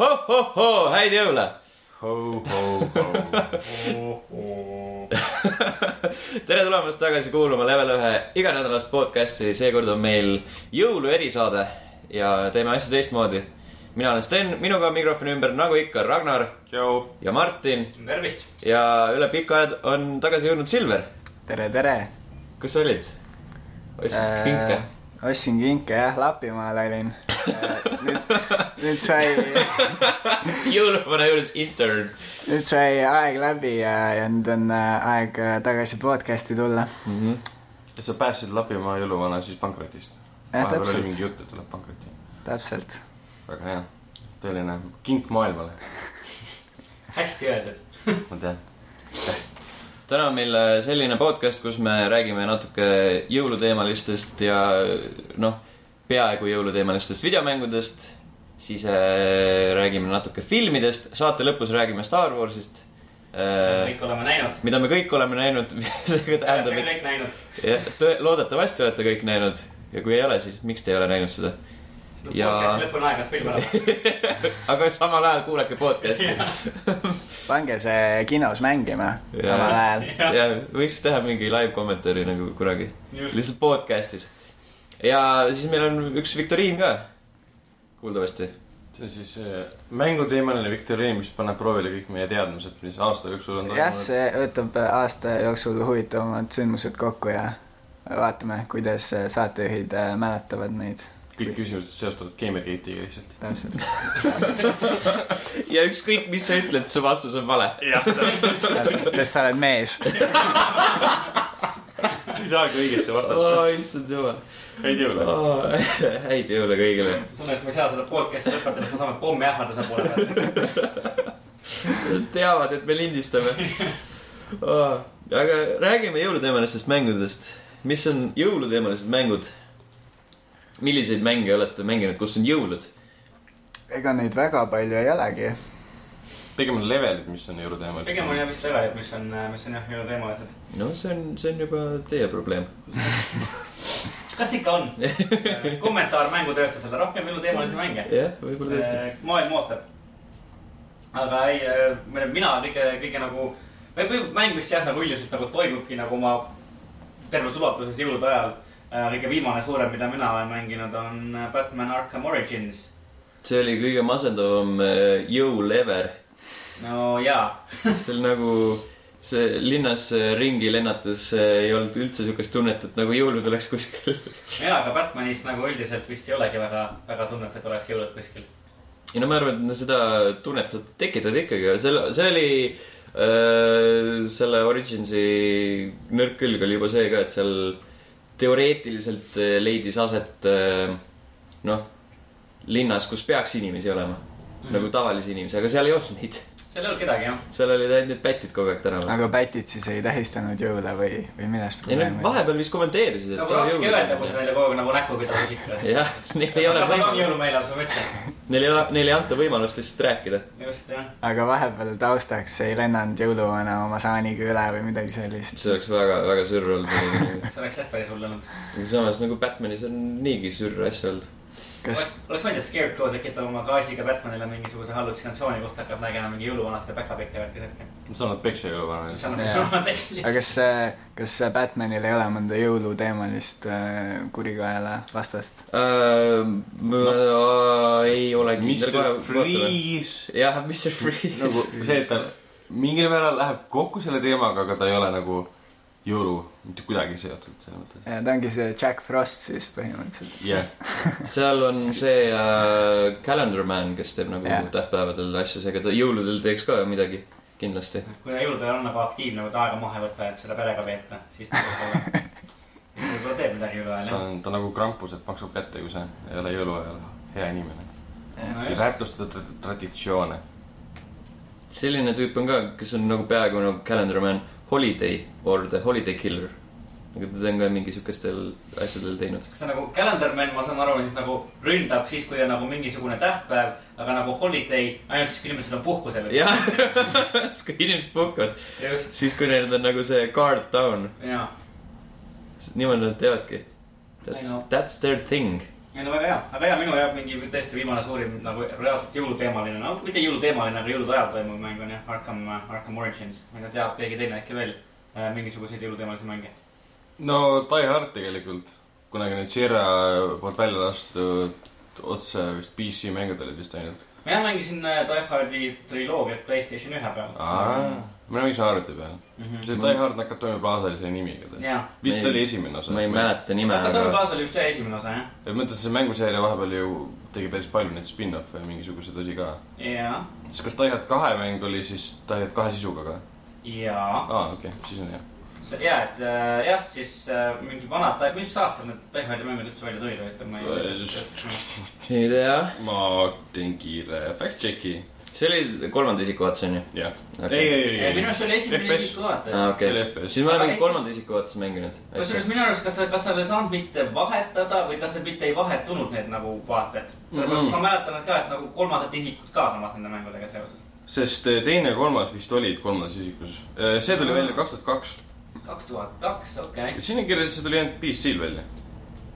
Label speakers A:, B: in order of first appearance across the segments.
A: ho-ho-hoo , häid jõule . tere tulemast tagasi kuulama Level ühe iganädalast podcasti , seekord on meil jõulu erisaade ja teeme asju teistmoodi . mina olen Sten , minuga on mikrofoni ümber , nagu ikka , Ragnar
B: tšau .
A: ja Martin
C: tervist .
A: ja üle pika aja on tagasi jõudnud Silver .
B: tere , tere .
A: kus sa olid ? ostsid
C: Äh.
A: pinke ?
B: ostsin kinke Äh, jah , Lapimaale olin . nüüd , nüüd sai ,
A: jõuluvana juures intern .
B: nüüd sai aeg läbi ja , ja nüüd on äh, aeg äh, tagasi podcast'i tulla .
D: ja sa päästsid Lapimaa jõuluvana siis pankrotist .
B: jah ,
D: vahepeal oli mingi
B: täpselt ,
D: jutt , et tuleb pankrotti .
B: täpselt .
D: väga hea , tõeline kink maailmale ,
C: hästi öeldud .
D: ma tean .
A: täna on meil äh, selline podcast , kus me räägime natuke jõuluteemalistest ja noh , peaaegu jõuluteemalistest videomängudest , siis äh, räägime natuke filmidest , saate lõpus räägime Star Warsist äh, ,
C: kõik oleme näinud .
A: mida me kõik oleme näinud , see tähendab ,
C: olete kõik näinud .
A: et ja tõ- loodetavasti olete kõik näinud ja kui ei ole , siis miks te ei ole näinud seda ?
C: seda
A: Ja-
C: podcast'i lõpuni aeg , kas film ära .
A: aga samal ajal kuulake podcast'i .
B: pange see kinos mängima
A: Jaa.
B: samal ajal .
A: ja võiks teha mingi live kommentaari nagu kunagi ,
C: Just.
A: lihtsalt podcast'is . ja siis meil on üks viktoriin ka , kuuldavasti .
D: see on siis äh, mänguteemaline viktoriin , mis paneb proovile kõik meie teadmised , mis aasta jooksul on
B: jah , see võtab äh, aasta jooksul huvitavamad sündmused kokku ja vaatame , kuidas äh, saatejuhid äh, mäletavad neid .
D: kõik küsimused seostavad Gamergate'iga lihtsalt .
B: täpselt .
A: ja ükskõik , mis sa ütled , su vastus on vale .
B: täpselt , sest sa oled mees .
D: ei saagi õigesti vastata .
A: issand jumal .
D: ei tea üle .
A: häid jõule kõigile .
C: tunnen , et ma ei saa seda podcast'i lõpetada , me saame pommiähvarduse poole pealt .
A: teavad , et me lindistame . aga räägime jõuluteemalistest mängudest . mis on jõuluteemalised mängud ? milliseid mänge olete mänginud , kus on jõulud ?
B: ega neid väga palju ei olegi .
D: pigem on levelid , mis on jõuluteemalised .
C: pigem on jah vist levelid , mis on , mis on jah , minu teemalised .
A: no see on , see on juba teie probleem .
C: kas ikka on ? kommentaar mängutööstusele , rohkem minu teemalisi mänge .
A: jah , võib-olla tõesti .
C: maailm ootab . aga ei , mina kõige , kõige nagu , või või mäng , mis jah , nagu üldiselt nagu toimubki nagu oma terves ulatuses jõulude ajal . kõige viimane suurem , mida mina olen mänginud , on äh, Batman Arkham Origins .
A: see oli kõige masendavam äh, jõul ever .
C: no jaa ,
A: see oli nagu , see linnas äh, ringi lennates äh, ei olnud üldse siukest tunnet , et nagu jõulud oleks kuskil .
C: jaa , aga Batmanis nagu üldiselt vist ei olegi väga , väga tunnet , et oleks jõulud kuskil .
A: ja no ma arvan , et no seda tunnet sa tekitad ikkagi , aga selle , see oli äh, selle Originsi nõrk külg oli juba see ka , et seal teoreetiliselt äh, leidis aset äh, noh , linnas , kus peaks inimesi olema mm. , nagu tavalisi inimesi , aga seal ei olnud neid .
C: seal ei olnud kedagi jah .
A: seal olid ainult need pätid kogu aeg tänaval .
B: aga pätid siis ei tähistanud jõule või , või
A: ei
B: milles
A: nad
B: probleem oli ?
A: vahepeal vist kommenteerisid , et
C: nagu raske öelda , kui sa neile kogu aeg nagu näkku pidad isikule .
A: jah , neil ei ole
C: kas nad on
A: võimalust ,
C: jõulumeeles või mitte ?
A: neil ei ole , neile ei anta võimalust lihtsalt rääkida .
C: just jah .
B: aga vahepeal taustaks ei lennanud jõuluvana oma saaniga üle või midagi sellist .
A: see oleks väga , väga sürr olnud .
C: see oleks jah päris hull olnud .
A: samas nagu Batmanis on niigi sürr asja olnud .
B: kas ,
C: oleks mõelnud , et Scared Go tekitab oma gaasiga Batmanile mingisuguse hallutsinatsiooni , kust hakkab nägema mingi jõuluvana seda päkapikke värki värki .
D: sa annad peksa jõuluvana .
C: see on nagu
B: Jaa.
C: jõuluvana tekst
B: aga
C: lihtsalt .
B: kas , kas Batmanil ei ole mõnda jõuluteemalist äh, kurikaela vastast ?
A: Äh, ma ei ole kindel
D: Mr Freeze .
A: jah , Mr Freeze
D: nagu see , et ta mingil määral läheb kokku selle teemaga , aga ta ei ole nagu jõulu mitte kuidagi seotud selles mõttes .
B: ta ongi see Jack Frost siis põhimõtteliselt .
D: jah ,
A: seal on see äh, Calendar Man , kes teeb nagu
B: Jah.
A: tähtpäevadel asju , seega ta jõuludel teeks ka midagi kindlasti .
C: kui jõuludel on nagu aktiivne , et aega maha võtta , et seda perega veeta , siis ta võib-olla , siis ta võib-olla teeb midagi jõuluajal
D: ta
C: jah .
D: on , ta on nagu krampus , et maksab kätte , kui sa ei ole jõuluajal hea inimene .
C: no
D: ja
C: just ,
D: väärtustada tra- traditsioone .
A: selline tüüp on ka , kes on nagu peaaegu nagu Calendar Man Holiday or the Holiday Killer . aga teda on ka mingi siukestel asjadel teinud .
C: kas see nagu calendar man , ma saan aru , siis nagu ründab siis , kui on nagu mingisugune tähtpäev , aga nagu holiday ainult siis , kui inimesed on puhkusel .
A: jah , siis kui inimesed puhkavad ,
C: just ,
A: siis kui neil on nagu see guard down ,
C: jaa .
A: niimoodi nad teevadki . That's
C: I know. ,
A: that's their thing .
C: ei no väga hea , väga hea , minu jääb mingi tõesti viimane suurim nagu reaalselt jõuluteemaline , no mitte jõuluteemaline , aga jõulude ajal toimuv mäng on jah , Arkham , Arkham Origins , ma ei tea , teab keegi teine äkki veel äh, mingisuguseid jõuluteemalisi mänge .
D: no Die Hard tegelikult , kunagi need Jira poolt välja lastud otse vist PC mängud olid vist ainult .
C: mina mängisin äh, Die Hardi triloogiat Playstation ühe peal .
D: mina mängisin Hardi peal . see Die Hard Nakatomi Plaza oli selle nimi igatahes .
C: jaa ,
D: vist
A: Ma ei-
D: oli esimene osa .
A: ma ei . mäleta nime ,
C: aga Tommy
A: aga
C: Plaza oli vist jah esimene osa jah ,
D: ma mõtlen , see mänguseeria vahepeal ju tegi päris palju neid spin-off'e ja mingisuguseid asi ka .
C: jaa ,
D: siis kas Die Hard kahe mäng oli siis Die Hard kahe sisuga ka ?
C: jaa .
D: aa , okei okay. , siis on hea .
C: ja , et äh, jah , siis äh, mingi vanad , mis aastal need Die Hardi mängud üldse välja tulid , et ma
D: Äh,
C: ei .
A: ei tea .
D: ma teen kiire fact check'i .
A: see oli kolmanda isiku vaates onju ?
D: jah .
A: Okei.
D: ei , ei , ei ,
C: minu
D: ei .
C: arust see oli esimene
D: FPS.
C: isiku vaates .
A: aa ,
D: see oli
A: Ah, okei .
D: FPS .
A: siis me
C: Aga
A: oleme
C: ei-
A: kolmanda isiku vaates mänginud .
C: kusjuures minu arust , kas sa , kas sa ei saanud mitte vahetada või kas need mitte ei vahetunud , need nagu vaated ? sellepärast mm
D: Mhm.
C: -hmm. ma mäletan nad ka , et nagu kolmandat isikut ka samas nende mängudega seoses .
D: sest eh, teine ja kolmas vist olid kolmandas isikus . see tuli välja kaks tuhat kaks .
C: kaks tuhat kaks , okei .
D: siin on kirjas , et see tuli ainult PC-l välja .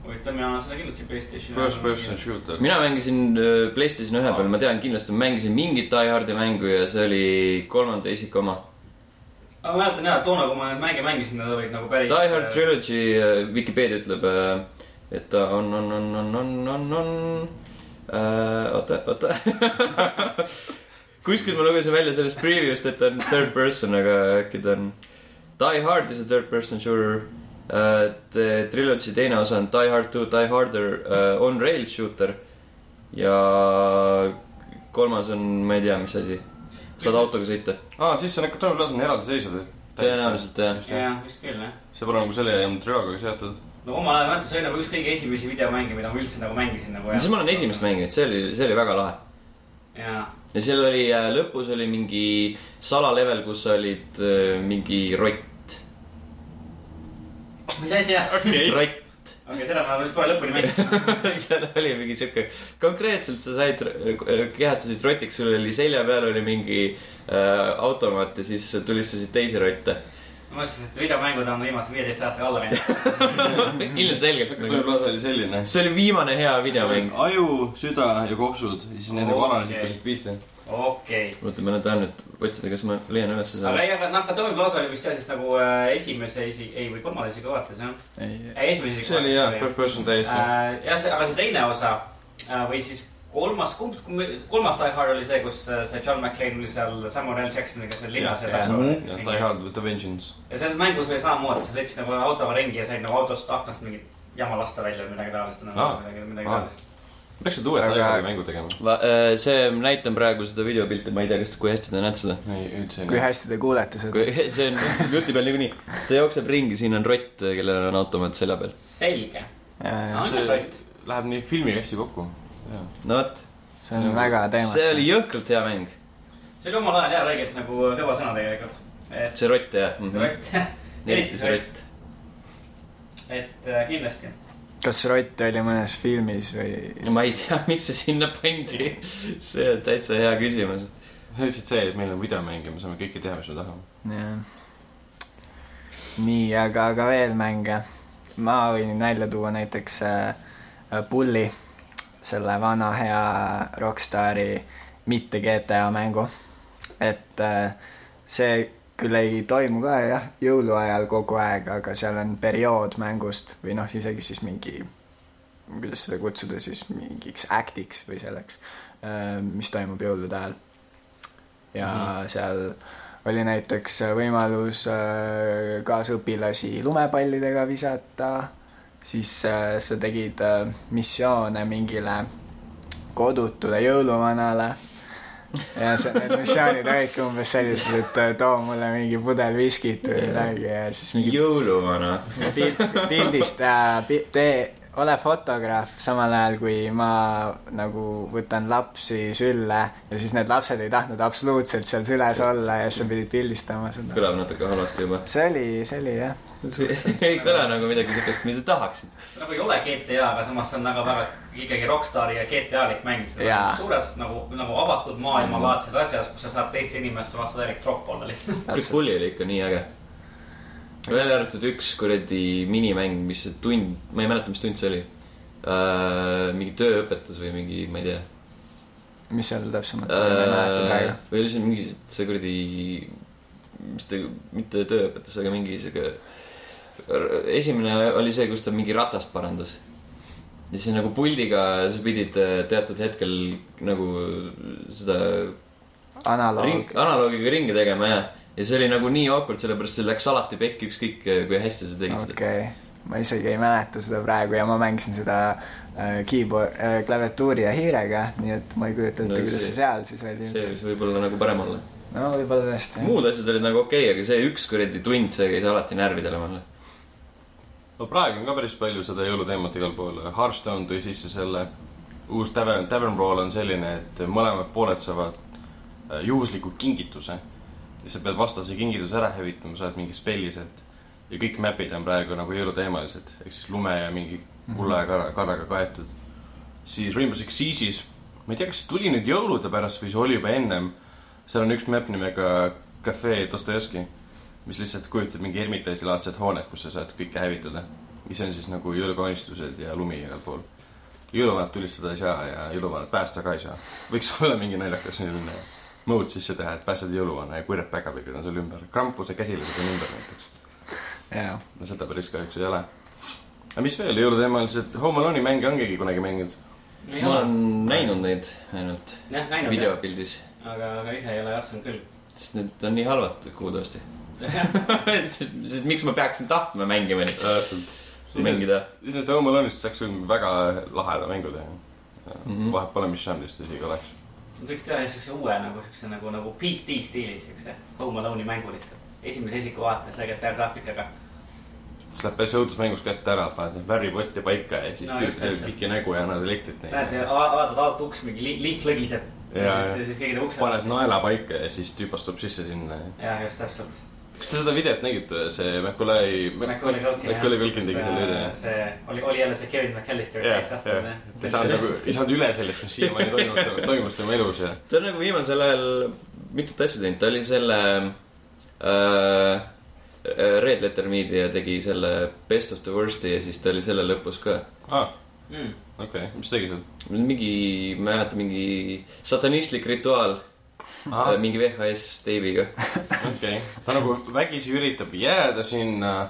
C: huvitav , mina olen seda kindlasti Playstationi .
D: First person . shooter .
A: mina mängisin öö, PlayStation ühe peal , ma tean kindlasti , ma mängisin mingit Die Hardi mängu ja see oli kolmanda isiku oma .
C: aga ma mäletan jah , et toona , kui ma neid mänge mängisin , nad olid nagu päris .
A: Die Hard Trilogy öö, Vikipeedia ütleb , et ta on , on , on , on , on , on , on . oota , oota . kuskilt ma lugesin välja sellest preview'st , et ta on third person , aga äkki ta on . Die Hard is a third person shooter . et öö, Trilogy teine osa on Die Hard two , Die Harder , on rail shooter . ja kolmas on , ma ei tea , mis asi . saad autoga sõita .
D: aa , siis see Nakatomi Plaza on eraldiseisev .
A: tõenäoliselt jah .
C: jah , vist küll jah .
D: see pole nagu selle ja Montreal'ga seotud .
C: no omal ajal , ma ütlen , see oli nagu üks kõige esimesi videomänge , mida ma üldse nagu mängisin nagu .
A: siis ma olen esimest . mänginud , see oli , see oli väga lahe .
C: jaa ,
A: ja seal oli äh, lõpus oli mingi salalevel , kus sa olid äh, mingi rott .
C: mis asi jah ?
D: Okei.
A: rott ,
C: okei , seda ma vist kohe lõpuni mängisin .
A: seal oli mingi siuke , konkreetselt sa said , kehatsesid rotiks , sul oli selja peal oli mingi äh, automaat ja siis tulistasid teisi rotte .
C: ma mõtlesin , et videomängud on viimase viieteist aastaga alla läinud .
D: Nakatomi
A: ilmselgelt .
D: Plaza oli selline .
A: see oli viimane hea videomäng .
D: aju , süda ja kopsud ja siis nendega
C: Oh, Okei.
D: vananesid hakkasid pihta .
C: okei .
A: oota , ma nüüd tahan nüüd otsida , kas ma leian ülesse
C: aga
A: selle .
C: ei , aga noh, Nakatomi Plaza oli vist jah , siis nagu äh, esimese isi- , ei või kolmanda isiku vaates jah .
B: ei ,
C: esimese isiku
D: see oli hea , first person täiesti .
C: Äh, jah , see , aga see teine osa äh, või siis kolmas , kumb , kolmas Die Hard oli see , kus äh, see John McClane oli seal Samuel L Jacksoniga seal linnas ja
D: Jah,
C: läks
D: ja Die
C: olla .
D: Hard with a Vengeance .
C: ja seal mängus oli samamoodi , sa sõitsid nagu autoga ringi ja said nagu autost aknast mingit jama lasta välja või midagi taolist ,
D: Aa.
C: midagi , midagi
D: Aa.
C: taolist .
D: peaksid uue Die
B: Aga-
D: Hardi mängu tegema .
A: äh, see , näitan praegu seda videopilti , ma ei tea , kas , kui hästi te näete seda .
D: ei , üldse ei
B: kui . hästi te kuulete seda .
A: kui see on juti peal niikuinii , ta jookseb ringi , siin on rott , kellel on automaat selja peal .
C: selge .
D: see läheb nii filmiga hästi kokku .
A: no vot ,
B: see on väga teemas .
A: see oli jõhkralt hea mäng ,
C: see oli omal ajal jah , õigelt nagu kõva sõna tegelikult . et
A: see rott jah
C: see . rott ,
A: Mhm. eriti see rott .
C: et äh, kindlasti .
B: kas Rott oli mõnes filmis või ?
A: ma ei tea , miks see sinna pandi . see on täitsa hea küsimus .
D: see on lihtsalt see , et meil on videomänge , me saame kõike teha , mis me tahame .
B: nii , aga , aga veel mänge . ma võin välja tuua näiteks äh, Pulli , selle vana hea rokkstaari mitte GTA mängu . et äh, see küll ei toimu ka jah , jõuluajal kogu aeg , aga seal on periood mängust või noh , isegi siis mingi , kuidas seda kutsuda siis mingiks act'iks või selleks , mis toimub jõulude ajal . ja mm -hmm. seal oli näiteks võimalus äh, kaasõpilasi lumepallidega visata , siis äh, sa tegid äh, missioone mingile kodutule jõuluvanale ja see, need missioonid olidki umbes sellised , et äh, too mulle mingi pudel viskit või midagi ja siis mingi
A: jõuluvana .
B: pilt , pildist äh, pi, tee , ole fotograaf , samal ajal kui ma nagu võtan lapsi sülle ja siis need lapsed ei tahtnud absoluutselt seal süles olla ja siis sa pidid pildistama seda .
A: kõlab natuke halvasti juba .
B: see oli , see oli jah .
A: ei kõla nagu midagi siukest , mida sa tahaksid .
C: nagu ei ole GTA , aga samas see on nagu väga ikkagi rokkstaari ja GTA-lik mäng .
B: Jaa.
C: suures nagu , nagu avatud maailmalaadses
A: Mhm.
C: asjas , kus sa saad teiste inimeste vastu täielik tropp olla lihtsalt .
A: kuule , pulli oli ikka nii äge . välja arvatud üks kuradi minimäng , mis see tund , ma ei mäleta , mis tund see oli . äh, mingi tööõpetus või mingi , ma ei tea
B: mis seal täpsemalt oli , ma ei mäleta
A: äh,
B: praegu .
A: või oli see mingi see kuradi , mis ta , mitte tööõpetus , aga mingi sihuke . esimene oli see , kus ta mingi ratast parandas . ja siis nagu puldiga sa pidid äh, teatud hetkel nagu seda ring ,
B: analoog .
A: analoogiga ringi tegema ja , ja see oli nagu nii awkward , sellepärast see läks alati pekki , ükskõik äh, kui hästi sa tegid seda .
B: okei , ma isegi ei mäleta seda praegu ja ma mängisin seda äh, keyboard äh, , klaviatuuri ja hiirega , nii et ma ei kujuta
A: No
B: ette no, , kuidas
A: see-
B: see seal siis oli
A: see
B: üldse .
A: võis võib-olla nagu parem olla .
B: no võib-olla tõesti .
A: muud asjad olid nagu okei okay, , aga see üks kuradi tund , see käis alati närvidele mulle .
D: no praegu on ka päris palju seda jõuluteemat igal pool . Hearthstone tõi sisse selle , uus tavern , tavern roll on selline , et mõlemad pooled saavad äh, juhusliku kingituse . ja sa pead vastase kingituse ära hävitama , saad mingi spellised . ja kõik map'id on praegu nagu jõuluteemalised , ehk siis lume ja mingi kulla ja kara , karaga kaetud . siis Rainbow Six Siege'is , ma ei tea , kas see tuli nüüd jõulude pärast või see oli juba ennem , seal on üks map nimega Cafe Dostojevski mis lihtsalt kujutab mingi Hermitage'i laadset hoonet , kus sa saad kõike hävitada . ja see on siis nagu jõulukaunistused ja lumi igal pool . jõuluvanad tulistada ei saa ja jõuluvanad päästa ka ei saa . võiks olla mingi naljakas selline mode sisse teha , et päästad jõuluvana ja kurjad päkapikud on sul ümber . krampuse käsilased on ümber näiteks .
B: jaa ,
D: no seda päris kahjuks ei ole . aga mis veel jõuluteemalised , Home Alone'i mänge on keegi kunagi mänginud ?
A: ma olen näinud neid ainult
C: jah , näinud jah ,
A: videopildis ,
C: aga , aga ise ei ole jaksanud küll .
A: sest need on nii halvad kuuldavasti sest, sest miks ma peaksin tahtma mängima neid , mängida
D: iseenesest Home Alone'ist saaks küll väga laheda mängu teha mm
C: Mhm.
D: -hmm. . vahet pole , mis žanrist isegi oleks .
C: võiks teha siukse uue nagu siukse nagu , nagu PT stiilis siukse Home Alone'i mängu lihtsalt . esimese isiku vaates läinud hea graafikaga .
D: siis läheb päris õudus mängus kätte ära , paned need värvipotti paika ja siis
C: No,
D: no,
C: just
D: tüüp teeb
C: täpselt.
D: pikki nägu ja annad elektrit
C: näed ,
D: neile .
C: vaatad alt uks , mingi li- lint lõgiseb .
D: Jaa,
C: siis
D: jaa. ,
C: siis keegi teeb ukse .
D: paned naela paika ja siis tüüp astub sisse sinna .
C: ja just täpselt .
D: kas te seda videot nägite , see Macaulay ,
C: Macaulay Culkin .
D: Macaulay Culkin tegi selle video ?
C: see oli , oli jälle see Kevin McAllister
D: jah ,
C: täiskasvanud
D: jah
C: jah .,
D: ei saanud nagu , ei saanud üle sellest , mis siiamaani toimus , toimus tema elus ja .
A: ta on nagu viimasel ajal mitut asja teinud , ta oli selle äh, Red Letter Media tegi selle Best of the Worst'i ja siis ta oli selle lõpus ka
D: aa ,
C: Mm.
D: Ah, okei , mis tegi seal ?
A: mingi , ma ei mäleta , mingi satanistlik rituaal ah.
D: okei
A: mingi VHS teibiga .
D: okay. , ta nagu vägisi üritab jääda sinna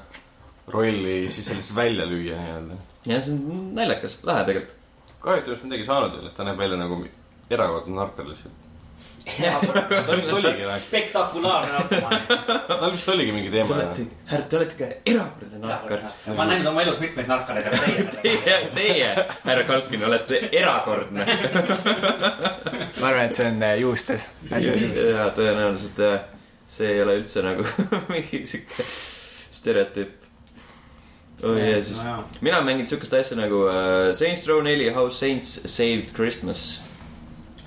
D: rolli , siis sellest välja lüüa nii-öelda .
A: ja see on naljakas , lahe tegelikult .
D: kahjuks ei oleks midagi saanud sellest , ta näeb välja nagu erakordne narkar lihtsalt . ta vist oligi ,
C: spektakulaarne narkomaan .
D: tal vist oligi mingi teema
A: Te . olete , härra , te olete ka erakordne narkar .
C: ma olen näinud oma elus mitmeid narkareid , aga teie .
A: Teie , teie , härra Kalkin , olete erakordne .
B: ma arvan , et see on äh, juustes . asi on juustes .
A: ja tõenäoliselt jah , see ei ole üldse nagu mingi sihuke stereotüüp . oh jeesus , mina mängin siukest asja nagu äh, Saints Row neli How Saints Saved Christmas .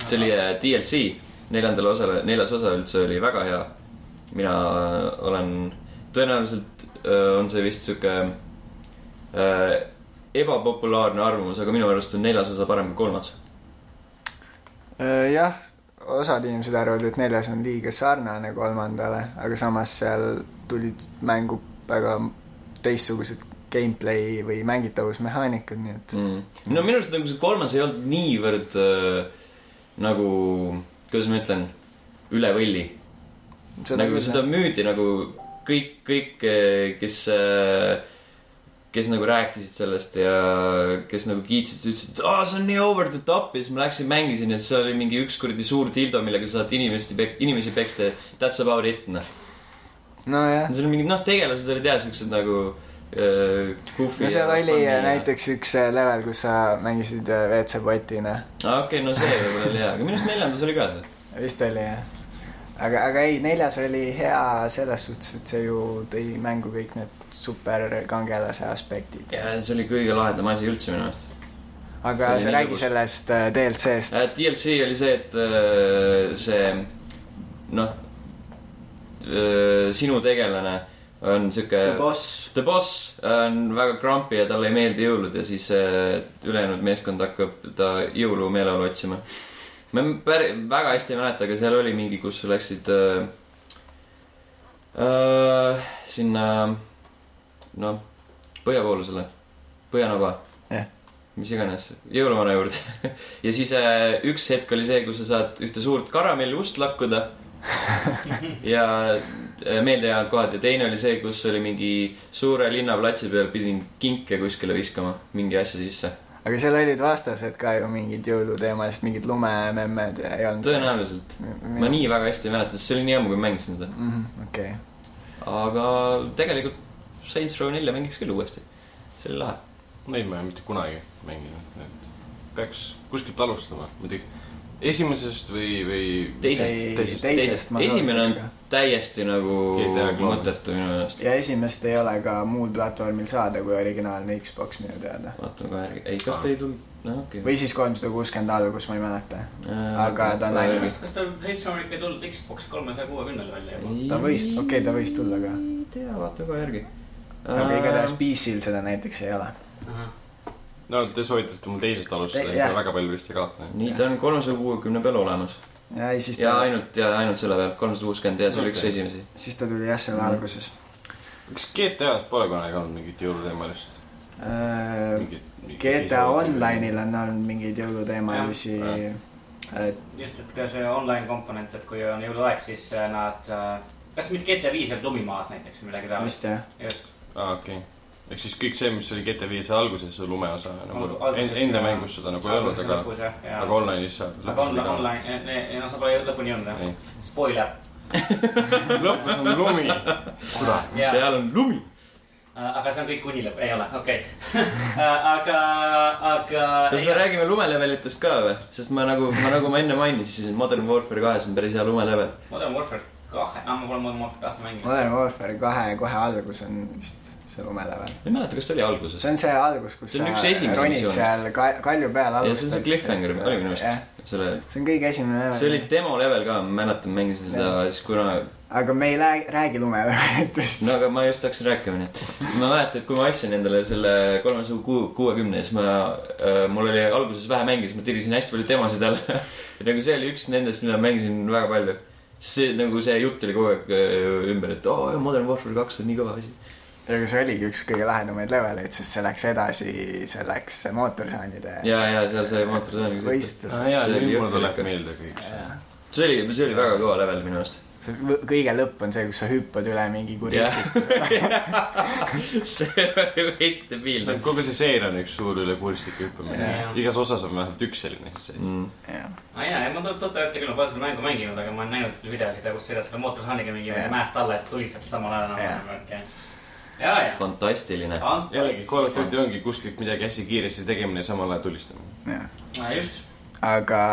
A: see oli äh, DLC neljandale osale , neljas osa üldse oli väga hea . mina äh, olen , tõenäoliselt äh, on see vist sihuke äh, ebapopulaarne arvamus , aga minu arust on neljas osa parem kui kolmas .
B: Äh, jah , osad inimesed arvavad , et neljas on liiga sarnane kolmandale , aga samas seal tulid mängu väga teistsugused gameplay või mängitavusmehaanikad , nii et
A: mm. . no minu arust nagu see kolmas ei olnud niivõrd äh, nagu , kuidas ma ütlen , üle võlli . nagu seda müüdi nagu kõik , kõik , kes , kes nagu rääkisid sellest ja kes nagu kiitsid , ütlesid , et aa , see on nii over the top ja siis ma läksin mängisin ja siis seal oli mingi üks kuradi suur dildo , millega sa saad inimesi , inimesi peksta ja that's about it , noh .
B: nojah ,
A: seal on mingid , noh , tegelased olid jah , siuksed nagu äh, kuhvi .
B: no seal oli äh, näiteks üks äh, level , kus sa mängisid äh, WC-potina ,
A: aa , Ah, okei okay, , no see võib-olla oli hea , aga minu arust neljandas oli ka see .
B: vist oli jah ? aga , aga ei , neljas oli hea selles suhtes , et see ju tõi mängu kõik need superkangelase aspektid .
A: ja see oli kõige lahedam asi üldse minu meelest . see
B: aga
A: oli
B: sa
A: nii
B: räägi
A: lõbus.
B: sellest äh, DLC-st .
A: DLC oli see , et äh, see noh , sinu tegelane on siuke .
B: boss
A: The Boss on väga krampi ja talle ei meeldi jõulud ja siis äh, ülejäänud meeskond hakkab ta jõulumeeleolu otsima . ma pär- , väga hästi ei mäleta , aga seal oli mingi , kus läksid äh, äh, sinna , noh , põhjapoolusele , põhjanaba
B: Jah. .
A: mis iganes , jõuluvana juurde . ja siis äh, üks hetk oli see , kui sa saad ühte suurt karamelliust lakkuda ja äh, meeldejäänud kohad ja teine oli see , kus oli mingi suure linnaplatsi peal pidin kinke kuskile viskama , mingi asja sisse .
B: aga seal olid vastased ka ju mingid jõuluteemast , mingid lumememmed ja ei olnud .
A: tõenäoliselt . ma . nii väga hästi ei mäleta , sest see oli nii ammu , kui ma mängisin seda .
B: Mhm, okei ,
A: aga tegelikult Saints Row nelja mängiks küll uuesti . see oli lahe .
D: Neid ma ei ole mitte kunagi mänginud , et peaks kuskilt alustama , ma ei tea , esimesest või , või
A: Teisest-
B: Ei,
D: teisest,
B: tei-
D: teisest. .
B: Teisest ma
A: esimene on
B: soovitaks ka.
A: täiesti nagu
D: GTA kloon.
A: mõttetu minu meelest .
B: ja esimest ei ole ka muul platvormil saada kui originaalne Xbox minu teada .
A: vaatame kohe järgi , ei kas ta ei tulnud , noh okei Äh, okay. .
B: või siis kolmsada kuuskümmend algus , ma ei mäleta . aga ta on ainult-
C: kas ta , siis on ikka tulnud Xbox kolmesaja kuuekümnele välja juba ?
B: ta võis- okei, ta võis tulla ka.
A: ei tea , vaatame kohe järgi . Äh,
B: aga igatahes PC-l seda näiteks ei ole .
D: no te soovitasite mul teisest alustada ,
B: Te-
D: ikka
B: jah.
D: väga palju vist ei kaota .
A: nii , ta on kolmesaja kuuekümne peal olemas
B: ja ei, siis
A: ja
B: ta ,
A: ainult ja ainult selle peal , kolmsada kuuskümmend ja see oli üks esimesi .
B: siis ta tuli jah ,
A: Mhm.
B: selle alguses .
D: kas GTA-s pole kunagi olnud mingit jõuluteemalist ?
B: Äh,
D: mingit, mingit ?
B: GTA Online'il on olnud mingeid jõuluteemalisi
D: Jah, .
C: just , et ka see online komponent , et kui on jõuluaeg , siis äh, nad , kas mitte GTA viis oli lumimaas näiteks või midagi taolist ?
B: vist jah ,
C: just ,
D: aa , Ah, okei okay. . ehk siis kõik see , mis oli GTA viis alguses , see lumeosa nagu
C: Algu- alguses
D: en- enda
C: ja-
D: mängus seda nagu ei olnud , aga ,
C: lõpus jah , ja
D: aga online'is saab .
C: aga on online , no sa pole lõpuni olnud jah , spoiler .
D: lõpus on lumi . kurat .
C: Jaa. Äh,
A: seal on lumi .
C: aga see on kõik kuni lõpp , ei ole , okei . aga , aga .
A: kas me räägime lumelevelitest ka või ? sest ma nagu , ma nagu ma enne mainisin , Modern Warfare kahes on päris hea lumelevel .
C: Modern Warfare kahe , aa ma pole Modern Warfare kahte mänginud .
B: Modern Warfare kahe kohe algus on vist see lumelevel .
A: ma ei mäleta , kas ta oli alguses .
B: see on see algus , kus
A: See
B: sa
A: on üks esimesi
B: ronid
A: missioonidest.
B: seal ka- kalju peal
A: ja see on see
B: alustad .
A: cliffhanger , oli minu
B: Jah.
A: meelest selle
B: see on kõige esimene level .
A: see oli demo level ka , ma mäletan , mängisin seda , siis kuna ,
B: aga me ei lää- räägi lumelevetest
A: no . aga ma just hakkasin rääkima , nii et ma mäletan , et kui ma ostsin endale selle kolmesaja kuu- , kuuekümne , siis ma äh, , mul oli alguses vähe mänge , siis ma tirisin hästi palju teemasid alla . ja nagu see oli üks nendest , mida ma mängisin väga palju . see nagu see jutt oli kogu aeg äh, ümber , et oo oh, , Modern Warfare kaks on nii kõva asi .
B: aga see oligi üks kõige lahedamaid leveleid , sest see läks edasi , see läks mootorsaanide
A: ja , ja seal sai mootor sõnum .
B: võistlus
D: aa Ah, jaa ,
A: See oli
D: nüüd mulle tuleb
A: jõhker.
D: meelde kõik see .
A: see oli , see oli väga kõva level minu meelest .
B: see võ- kõige lõpp on see , kus sa hüppad üle mingi
A: jah
B: kuristiku .
A: see oli veits debiilne
D: no Nagu kogu see seeria on üks suur üle kurstiku hüppamine
C: Jaa. .
D: igas osas on vähemalt üks selline asi sees .
A: mm. .
B: jah.
C: aa jaa , ei ma tõ- tõtt-öelda küll , ma pole seda mängu mänginud , aga ma olen näinud küll videosid , kus sõidad selle mootorsaaniga mingi
B: Jah.
C: mäest alla ja siis tulistad samal ajal
B: Jah.
C: enam-vähem , okei . ja , ja .
A: fantastiline .
D: jällegi , Call of Duty ongi kuskilt midagi hästi kiiresti tegemine ja samal ajal tulistamine .
B: jah.
C: just ,
B: aga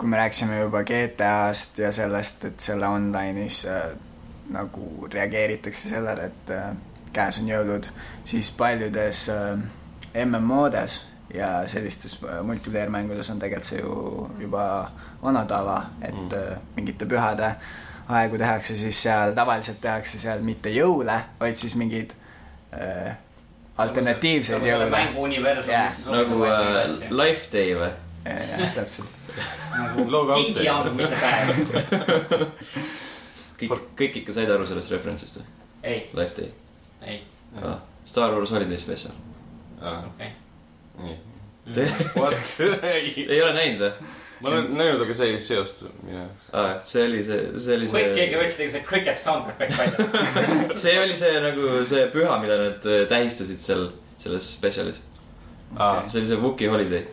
B: kui me rääkisime juba GTA-st ja sellest , et selle online'is äh, nagu reageeritakse sellele , et äh, käes on jõulud , siis paljudes äh, MMO-des ja sellistes äh, multiplayer mängudes on tegelikult see ju juba vana tava , et
D: Mm.
B: äh, mingite pühade aegu tehakse siis seal , tavaliselt tehakse seal mitte jõule , vaid siis mingeid äh,
C: Nagu
B: alternatiivseid jõule .
C: mängu
B: Jah.
C: universumis .
A: nagu äh, Life Day või ?
B: täpselt .
D: Looga
C: nagu kingi
D: auto.
C: ambumise päev .
A: kõik , kõik ikka said aru sellest referentsist või ?
C: ei ,
A: Life Day
C: ei ,
A: ah, . Star Wars Holiday Special .
C: okei . Mm.
D: nii .
A: Te
D: Mm. What ?
A: ei ole näinud või ?
D: ma olen näinud , aga see ei seostu minu jaoks .
A: aa , see oli see , see oli
C: kõik keegi
A: see ,
C: võttis tegi see cricket sound effect välja .
A: see oli see nagu see püha , mida nad äh, tähistasid seal , selles specialis .
D: aa ,
A: see oli see Wookie Holiday .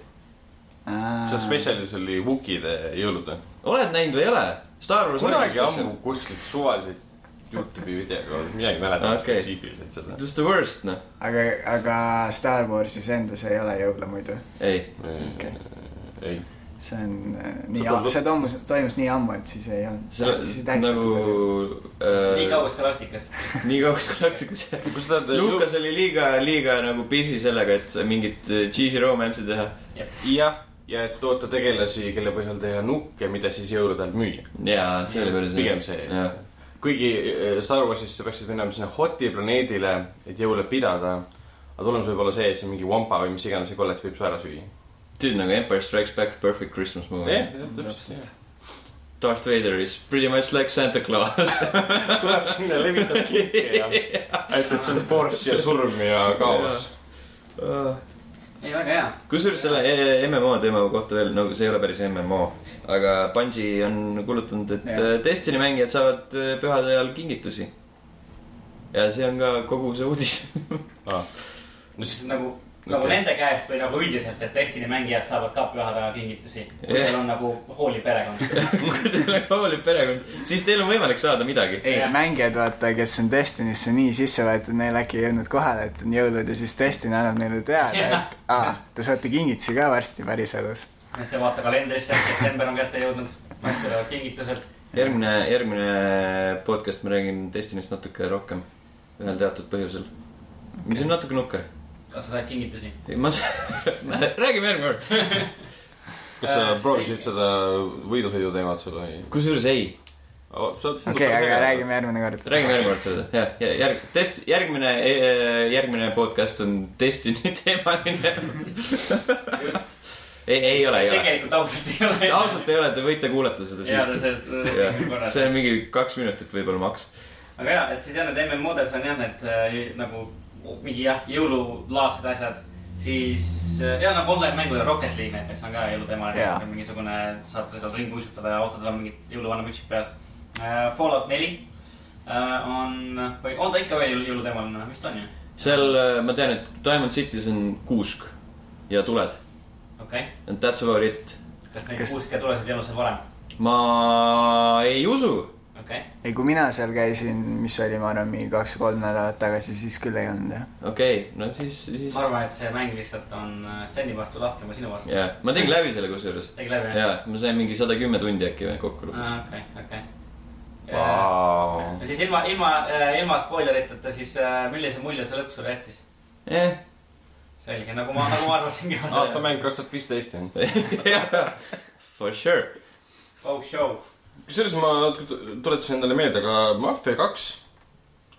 D: see spetsialis oli Wookide jõulud või ?
A: oled näinud või ei ole ? Star Wars
D: kunagi
A: Holiday
D: ammu
A: Special .
D: kuskilt suvaliseid Youtube'i videoga , midagi mäletan
A: Okei.
D: spetsiifiliselt seda .
A: It was the worst , noh .
B: aga , aga Star Warsis endas ei ole jõule muidu .
A: ei ,
B: Okei.
D: ei ,
B: see on äh, nii
D: See , tundub-
B: see toimus , toimus nii ammu , et siis ei
A: see
B: olnud .
A: nagu
C: nii
A: äh,
C: kaugus galaktikas .
A: nii kaugus galaktikas .
D: kui sa tahad .
A: Lukas oli liiga , liiga nagu busy sellega , et mingit äh, cheesy romance'i teha .
D: jah , ja et toota tegelasi , kelle põhjal teha nukke , mida siis jõulude ajal müüa .
A: jaa , see oli päris
D: pigem see
A: Jah. .
D: kuigi äh, Star Warsisse peaksid minema sinna Hoti planeedile , et jõule pidada . aga tulemus võib olla see , et see mingi vampa või mis iganes see kollet võib su ära süüa .
A: tüüd nagu Empire Strikes Back Perfect Christmas movie
D: jah , täpselt .
A: Darth Vader is pretty much like Santa Claus
D: tuleb sinna , levitab kinke ja , et , et see on force ja surm ja kaos .
C: ei , väga hea .
A: kusjuures selle e- e- MMO teema kohta veel , no see ei ole päris MMO , aga Bungi on kuulutanud , et
B: Jah.
A: yeah. Destiny mängijad saavad äh, pühade ajal kingitusi . ja see on ka kogu see uudis .
D: Ah. no siis
C: nagu , nagu
D: Okei.
C: okay. nende käest või nagu üldiselt , et Destiny mängijad saavad ka pühade ajal kingitusi . kui
A: Jah.
C: teil on nagu hooliv perekond .
A: kui teil on hooliv perekond , siis teil on võimalik saada midagi .
B: ei , mängijad , vaata , kes on Destiny'sse nii sisse võetud , neil äkki ei jõudnud kohale , et on jõulud ja siis Destiny annab neile teada , et aa , te saate kingitusi ka varsti päriselus .
C: et te vaata kalendrisse , detsember on kätte jõudnud , naistel on kingitused .
A: järgmine , järgmine podcast ma räägin Destiny'st natuke rohkem . ühel teatud põhjusel . mis on natuke nukker .
C: kas sa said kingitusi ?
A: ma saan , räägime järgmine kord .
D: kas sa proovisid seda võidusõidu teemat seal või ? Oh,
A: kusjuures ei ,
D: okei
B: okei , aga . räägime järgmine kord .
A: räägime järgmine kord seda , jah , ja järg , test , järgmine , järgmine podcast on Destiny teemaline .
C: just .
A: ei , ei ole , ei ole .
C: tegelikult ausalt ei ole .
A: ausalt ei ole , te võite kuulata seda
C: ja ta
A: siiski .
C: selles , korras .
A: see on mingi kaks minutit võib-olla maks .
C: aga ja , et siis jah , need MMO-des on jah , need äh, nagu mingi jah , jõululaadsed asjad . siis äh, ja nagu online mängud , Rocket League näiteks on ka jõuluteemaline
B: Jaa. ,
C: mingisugune , saate seal ringi uisutada ja autodel on mingid jõuluvana mütsid peas . Fallout neli äh, on , või on ta ikka veel jõulu- jõuluteemaline , vist on ju ,
A: seal äh, ma tean , et Diamond City's on kuusk ja tuled .
C: okei okay. .
A: And that's about it .
C: kas neid
B: Kas-
C: kuuske tulesid ei olnud seal varem ,
A: ma ei usu .
C: okei okay. ?
B: ei , kui mina seal käisin , mis oli , ma arvan , mingi kaks või kolm nädalat tagasi , siis küll ei olnud jah .
A: okei okay, , no siis , siis
C: ma . arvan , et see mäng lihtsalt on äh, Steni vastu lahkem kui sinu vastu .
A: jaa , ma tegin läbi selle kusjuures .
C: tegi läbi jah ?
A: jaa , ma sain mingi sada kümme tundi äkki või kokku lukku .
C: okei , okei .
D: Vau .
C: no siis ilma , ilma , ilma spoileriteta , siis äh, millise mulje see lõpp sulle jättis ?
A: jah ,
C: selge , nagu ma , nagu ma arvasingi .
D: aastamäng kaks tuhat viisteist on .
A: for sure .
C: Folk Oh, show .
D: kusjuures ma natuke tu- tuletasin endale meelde , aga Mafia kaks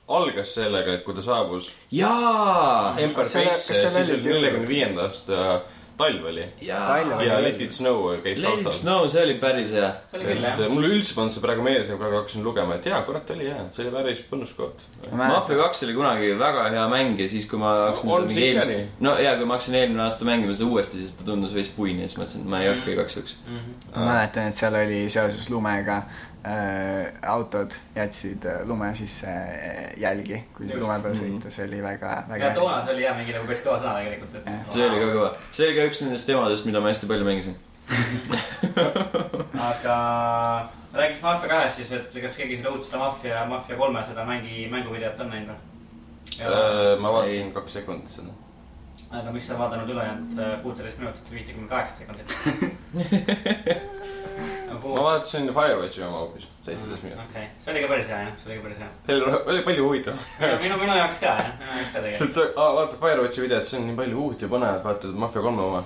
D: algas sellega , et kui ta saabus
A: jaa ,
D: Empire
B: Kas selle-
D: Base'e ,
B: kas selle
D: siis
B: olid
D: oli neljakümne viienda aasta talv oli
A: jaa .
D: ja Let it snow
A: Let
D: käis
A: it
D: taustal .
A: snow , see oli päris hea .
C: see oli küll jah
D: et . mul üldse polnud see praegu meeles , aga praegu hakkasin lugema , et jaa , kurat oli hea , see oli päris põnus koht .
A: Mafia kaks oli kunagi väga hea mäng ja siis , kui ma hakkasin
D: on see
A: eelmine
D: ikka ,
A: no jaa , kui ma hakkasin eelmine aasta mängima seda uuesti , siis ta tundus veits puini ja siis mõtlesin , et ma ei hakka igaks juhuks .
C: Mhm.
B: ma mäletan , et seal oli seoses lumega äh, autod jätsid äh, lume sisse äh, jälgi , kui
C: Just.
B: lume peal sõita , see oli väga , väga
C: ja toona see oli jah , mingi nagu päris kõva sõna tegelikult , et .
A: see oli ka . kõva , see oli ka üks nendest teemadest , mida ma hästi palju mängisin .
C: aga rääkides Mafia kahest siis , et kas keegi seda uut seda Mafia , Mafia kolme seda mängi , mänguvideot on näinud või ?
D: Äh, ma vaatasin kaks sekundit seda .
C: aga miks sa ei vaadanud ülejäänud äh, kuuteist minutit ja viitekümne kaheksat sekundit Nagu-
D: ma vaatasin Firewatchi oma hoopis , seitseteist
C: okei
D: minutit .
C: okay. , see oli ka päris hea jah , see oli ka päris hea .
D: see oli , oli palju huvitavam .
C: minu , minu jaoks ka jah , minu jaoks ka tegelikult .
D: lihtsalt see , vaata Firewatchi videot , see on nii palju uut ja põnevat , vaata Mafia kolme oma .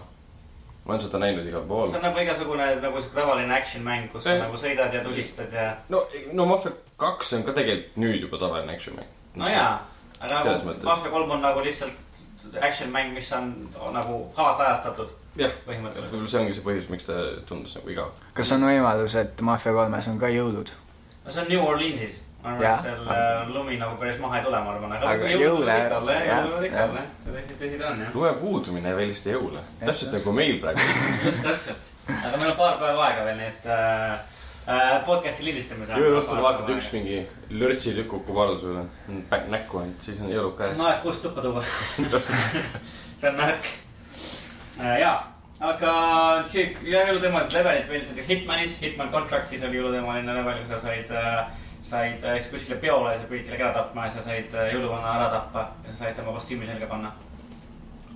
D: ma olen seda näinud igal pool
C: see . on nagu igasugune nagu siuke tavaline action mäng , kus sa
D: Jah.
C: nagu sõidad ja tulistad ja
D: no , no Mafia kaks on ka tegelikult nüüd juba tavaline action mäng .
C: no jaa . aga
D: Selles
C: nagu
D: mõttes.
C: Mafia kolm on nagu lihtsalt action mäng , mis on on nagu kaasajastatud
D: jah , et
C: põhimõtteliselt .
D: võib-olla see ongi see põhjus , miks ta tundus nagu igav .
B: kas on võimalus , et Mafia kolmes on ka jõulud ?
C: no see on New Orleansis , ma arvan ,
B: Jah.
C: et seal äh, lumi nagu päris maha ei tule , ma arvan ,
B: Aga
C: aga
B: jõule-
C: jõulud ikka olla ,
B: jah,
C: jõulud ikka
B: jah.
C: olla , see tõsi , tõsi ta on jah .
D: lume puudumine ei välista jõule . täpselt nagu meil praegu .
C: just täpselt , aga meil on paar päeva aega veel , nii et äh, äh, podcast'i lindistame .
D: ööõhtul vaatad üks mingi lörtsilükk kukub alla sulle pä- näkku ainult , siis on jõulud
C: see on
D: käes .
C: aeg kuus tuppa tuua . see on märk . ja , aga see jõuluteemalised levelid meil näiteks Hitmanis , Hitman Contractsis oli jõuluteemaline level , kus sa said , said äh, kuskile peole , sa pidid kellegi ära tapma ja sa said äh, jõuluvana ära tappa ja sa said tema kostüümi selga panna .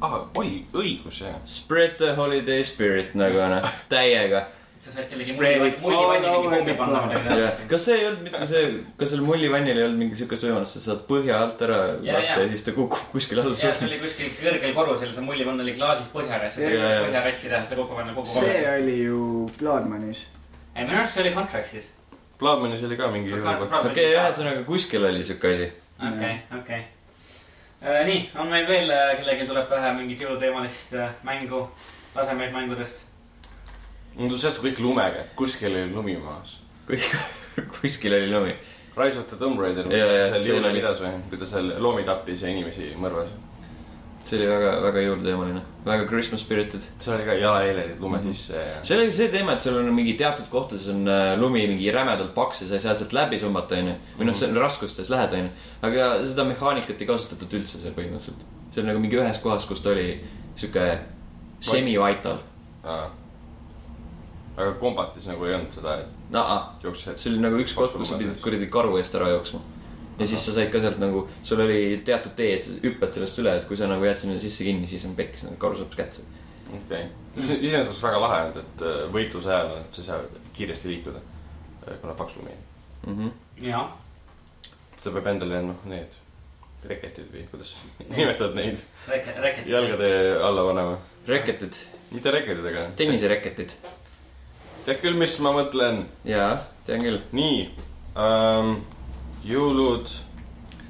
D: ah , oli õigus jah .
A: Spread the holiday spirit nagu noh , täiega .
C: sa said kellegi
B: Spread
C: mulli
B: it ,
C: mulli
B: all
C: vanni mingi
B: over
C: kummi
B: the
C: panna
B: floor.
C: midagi
A: Ja.
C: ära .
A: kas see ei olnud mitte see , kas seal mullivannil ei olnud mingi siukest võimalust , sa saad põhja alt ära
C: Jaa,
A: lasta
C: jaa.
A: ja siis ta kukub kuskil alla
C: ja see oli
A: suhteliselt .
C: kuskil kõrgel korrusel , see mullivann oli klaasis põhjaga , siis sa said
A: Jaa,
C: selle
A: jaa.
C: põhja katkida ja seda kokku panna kogu
B: see
C: korra .
B: oli ju Bloodmanis .
C: ei , minu arust see oli Contractsis .
D: Plaadmanis oli ka mingi jõulukott .
C: Plaadmanis-
A: okei , ühesõnaga kuskil oli siuke asi .
C: okei , okei . nii , on meil veel , kellelgi tuleb pähe mingit jõuluteemalist äh, mängu , tasemeid mängudest ?
D: mul tuli sealt kõik lumega , et kuskil oli lumi maas .
A: kuskil oli lumi .
D: Rise of the Tomb Raider ,
A: Jaa, jaa,
D: seal
A: see
D: jõule
A: oli-
D: pidas või , kui ta seal loomi tappis ja inimesi mõrvas .
A: see oli väga , väga jõuluteemaline , väga Christmas spirited .
D: seal oli ka jalajäljed lume
A: Mhm.
D: sisse ja .
A: seal oli see teema , et sul on mingi teatud kohtades on äh, lumi mingi rämedalt paks ja sa ei saa sealt läbi summata , onju . või noh , see on raskustes lähed , onju . aga seda mehaanikat ei kasutatud üldse seal põhimõtteliselt . see on nagu mingi ühes kohas , kus ta oli sihuke semi-vital .
D: aga kombatis nagu ei olnud seda , et
A: Naa
D: jooksed .
A: see oli nagu üks koht , kus sa pidid kuradi karu eest ära jooksma . ja siis sa said ka sealt nagu , sul oli teatud tee , et sa hüppad sellest üle , et kui sa nagu jääd sinna sisse kinni , siis on pekkis , nagu karu saab su kätte .
D: okei okay. , iseenesest oleks väga lahe olnud , et äh, võitluse ajal , et sa ei saa kiiresti liikuda , kuna paks lumi on .
A: Mhm.
C: jah ,
D: sa pead endale noh , need reketid või kuidas nimetad neid ,
C: reket , reket .
D: jalgade alla panema ,
A: reketid ,
D: mitte reketid , aga
A: tennisereketid .
D: tead küll , mis ma mõtlen ,
A: jaa , tean küll .
D: nii ähm, , jõulud ,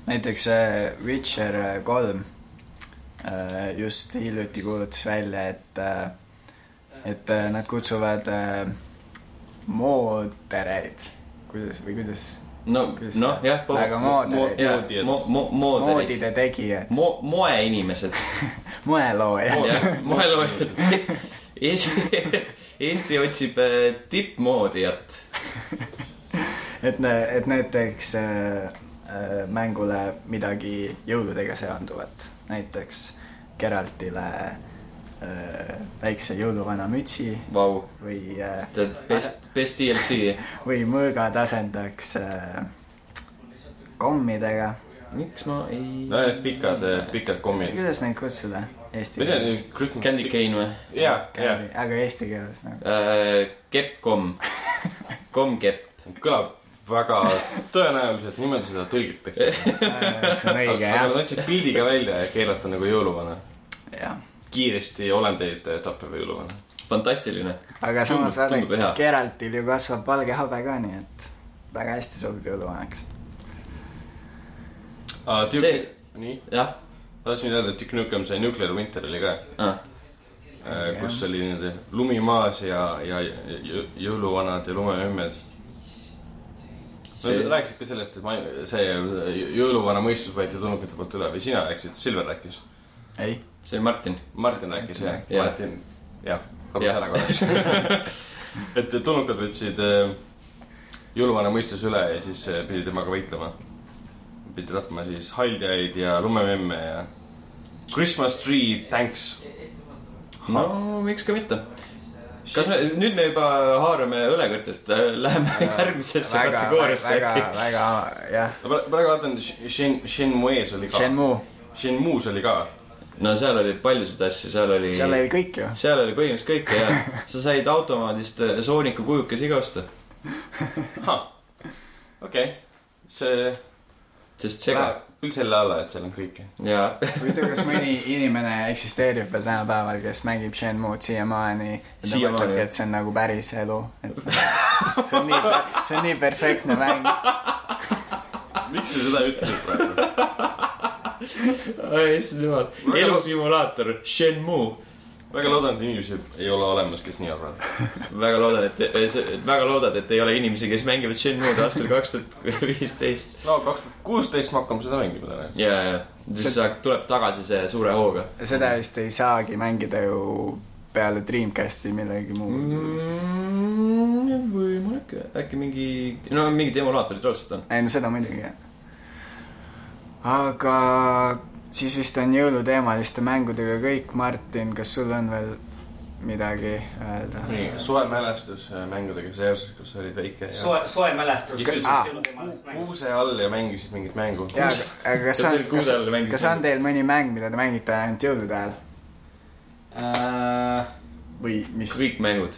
B: näiteks äh, Witcher äh, kolm äh, just hiljuti kuulutas välja , et äh, , et äh, nad kutsuvad äh, moodereid , kuidas või kuidas ,
A: no ,
B: Kes-
A: noh , jah .
B: Väga mooderid.
A: jaa , mo- , mo- , mooderid .
B: moodide tegijad ,
A: Mo- , moeinimesed .
B: moeloojad .
A: moeloojad . Eesti , Eesti otsib äh, tippmoodijat .
B: et , et need teeks äh, äh, mängule midagi jõuludega seonduvat , näiteks Geraltile äh, väikse jõuluvana mütsi
A: Vau ,
B: või äh, ,
A: best , best DLC .
B: või mõõgad asendaks äh, kommidega .
A: miks ma ei
D: need pikad , pikad kommid .
B: kuidas neid kutsuda eesti
D: ma ei tea ,
B: keeles ?
D: need Christmas .
A: Candy . Cane või ?
D: jaa , jaa ,
B: aga eesti keeles nagu .
A: Äh, Kepp-komm , komm-kepp .
D: kõlab väga tõenäoliselt niimoodi seda tõlgitakse .
B: Äh, see on õige
D: aga
B: jah ,
D: nad andsid pildiga välja ja keelata nagu jõuluvana .
B: jah .
D: kiiresti olendeid eh, tappev jõuluvana .
A: fantastiline .
B: aga
A: Tundub-
B: samas vaata
A: tundub hea. ,
B: Geraltil ju kasvab valge habe ka , nii et väga hästi sobib jõuluvanaks .
A: See-
D: nii ,
A: jah
D: tahtsin öelda , et Duke Nukem see Nuclear Winter oli ka ,
A: ah. ,
D: kus oli niimoodi lumi maas ja , ja jõ- jõuluvanad ja lumememmed . sa
A: See-
D: rääkisid ka sellest , et ma , see jõ- jõuluvana mõistus võeti tulnukate poolt üle või sina rääkisid , Silver rääkis ,
B: ei ,
A: see oli Martin .
D: Martin rääkis jah ,
A: Jah.
D: Martin , jah , kadus
A: Jah.
D: ära korraks . et tulnukad võtsid eh, jõuluvana mõistuse üle ja siis eh, pidi temaga võitlema . pidi tapma siis haldjaid ja lumememme ja Christmas tree thanks
A: no miks ka mitte . kas me , nüüd me juba haarame õlekõrtest , läheme järgmisesse
B: väga ,
A: kategooriasse
B: väga ,
A: äkki .
B: väga jah ,
D: ma pra- praegu vaatan , Shen , Shenmue's oli ka .
B: Shenmue ,
D: Shenmue's oli ka .
A: no seal oli paljusid asju , seal oli ,
B: seal oli kõik ju .
A: seal oli põhimõtteliselt kõike ja sa said automaadist äh, sooniku kujukesi ka osta ,
D: okei , see
A: sest sega
D: läheb küll selle alla , et seal on kõike .
A: ja
B: huvitav , kas mõni inimene eksisteerib veel tänapäeval , kes mängib Shenmue'd siiamaani ja ta
A: Siiamaani,
B: mõtlebki ,
A: jah.
B: et see on nagu päris elu , et see on nii , see on nii perfektne mäng .
D: miks sa seda ütlesid praegu ?
A: issand jumal , elusimulaator , Shenmue .
D: väga loodan , et inimesi ei ole olemas , kes nii arvavad .
A: väga loodan , et , väga loodad , et ei ole inimesi , kes mängivad Shenmue'd aastal kaks tuhat viisteist .
D: no kaks tuhat kuusteist me hakkame seda mängima täna .
A: ja , ja , siis sa- tuleb tagasi see suure hooga .
B: seda vist ei saagi mängida ju peale Dreamcasti millegi muu .
A: Mm. võimalik , äkki mingi , no mingid emulaatorid raudselt on .
B: ei no seda muidugi jah . aga siis vist on jõuluteemaliste mängudega kõik , Martin , kas sul on veel midagi öelda ?
D: nii , suvemälestus äh, mängudega seoses , kus sa olid väike ja
C: soe , soe mälestus .
D: Ikka-
B: aa.
D: kuuse all ja mängisid mingit mängu .
B: jaa , aga kas
A: Kas
B: on
A: see oli ,
B: kas
A: kuuse all , mängis
B: kas on teil mõni mäng , mida te mängite ainult jõulude ajal
C: Äh,
B: või mis ?
A: kõik mängud .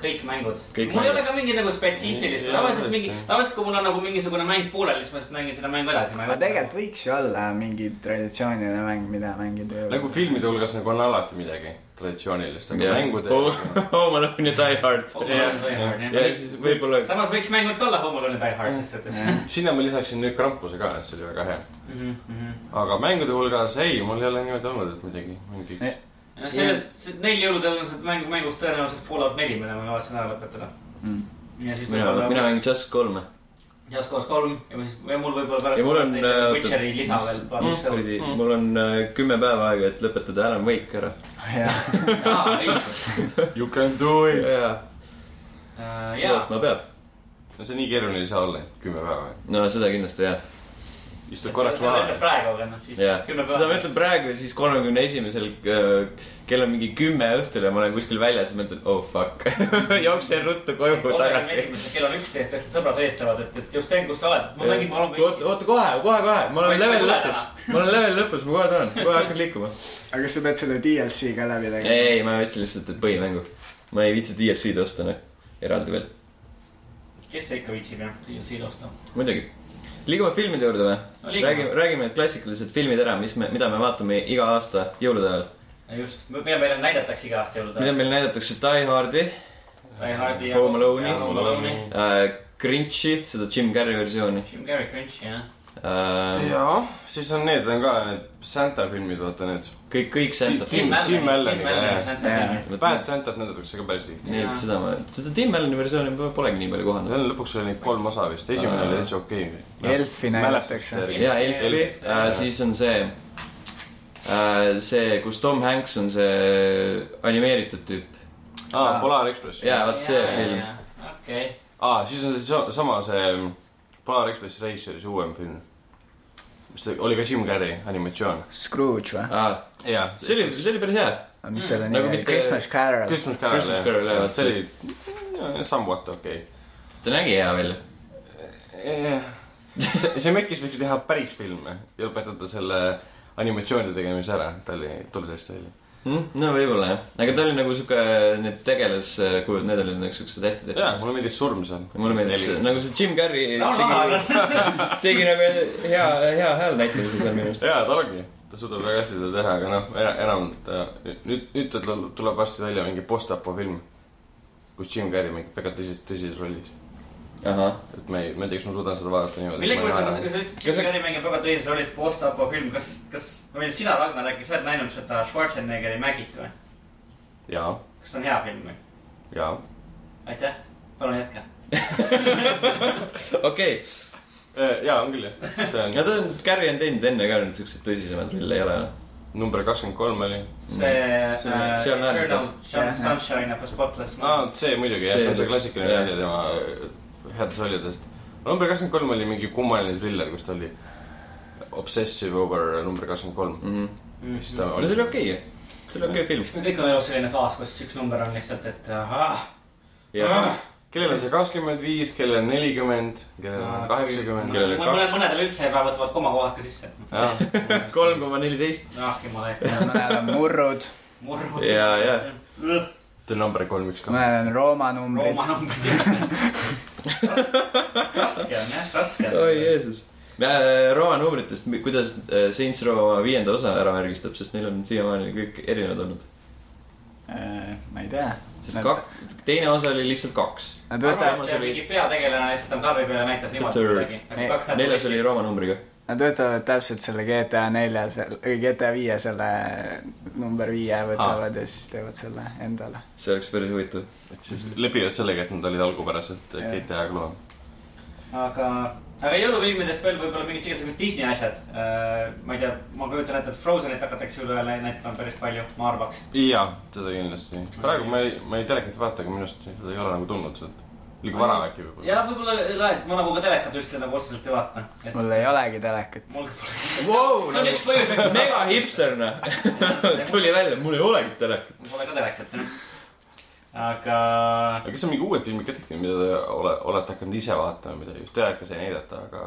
C: kõik mängud .
A: Kõik
C: mul ei ole
A: mängud.
C: ka mingit nagu spetsiifilist ,
D: Jaa,
C: tavaliselt mingi
D: tõesti. ,
C: tavaliselt kui mul on nagu mingisugune mäng pooleli , siis ma nagu lihtsalt mängin seda mängu edasi .
B: aga tegelikult võiks ju olla mingi traditsiooniline mäng , mida mängida jõuludel
D: nagu . filmide hulgas nagu on alati midagi traditsioonilist , aga mängude
A: oh, . oh , ma lõin ju Die Hard . ja
C: võiks .
A: siis võib-olla ,
C: samas võiks mängud ka olla homolone Die Hard , sest et .
D: sinna ma lisaksin nüüd krampuse ka , see oli väga hea .
C: Mhm, no
D: aga mängude hulgas ei , mul ei ole niimoodi olnud , et midagi mingi
B: Eh.
C: sellest , neil jõuludel on see mäng , mängus tõenäoliselt Fallout neli , mille ma kavatsen ära lõpetada .
B: Mm.
C: ja siis
A: mina , mina mängin Just kolme .
C: Just Cause kolm ja siis ja mul võib-olla pärast
A: ja mul on . äh,
C: neid Witcheri lisa veel plaanis .
A: plaanis . mul on äh, kümme päeva aega , et lõpetada Alan Wake ära .
B: jah ,
C: jaa ,
D: You can do it .
A: jaa ,
C: Äh, jaa ,
A: lootma peab .
D: no see nii keeruline ei saa olla , kümme päeva .
A: no seda kindlasti jah ,
D: istud korraks maha .
C: praegu veel , noh siis
A: jah .
C: kümme
A: seda ma
C: päeva .
A: ütlen praegu ja siis kolmekümne esimesel äh, kell on mingi kümme õhtul ja ma olen kuskil väljas ja mõtlen , oh fuck . jooksen ruttu koju tagasi .
C: kell on üksteist , eks sõbrad eestavad , et , et just teen , kus sa oled . ma mängin , ma olen
A: oota , oota kohe , kohe , kohe , ma
C: Ma
A: olen
C: ei-
A: level
C: ma ei tule
A: lõpus , ma olen level lõpus , ma kohe tulen , kohe hakkan liikuma .
B: aga kas sa pead selle DLC ka läbi
A: ei ,
B: tegema ?
A: ei , ma võtsin lihtsalt , et põhimängu . ma ei viitsi DLC-d osta , noh , eraldi veel .
C: kes see ikka viitsib jah , DLC-d osta .
A: muidugi . liigume filmide juurde või
C: No
A: no, ?
C: liigume.
A: räägime , räägime need klassikalised filmid ära , mis me , mida me vaatame iga aasta jõulude ajal .
C: just , mida meile näidatakse iga aasta jõulude
A: mida
C: ajal .
A: meil näidatakse Die Hardi
C: Die Hardi
A: Home Alone'i.
C: ja Home Alone'i .
A: äh, , Grinchi , seda Jim Carrey versiooni
C: Jim Carrey Cringe , jah .
A: äh, .
D: jaa , siis on need , on ka need Santa filmid , vaata need .
A: kõik , kõik Santa
D: Tim-
A: filmid .
D: Tim Alleniga, jah.
C: jah .
D: Bad Santat näidatakse ka päris tihti .
A: nii ,
C: Jaa.
A: et seda ma , seda Tim Alleni versiooni ma polegi nii palju kohanud .
D: seal lõpuks oli neid kolm osa vist , esimene oli täitsa okei okay. .
B: Elfi näidatakse.
A: ja Elfi äh, , siis on see äh, , see , kus Tom Hanks on see animeeritud tüüp .
D: aa , Polar Express .
A: jaa , vot see film .
C: okei ,
D: aa , siis on see sa- sama see mm, Polar Express Raceris uuem film . mis ta oli ka Jim Carrey animatsioon .
B: Scrooge või ?
A: Ah,
D: jaa ,
A: see oli , see oli päris hea .
B: mis selle
A: Mm,
B: nimi
A: nagu
B: oli ?
A: mitte-
B: Christmas Carol .
D: Christmas Carol .
A: Christmas Carol, jah, vot
D: see oli ja, somewhat okei
A: ta nägi hea välja .
D: okay. . see , see Mekis võiks teha päris filme ja lõpetada selle animatsioonide tegemise ära , ta oli , tundus hästi välja .
A: Hm? no võib-olla jah , aga ta oli nagu siuke , need tegelaskujud , need olid nagu siuksed hästi
D: jaa ,
A: tehtud .
D: mulle meeldis surm seal .
A: mulle meeldis see , nagu see Jim Carrey
C: Raha,
A: tegi , tegi nagu hea , hea hääl näitamise seal minu arust .
D: jaa , ta ongi , ta suudab väga hästi seda teha , aga noh , enam ta , nüüd , nüüd tal tuleb- tuleb varsti välja mingi post-apo film , kus Jim Carrey mängib väga tõsises , tõsises rollis .
A: ahah ,
D: et ma ei , ma ei tea , kas ma suudan seda vaadata niimoodi .
C: millegipärast on , kui sa ütlesid , et Jim Carrey mängib väga tõsises rollis post-apo film , kas , kas , või sina , Ragnar , äkki sa oled näinud seda Schwarzeneggeri Mägit või ?
D: jaa ,
C: kas see on hea film või ?
D: jaa .
C: aitäh , palun jätka .
A: okei .
D: Äh, jaa , on küll jah , see
A: no
D: on
A: ta on , Carrey on teinud enne ka nüüd siukseid tõsisemaid rolle ei ole või ?
D: number kakskümmend kolm oli .
C: see ,
A: Mm. See- see on
C: Eternal
A: naeratav.
B: Jah, jah.
C: Sunshine of a Spotless
A: Ah,
D: aa
C: Mind . ,
D: see muidugi jah , see on see klassikaline
A: Jah.
D: näide tema headest rollidest . number kakskümmend kolm oli mingi kummaline triller , kus ta oli obsessive over number kakskümmend kolm . siis ta
A: Mhm. no see
D: oli
A: oli okei okay. , see oli okei okay film .
C: me Mm. kõik on elus selline faas , kus üks number on lihtsalt , et ah, ahah , Ah.
A: jah ,
D: kellel on see kakskümmend viis , kellel on nelikümmend , kellel on kaheksakümmend .
A: Kellel on
C: mõned ,
A: kaks.
C: mõnedel üldse ei pea , võtavad komakohad ka sisse .
A: kolm koma neliteist .
C: ah , jumala eest ,
B: mõnel on murrud ,
C: murrud .
A: Jaa, jaa.
D: The number kolm , üks , kaks .
B: mõnel on Rooma numbrid
C: Rooma . numbrid . raske on jah , raske
A: oi
C: on .
A: Jeesus . Roa äh, numbritest , kuidas äh, Saints Row viienda osa ära märgistab , sest neil on siiamaani kõik erinevad olnud .
B: Äh, ma ei tea .
A: sest kak- , teine osa oli lihtsalt kaks .
B: Nad
C: arvan ,
B: võtavad ,
C: et see mingi peategelane lihtsalt on kaabi peal ja näitab niimoodi
A: Third.
C: midagi . Nagu
B: Ei,
A: neljas oli Rooma numbriga .
B: nad võtavad täpselt selle GTA nelja , GTA viie selle number viie võtavad ja siis teevad selle endale .
A: see oleks päris huvitav .
D: et siis lepivad sellega , et nad olid algupäraselt
B: Jah.
D: GTA kloon .
C: aga , aga jõulufilmidest veel võib-olla mingid igasugused Disney asjad . ma ei tea , ma kujutan ette , et Frozenit hakatakse jõuluajal nä- näitama päris palju , ma arvaks .
D: jaa , seda kindlasti . praegu ma ei , ma ei telekat vaata , aga minu arust seda ei ole nagu tulnud sealt . liiga vara äkki
C: ja
D: võib-olla .
C: võib-olla laes , ma nagu ka telekat üldse nagu otseselt ei vaata .
B: mul ei olegi telekat .
C: mul ,
A: Wow, nagu
C: see on üks põhjus , miks
A: mega hipster , noh . tuli välja , mul ei olegi telekat .
C: mul pole ka telekat , jah . aga
D: aga kas on mingi uued filmid ka tehtud , mida te ole , olete hakanud ise vaatama , mida just telekas ei näidata , aga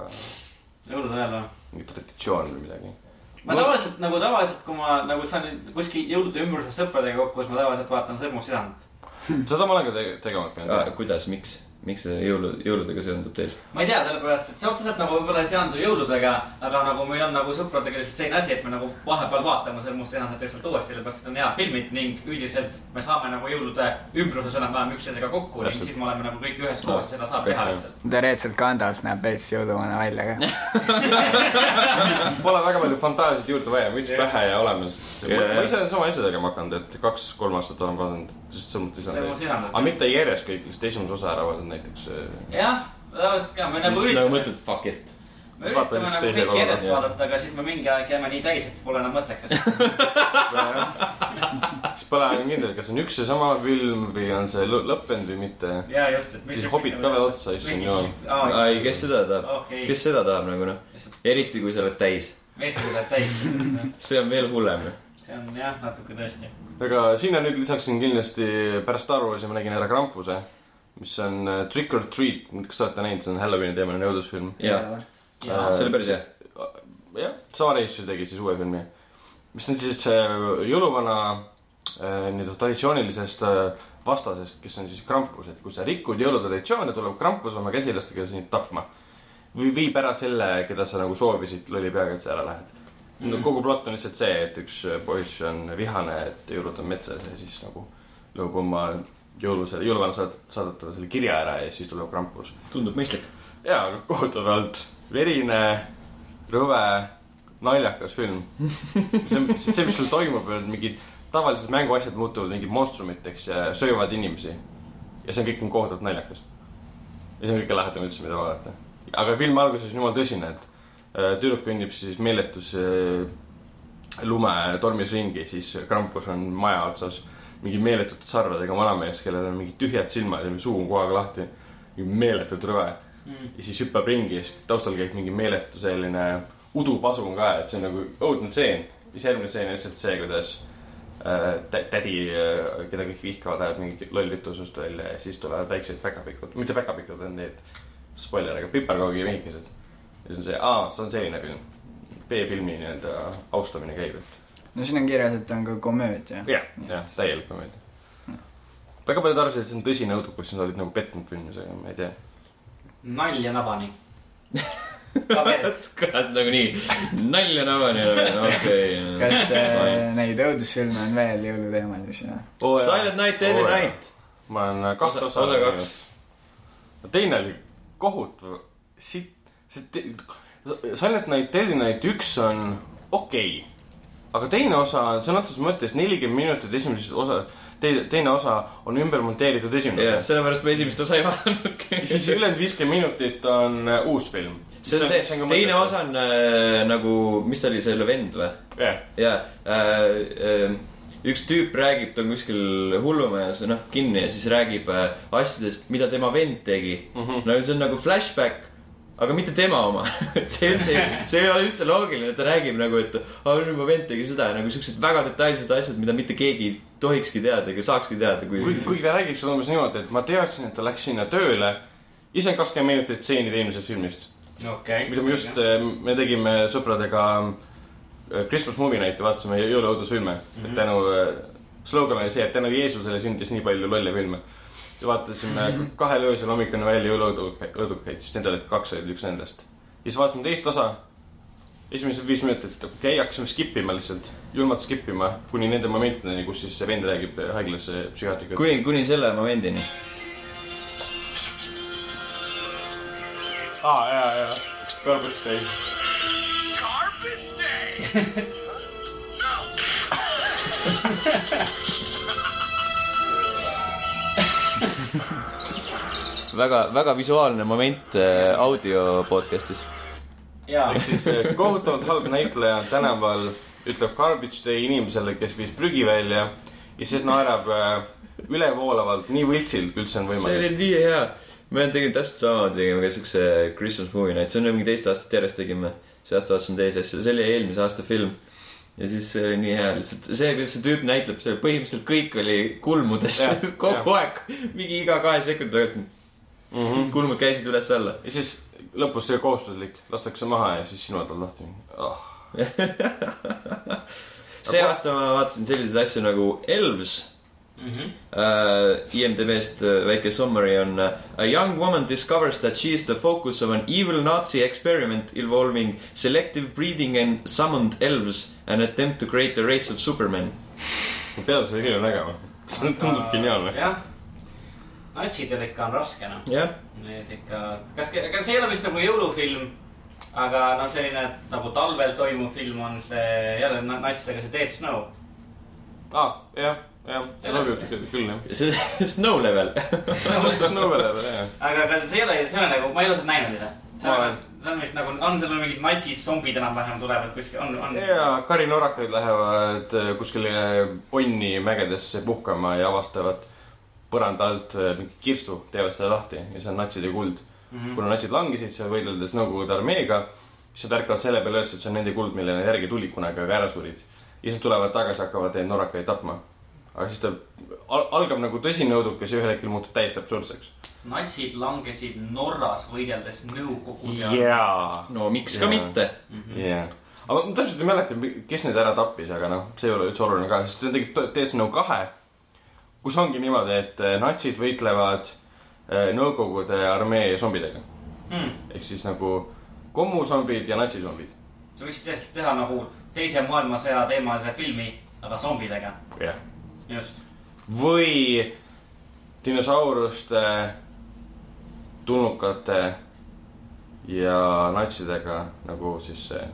C: jõulude ajal või ?
D: mingi traditsioon või midagi ?
C: ma tavaliselt nagu tavaliselt , kui ma nagu saan kuskil jõulude ümbruses sõpradega kokku , siis ma tavaliselt vaatan Sõrmusidanat .
D: seda ma olen ka tege- , tegema hakanud .
A: kuidas , miks , miks see jõulu , jõuludega seondub teil ?
C: ma ei tea , sellepärast , et see otseselt nagu võib-olla ei seandu jõuludega , aga nagu meil on nagu sõpradega lihtsalt selline asi , et me nagu vahepeal vaatame Sõrmusidanat lihtsalt uuesti , sellepärast et need on head filmid ning üldiselt me saame nagu jõulude ümbruses enam-vähem üksteisega kokku ning
D: Täpselt. Noh,
C: siis me oleme nagu kõik üheskoos ja seda saab teha lihtsalt .
B: teoreetiliselt Gandalf näeb veits jõuluvana välja ka .
D: Pole väga palju fantaasiat juurde vaja , müts pähe ja olemas . ma ise olen sama asja tegema hakanud , et kaks-kolm aastat olen vaadanud , sest sõnumit ei saa
C: Sõrmus
D: teha .
C: sisendat.
D: aga mitte järjest kõik , lihtsalt esimese osa ära vaadanud näiteks . eh.
C: jah , tavaliselt ka , me nagu
A: siis nagu
C: üritame ,
A: mõtled , fuck it .
C: me
D: siis vaatad lihtsalt
C: üritame nagu
D: teise
C: kõik
D: korra,
C: järjest
D: jah.
C: vaadata , aga siis me mingi aeg jääme nii täis , et see pole enam mõttekas .
D: siis pole enam kindel , kas on üks ja sama film või on see lõ- lõppenud või mitte .
C: ja just , et .
D: Siis hobid ka veel otsa, siis on joon.
A: ai , kes seda tahab ,
C: oh ei ,
A: kes seda tahab nagu noh , eriti kui sa oled täis ,
C: meetrid läheb täis .
A: see on veel hullem .
C: see on jah , natuke tõesti .
D: aga sinna nüüd lisaksin kindlasti pärast Star Warsi ma nägin ära Krampuse , mis on äh, Trick or Treat , kas te olete näinud , see on Halloweeni teemaline õudusfilm .
A: jaa , see oli päris hea .
D: jah , sama reisijal tegi siis uue filmi , mis on siis äh, jõuluvana äh, nii-öelda traditsioonilisest äh, vastasest , kes on siis Krampus , et kui sa rikud jõulutraditsioone , tuleb Krampus oma käsilastega sind tapma . või viib ära selle , keda sa nagu soovisid lolli peaga , et sa ära lähed . no kogu plott on lihtsalt see , et üks äh, poiss on vihane , et jõulud on metsas ja siis nagu lööb oma jõulusele , jõuluvana saad- , saadab talle selle kirja ära ja siis tuleb Krampus .
A: tundub mõistlik .
D: jaa , aga kohutavalt verine , rõve , naljakas film . see , see , mis seal toimub , on mingid tavalised mänguasjad muutuvad mingid monstrumiteks ja söövad inimesi . ja see on kõik on kohutavalt naljakas . ja see on kõige lahedam üldse , mida vaadata . aga film alguses on jumala tõsine , et äh, tüdruk kõnnib siis meeletus äh, lumetormis ringi , siis Krampus on maja otsas mingi meeletute sarvedega vanamees , kellel on mingid tühjad silmad ja suu on kogu aeg lahti . meeletult rõve
C: Mm.
D: ja siis hüppab ringi ja siis taustal käib mingi meeletu selline udupasu on ka , et see on nagu õudne tseen . ja siis järgmine tseen on lihtsalt see , kuidas äh, tä- tädi , keda kõik vihkavad , ajab mingit lolli jutusust välja ja siis tulevad väiksed päkapikud , mitte päkapikud , on need , spoiler , aga piparkoogimehikesed . ja siis on see , aa , see on selline film . B-filmi nii-öelda austamine käib , et
B: no siin on kirjas , et on ka komöödia .
D: jah , jah , täielik komöödia . väga paljud arvasid , et see on tõsine õudukas , siis nad olid nagu pettunud filmis , aga ma ei tea .
C: nalja nabani .
A: kõlas nagu nii , nalja navani , okei .
B: kas äh, neid õudusfilme on veel jõuluteemalisi või ?
A: Silent Night , Deadly Night .
D: ma olen
A: Osa-
D: kaks
A: nagu,
D: osa ,
A: osa kaks. .
D: teine oli kohutav , sitt , sest te- Silent Night , Deadly Night üks on okei okay. , aga teine osa on sõna otseses mõttes nelikümmend minutit esimesest osa , teine osa on ümber monteeritud esimene
A: jah ,
D: yes.
A: sellepärast me esimest osa ei
D: osa . siis
A: vaadanudki .
D: ülejäänud viiskümmend minutit on äh, uus film .
A: see on see , teine osa . on äh, nagu , mis ta oli , selle vend või ?
D: jah ,
A: ja äh, äh, üks tüüp räägib , ta on kuskil hullumajas , noh , kinni ja siis räägib äh, asjadest , mida tema vend tegi mm . -hmm. no see on nagu flashback , aga mitte tema oma . see üldse , see ei ole üldse loogiline , ta räägib nagu , et aa , mu vend tegi seda , nagu siuksed väga detailsed asjad , mida mitte keegi ei tohikski teada ega saakski teada , kui,
D: kuigi , kuigi ta räägib seda umbes niimoodi , et ma teadsin , et ta läks sinna tööle , ise on kakskümmend minutit stseenid eelmisest filmist .
C: okei .
D: mida me just , me tegime sõpradega äh, Christmas Movie Nighti , vaatasime jõuluõudusfilme mm . -hmm. tänu , slogan oli see , et tänu Jeesusele sündis nii palju lolle filme . ja vaatasime mm -hmm. kahel öösel hommikune välja jõuluõudukaid , siis need olid kaks olid üks nendest . ja siis vaatasime teist osa . esimesed viis minutit , okei okay, , hakkasime skip ima lihtsalt , julmalt skip ima kuni nende momentideni , kus siis see vend räägib haiglas äh, psühhiaatriga .
A: kuni , kuni selle momendini .
D: aa , jaa , jaa , kõrvuks käib .
E: Carpet Day! no!
A: väga , väga visuaalne moment äh, audio podcast'is .
C: jaa ,
D: ehk siis eh, kohutavalt halb näitleja on tänaval , ütleb garbage day inimesele , kes viis prügi välja ja siis naerab eh, ülevoolavalt nii võltsilt , kui üldse on
A: see
D: võimalik .
A: oli nii hea . me tegime täpselt sama , tegime ka siukse Christmas movie night , see on mingi teist aastat järjest tegime . see aasta vaatasime teisi asju , see oli eelmise aasta film . ja siis see oli nii hea , lihtsalt see , kuidas see tüüp näitleb , see põhimõtteliselt kõik oli kulmudes
D: Jah, Mhm.
A: kogu aeg , mingi iga kahe sekundi tagant mm -hmm. kulmud käisid üles-alla .
D: ja siis lõpus see kohustuslik , lastakse maha ja siis silmad on lahti oh. .
A: see aasta ma vaatasin selliseid asju nagu Elves
C: Mhm.
A: Uh, IMDB-st uh, väike summary on uh, A young woman discovers that she is the focus of an evil Nazi experiment involving selective breeding and summoned elves an attempt to create a race of supermen
D: ma pean selle filmi nägema . see tundub geniaalne .
C: jah . natsidel ikka on raske noh ,
A: jah yeah. ,
C: need ikka , kas , kas see ei ole vist nagu jõulufilm , aga noh , selline nagu talvel toimuv film on see jälle na- natsidega see Dead Snow .
D: aa , Ah, jah , jah , see sobib kü- küll jah .
A: see Snow level .
D: Snow level jah .
C: aga , aga see ei ole , see ei ole nagu , ma ei ole seda näinud ise . see
D: Ma
C: on
D: olen. ,
C: see on vist nagu , on seal mingid natsis zombid enam-vähem tulevad kuskil , on , on .
D: ja karinorakad lähevad äh, kuskile onni mägedesse puhkama ja avastavad põranda alt äh, mingi kirstu , teevad seda lahti ja see on natside kuld mm . -hmm. kuna natsid langesid seal võideldes Nõukogude armeega , siis nad ärkavad selle peale üles , et see on nende kuld , mille nad järgi tulid kunagi , aga ära surid . ja siis nad tulevad tagasi , hakkavad neid norrakaid tapma . aga siis ta al algab nagu tõsine õudukas ja ühel hetkel muutub täiesti absurdseks .
C: natsid langesid Norras võideldes Nõukogude .
D: jaa .
A: no miks ka
D: Jaa.
A: mitte .
D: jah , Mhm. aga ma täpselt ei mäleta , kes need ära tappis , aga noh , see ei ole üldse oluline ka , sest ta tegi Death Note kahe , kus ongi niimoodi , et eh, natsid võitlevad eh, Nõukogude armee zombidega
C: Hmm.
D: ehk siis nagu kommuzombid ja natsizombid .
C: sa võiksid tõesti teha nagu teise maailmasõja teemalise filmi , aga zombidega .
D: jah ,
C: just .
D: või dinosauruste , tulnukate ja natsidega nagu siis see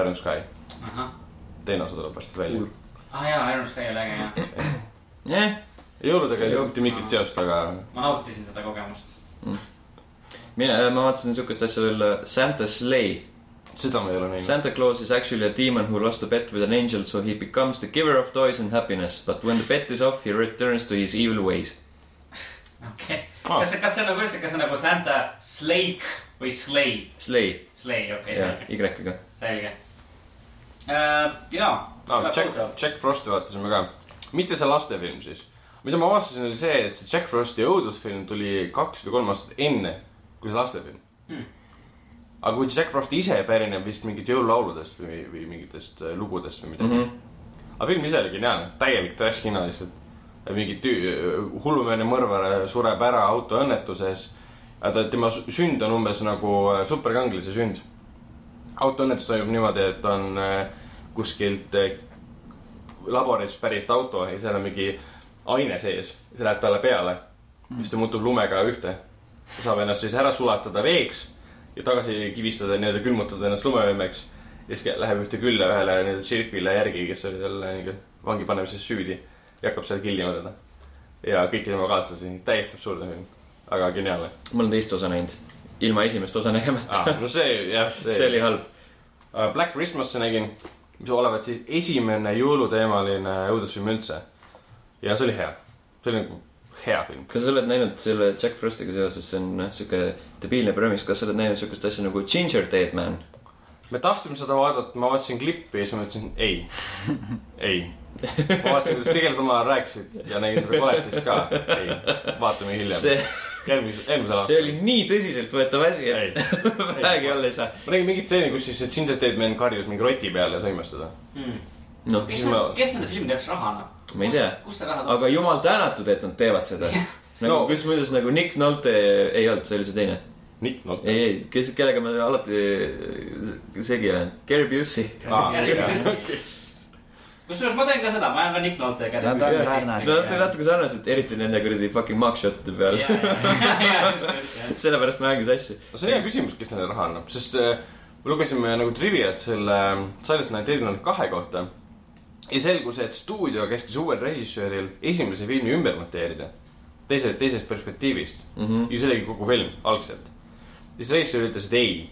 D: Iron Sky ,
C: ahah ,
D: teine osa tuleb varsti välja .
C: ah jaa , Iron Sky oli äge jah ,
A: jah ,
D: jõuludega ei olnud mitte mingit seost , aga
C: ma nautisin seda kogemust .
A: mina , ma vaatasin siukest asja veel , Santa Slay .
D: seda ma ei ole näinud .
A: Santa Claus is actually a demon who lost a bet with an angel , so he becomes the giver of toys and happiness , but when the bet is off , he returns to his evil ways .
C: okei okay. ,
D: Ah.
C: kas see , kas see nagu üldse , kas see nagu Santa Slake või Slay ?
A: Slay ,
C: Slay , okei
A: jaa ,
C: okay, ,
A: Y-ga .
C: selge , selge . jaa .
D: aa , Ah, Jack , Jack Frosti vaatasime ka . mitte see lastefilm siis . mida ma avastasin , oli see , et see Jack Frosti õudusfilm tuli kaks või kolm aastat enne , kui see lastefilm
C: Hmm.
D: hmm. . aga kui Jack Frost ise pärineb vist mingit jõululauludest või , või mingitest äh, lugudest või midagi mm . -hmm. aga film ise oli geniaalne , täielik trash kino lihtsalt . mingi tüü- , hullumeelne mõrvar äh, sureb ära autoõnnetuses . ta , tema sü- sünd on umbes nagu äh, superkangelase sünd autoõnnetus toimub niimoodi , et on äh, kuskilt äh, laborist pärit auto ja seal on mingi aine sees , see läheb talle peale mm. , siis ta muutub lumega ühte . ta saab ennast siis ära sulatada veeks ja tagasi kivistada , nii-öelda külmutada ennast lumevõimeks . ja siis kä- läheb ühte külla ühele nii-öelda šerifile järgi , kes oli talle nii-öelda vangi panemises süüdi ja hakkab seal killima teda . ja kõiki tema kaaslasi , täiesti absurdne film , aga geniaalne
A: ma olen teist osa näinud , ilma esimest osa nägemata
D: ah, . no see jah ,
A: see oli halb .
D: Äh, Black Christmas'i nägin , mis olevat siis esimene jõuluteemaline õudusfilm üldse . ja see oli hea , see oli nagu hea film .
A: kas sa oled näinud selle Jack Frostiga seoses , see on noh , siuke debiilne premise , kas sa oled näinud siukest asja nagu Ginger Dead Man ?
D: me tahtsime seda vaadata , ma vaatasin klippi ja siis ma ütlesin ei , ei . ma vaatasin , kuidas tegelased omal ajal rääkisid ja nägin seda koletist ka , ei , vaatame hiljem ,
A: see ,
D: järgmise , eelmisel
A: see
D: aastal
A: oli . nii tõsiseltvõetav asi , et
D: ei ,
A: vähegi olla ei saa .
D: ma nägin mingit stseeni , kus siis see Ginger Dead Man karjus mingi roti peale ja sõimas teda .
A: noh ,
C: kes
D: Siis ma-
C: nende , kes nende filmide jaoks raha annab ?
A: Ma ei tea.
C: kust see raha tuleb ?
A: aga jumal tänatud , et nad teevad seda . nagu no.
D: No.
A: kusjuures nagu Nick Nolte ei olnud , see oli see teine .
D: Nick Nolte .
A: ei , ei , kes , kellega ma alati äh, segi olen , Gary Busey .
D: Ah,
C: kusjuures ma teen ka seda , ma jään ka Nick Nolte kätte .
B: Nad on sarnased.
A: Nad on natuke sarnased , eriti nende kuradi fucking mugshot'ide peal yeah. . sellepärast ma jäängi sassi .
D: no see on hea küsimus , kes neile raha annab , sest äh, me lugesime nagu triviat selle äh, Silent Night Deadline kahe kohta . ja selgus , et stuudio käskis uuel režissööril esimese filmi ümber monteerida . teise , teisest perspektiivist mm . -hmm. ja see oligi kogu film algselt . ja siis režissöör ütles , et ei .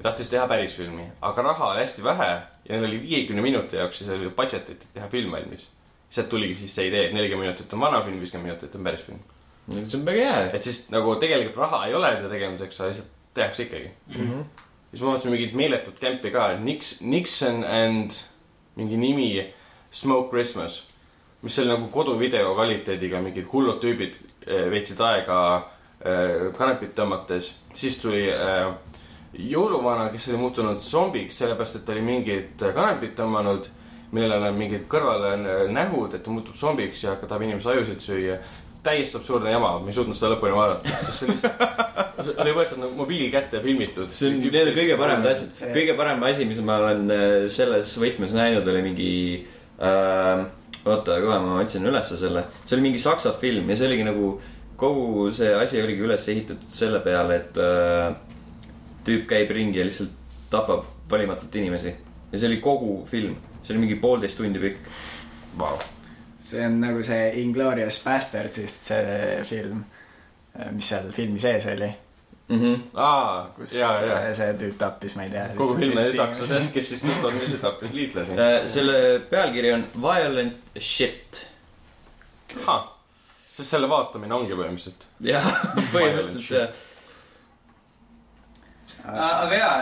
D: ta tahtis teha päris filmi , aga raha oli hästi vähe ja neil oli viiekümne minuti jaoks siis oli budget'it , et teha film valmis . sealt tuligi siis see idee , et nelikümmend minutit on vana film , viiskümmend minutit on päris film .
A: see on väga hea .
D: et siis nagu tegelikult raha ei ole enda tegemiseks , aga lihtsalt tehakse ikkagi mm . -hmm. siis ma mõtlesin mingit meeletut kämpi ka , Nix- , Nixon and mingi nimi Smoke Christmas , mis oli nagu koduvideo kvaliteediga , mingid hullud tüübid eh, veetsid aega eh, kanepit tõmmates , siis tuli eh, jõuluvana , kes oli muutunud zombiks , sellepärast et ta oli mingid kanepid tõmmanud , millel on mingid kõrvale eh, nähud , et ta muutub zombiks ja hakkab inimese ajusid süüa . täiesti absurdne jama , ma ei suutnud seda lõpuni vaadata , sest see lihtsalt see oli võetud nagu mobiili kätte ja filmitud .
A: see on , need on kõige paremad . asjad . kõige parem asi , mis ma olen äh, selles võtmes näinud , oli mingi äh, , oota , kohe ma otsin ülesse selle . see oli mingi saksa film ja see oligi nagu , kogu see asi oligi üles ehitatud selle peale , et äh, tüüp käib ringi ja lihtsalt tapab valimatult inimesi . ja see oli kogu film , see oli mingi poolteist tundi pikk .
D: Vau ,
B: see on nagu see Inglorious Bastardsist see film , mis seal filmi sees oli ,
D: Mhm.
A: mhmh ,
D: aa ,
B: kus
D: ja , ja
B: see- see tüüp tappis , ma ei tea .
D: kogu filmi sakslases , kes siis nüüd on ise tappis liitlasi .
A: Äh, selle pealkiri on Violent Shit .
D: sest selle vaatamine ongi põhimõtteliselt .
A: jah , põhimõtteliselt jah .
C: aga jaa ,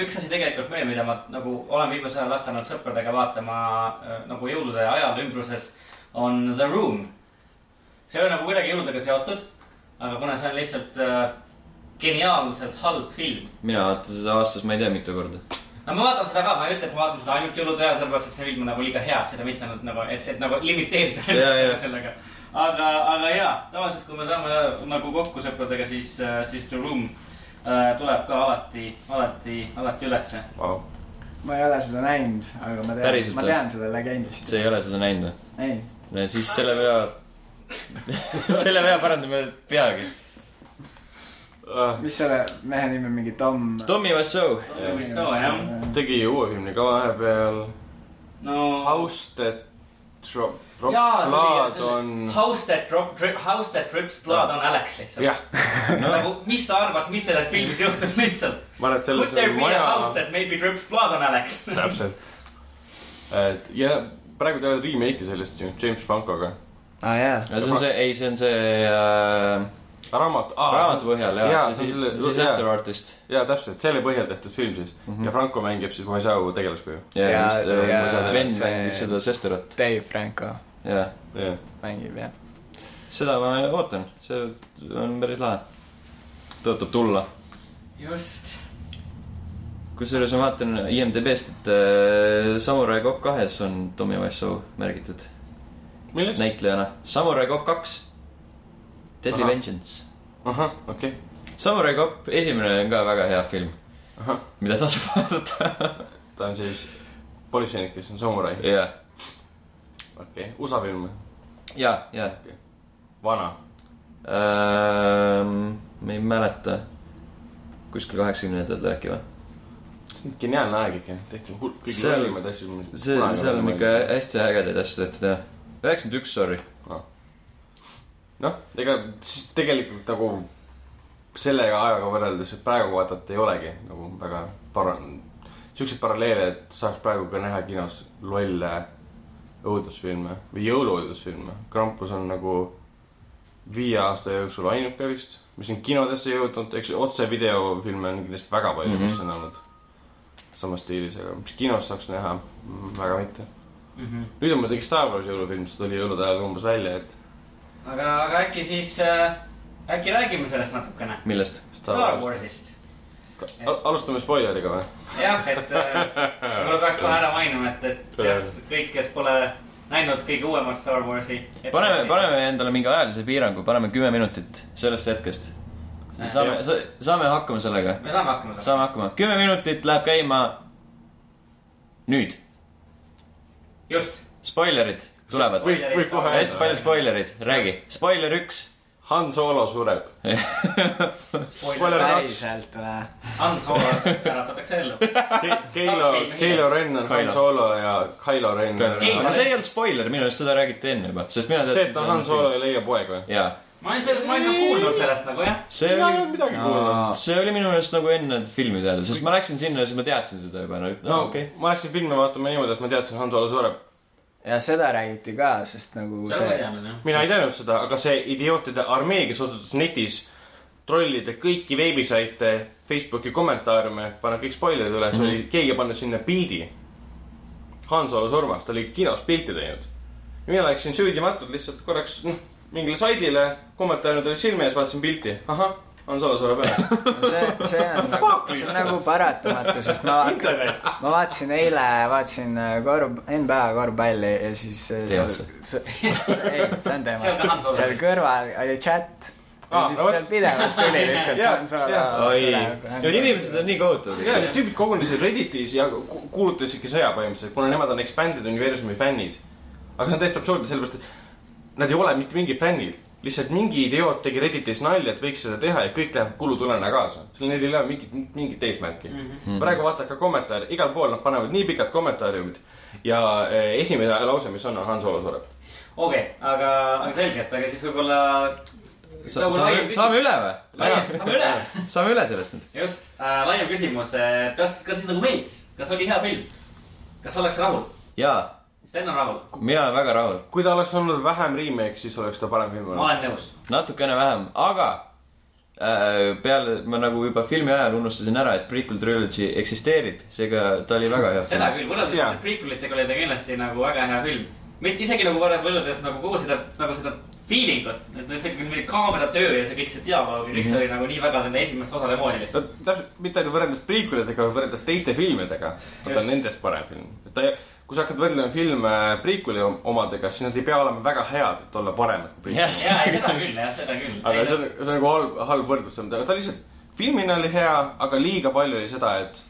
C: üks asi tegelikult veel , mida ma nagu olen viimasel ajal hakanud sõpradega vaatama äh, nagu jõulude ajal ümbruses , on The Room . see ei ole nagu kuidagi jõuludega seotud , aga kuna see on lihtsalt äh, geniaalselt halb film .
A: mina vaatan seda aastas , ma ei tea , mitu korda .
C: no ma vaatan seda ka , ma ei ütle , et ma vaatan seda ainult jõulude ajal , sellepärast et see film on nagu liiga hea , seda mitte ainult nagu , et , et nagu limiteerida
A: Jaa,
C: ennast
A: jaa.
C: nagu sellega . aga , aga jaa , tavaliselt kui me saame nagu kokku sõpradega , siis , siis The Room äh, tuleb ka alati , alati , alati ülesse
D: Vau ,
B: ma ei ole seda näinud , aga ma tean
A: Päriselt ,
B: ma
A: või?
B: tean seda legendist .
A: sa ei ole seda näinud või ?
B: ei ,
A: no siis selle vea , selle vea parandame peagi .
D: Äh,
B: mis selle mehe nimi on , mingi Tom ?
A: Tommy Wiseau ,
C: Soo, jah .
D: tegi ju uue filmi ka vahepeal .
C: no .
D: House that drop-
C: jaa ,
D: drops
C: see oli
D: blood
C: see on...
D: on .
C: House that drop , House that drips blood on Alex lihtsalt .
D: jah ,
C: no nagu , mis sa arvad , mis selles filmis juhtub lihtsalt ?
D: ma arvan , et
C: Could
D: selles
C: there be a house
D: maja .
C: that maybe drips blood on Alex ?
D: täpselt . et ja praegu teevad remake'i sellest ju James Francoga .
B: aa Ah, jaa .
A: no see on see , ei , see on see äh,
D: raamat ah, ,
A: raamatu põhjal jah
D: jaa,
A: ja, ,
D: see on selle-
A: Disaster Artist .
D: jaa , täpselt , selle põhjal tehtud film siis mm
A: Mhm.
D: -hmm. ja Franco mängib siis Moisau tegelaskuju .
A: ja
B: Ja-
A: just äh,
B: ja
A: Ben
B: see-
A: mängis seda Sesterat ,
B: Dave Franco
A: jah .
D: jah ,
B: mängib jah .
A: seda ma ootan , see on päris lahe . tõotab tulla .
C: just .
A: kusjuures ma vaatan IMDB-st , et äh, Samurai Cop kahes on Tommy Wiseau märgitud
D: milles ?
A: näitlejana . Samurai Cop kaks , Deadly
D: Ahah.
A: Vengeance .
D: ahah , okei okay. ,
A: Samurai Cop esimene on ka väga hea film ,
D: ahah ,
A: mida tasub vaadata .
D: ta on siis politseinik , kes on samurai ,
A: ja ,
D: okei okay. , USA film ,
A: ja , ja
D: vana .
A: ähm, . ma ei mäleta , kuskil kaheksakümnendatel äkki või ?
D: see on geniaalne aeg ikka , tehti hulk kõige
A: Seal-
D: kallimaid asju .
A: see , seal on ikka . hästi ägedaid asju tehtud jah . üheksakümmend üks , sorry .
D: noh , ega siis tegelikult nagu selle ajaga võrreldes , et praegu vaadata ei olegi nagu väga para- , siukseid paralleele , et saaks praegu ka näha kinos lolle õudusfilme või jõuluõudusfilme . Krampus on nagu viie aasta jooksul ainuke vist , mis on kinodesse jõudnud , eks otse videofilme on kindlasti väga palju
A: Mhm.
D: mm , -hmm. mis on olnud samas stiilis , aga mis kinos saaks näha , väga mitte . nüüd on muidugi Star Warsi jõulufilm , see tuli jõulude ajal umbes välja , et
C: aga , aga äkki siis äh, , äkki räägime sellest natukene .
A: millest ?
C: Star Warsist .
D: Al- alustame spoileriga või ?
C: jah , et äh, võib-olla peaks kohe ära mainima , et , et jah, kõik , kes pole näinud kõige uuemat Star Warsi .
A: paneme , paneme endale mingi ajalise piirangu , paneme kümme minutit sellest hetkest .
D: Äh,
A: saame , saame hakkama sellega ,
C: me saame hakkama saama .
A: saame hakkama , kümme minutit läheb käima . nüüd ,
C: just ,
A: spoilerid tulevad ,
D: võib , võib kohe
A: hästi palju . spoilerid , räägi , spoiler üks .
D: Han Solo sureb .
C: spoiler ,
B: päriselt või ?
C: Hans Hoover äratatakse ellu .
D: Keilo , Keilo Ren on Han
A: Kylo.
D: Solo ja Kylo Ren .
C: Keilo.
A: aga see ei olnud spoiler , minu arust seda räägiti enne juba , sest mina
D: see , et ta on Han Solo . ja leia poeg või ?
A: jaa ,
C: ma olen seal , ma olen nagu kuulnud sellest nagu jah .
A: see
D: mina ei olnud
A: oli ,
D: midagi kuulnud .
A: see oli minu meelest nagu enne filmi teada , sest ma läksin sinna ja siis ma teadsin seda juba , no,
D: no
A: no okei
D: okei okay. , ma läksin filme vaatama niimoodi , et ma teadsin , Han Solo sureb .
B: ja seda räägiti ka , sest nagu
C: seda ma
B: see
C: tean , jah .
D: mina ei teadnud seda , aga see idiootide armee , kes otsustas netis trollida kõiki veebisaite , Facebooki kommentaariume , panna kõik spoilerid üles mm , -hmm. oli keegi pannud sinna pildi . Han Solo surmast , ta oli kinos pilti teinud . ja mina läksin süüdimatult lihtsalt korraks noh , mingile saidile , kommentaarid olid silme ees , vaatasin pilti , ahah , Han Solo sureb ära .
B: see , see on nagu , see on nagu paratamatu , sest ma , ma vaatasin eile , vaatasin äh, korv , NBA korvpalli ja siis äh, seal ,
A: Teemasse.
B: ei , see on teemas
C: See on ka Hans , Solo.
B: seal kõrval oli chat ja
D: Aa,
B: siis
D: no vot.
B: seal pidevalt tuli lihtsalt
D: Jaa,
B: Han Solo
D: jaa.
A: Oi.
B: sureb.
A: okay. . inimesed on nii kohutavad .
D: ja need tüübid kogunesid Redditis ja ku- kuulutasidki sõja põhimõtteliselt , kuna nemad on Expanded Universumi fännid . aga see on täiesti absurdne , sellepärast et nad ei ole mitte mingi fännid , lihtsalt mingi idioot tegi Redditis nalja , et võiks seda teha ja kõik läheb kulutulena kaasa . seal neil ei ole mingit , mingit eesmärki mm . -hmm. praegu vaadake kommentaare , igal pool nad panevad nii pikad kommentaariumid ja eh, esimene lause , mis on , on Han Solo sureb .
C: okei , aga , aga selge , et aga siis võib-olla Nagu laiem
A: saame ,
C: küsimus.
A: saame üle või ?
C: laiem , saame üle .
A: saame üle sellest nüüd .
C: just äh, , laiem küsimus , kas , kas siis nagu meeldis , kas oli hea film ? kas oleks rahul ?
A: jaa ,
C: Sten on rahul ,
A: mina olen väga rahul ,
D: kui ta oleks olnud vähem remake , siis oleks ta parem film
C: ma
D: olnud .
C: olen nõus .
A: natukene vähem , aga äh, peale ma nagu juba filmi ajal unustasin ära , et prequel trilogy eksisteerib , seega ta oli väga hea
C: seda
A: film .
C: küll , võrreldes
D: Jaa.
C: yeah. prequelitega oli ta kindlasti nagu väga hea film . mitte isegi nagu võrre- võrreldes nagu kogu seda , nagu seda feeling ut , et see mingi kaameratöö ja see kõik see dialoog ja kõik see oli nagu nii väga selle esimest osa demoonilist .
D: no täpselt , mitte ainult võrreldes prequelidega , vaid võrreldes teiste filmidega . ta on
C: Just.
D: nendest parem film . ta , kui sa hakkad võrdlema filme prequeli om- omadega , siis nad ei pea olema väga head , et olla paremad kui prequel .
A: Jah.
C: ja , seda küll , jah , seda küll .
D: aga see on , see on nagu halb , halb võrdlus , ta ta lihtsalt , filmina oli hea , aga liiga palju oli seda , et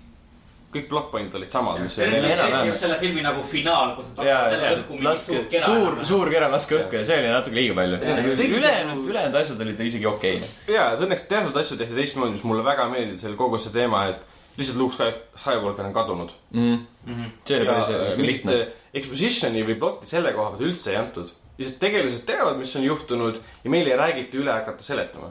D: kõik plot point'id olid samad , mis
C: see oli
A: Enam-vähem.
D: oli .
C: tegelikult just selle filmi nagu finaal , kus nad
A: ja
C: lasevad , jälle õhku mingi
A: laske
C: suur , kera .
A: suur , suur kera laske õhku ja see oli natuke liiga palju .
D: Ja, tegelikult-
A: ülejäänud , ülejäänud asjad olid isegi okei okay. .
D: ja , et õnneks teatud asju tehti teistmoodi , mis mulle väga meeldib , see oli kogu see teema , et lihtsalt Luke Sky- Skywalker on kadunud .
A: Mm.
C: Mhm.
A: see oli
D: ja
A: päris
D: äh,
A: sihuke
D: mingit
A: lihtne .
D: äh, expositioni või plotti selle koha pealt üldse ei antud . lihtsalt tegelased teavad , mis on juhtunud ja meile ei räägita üle hakata seletama .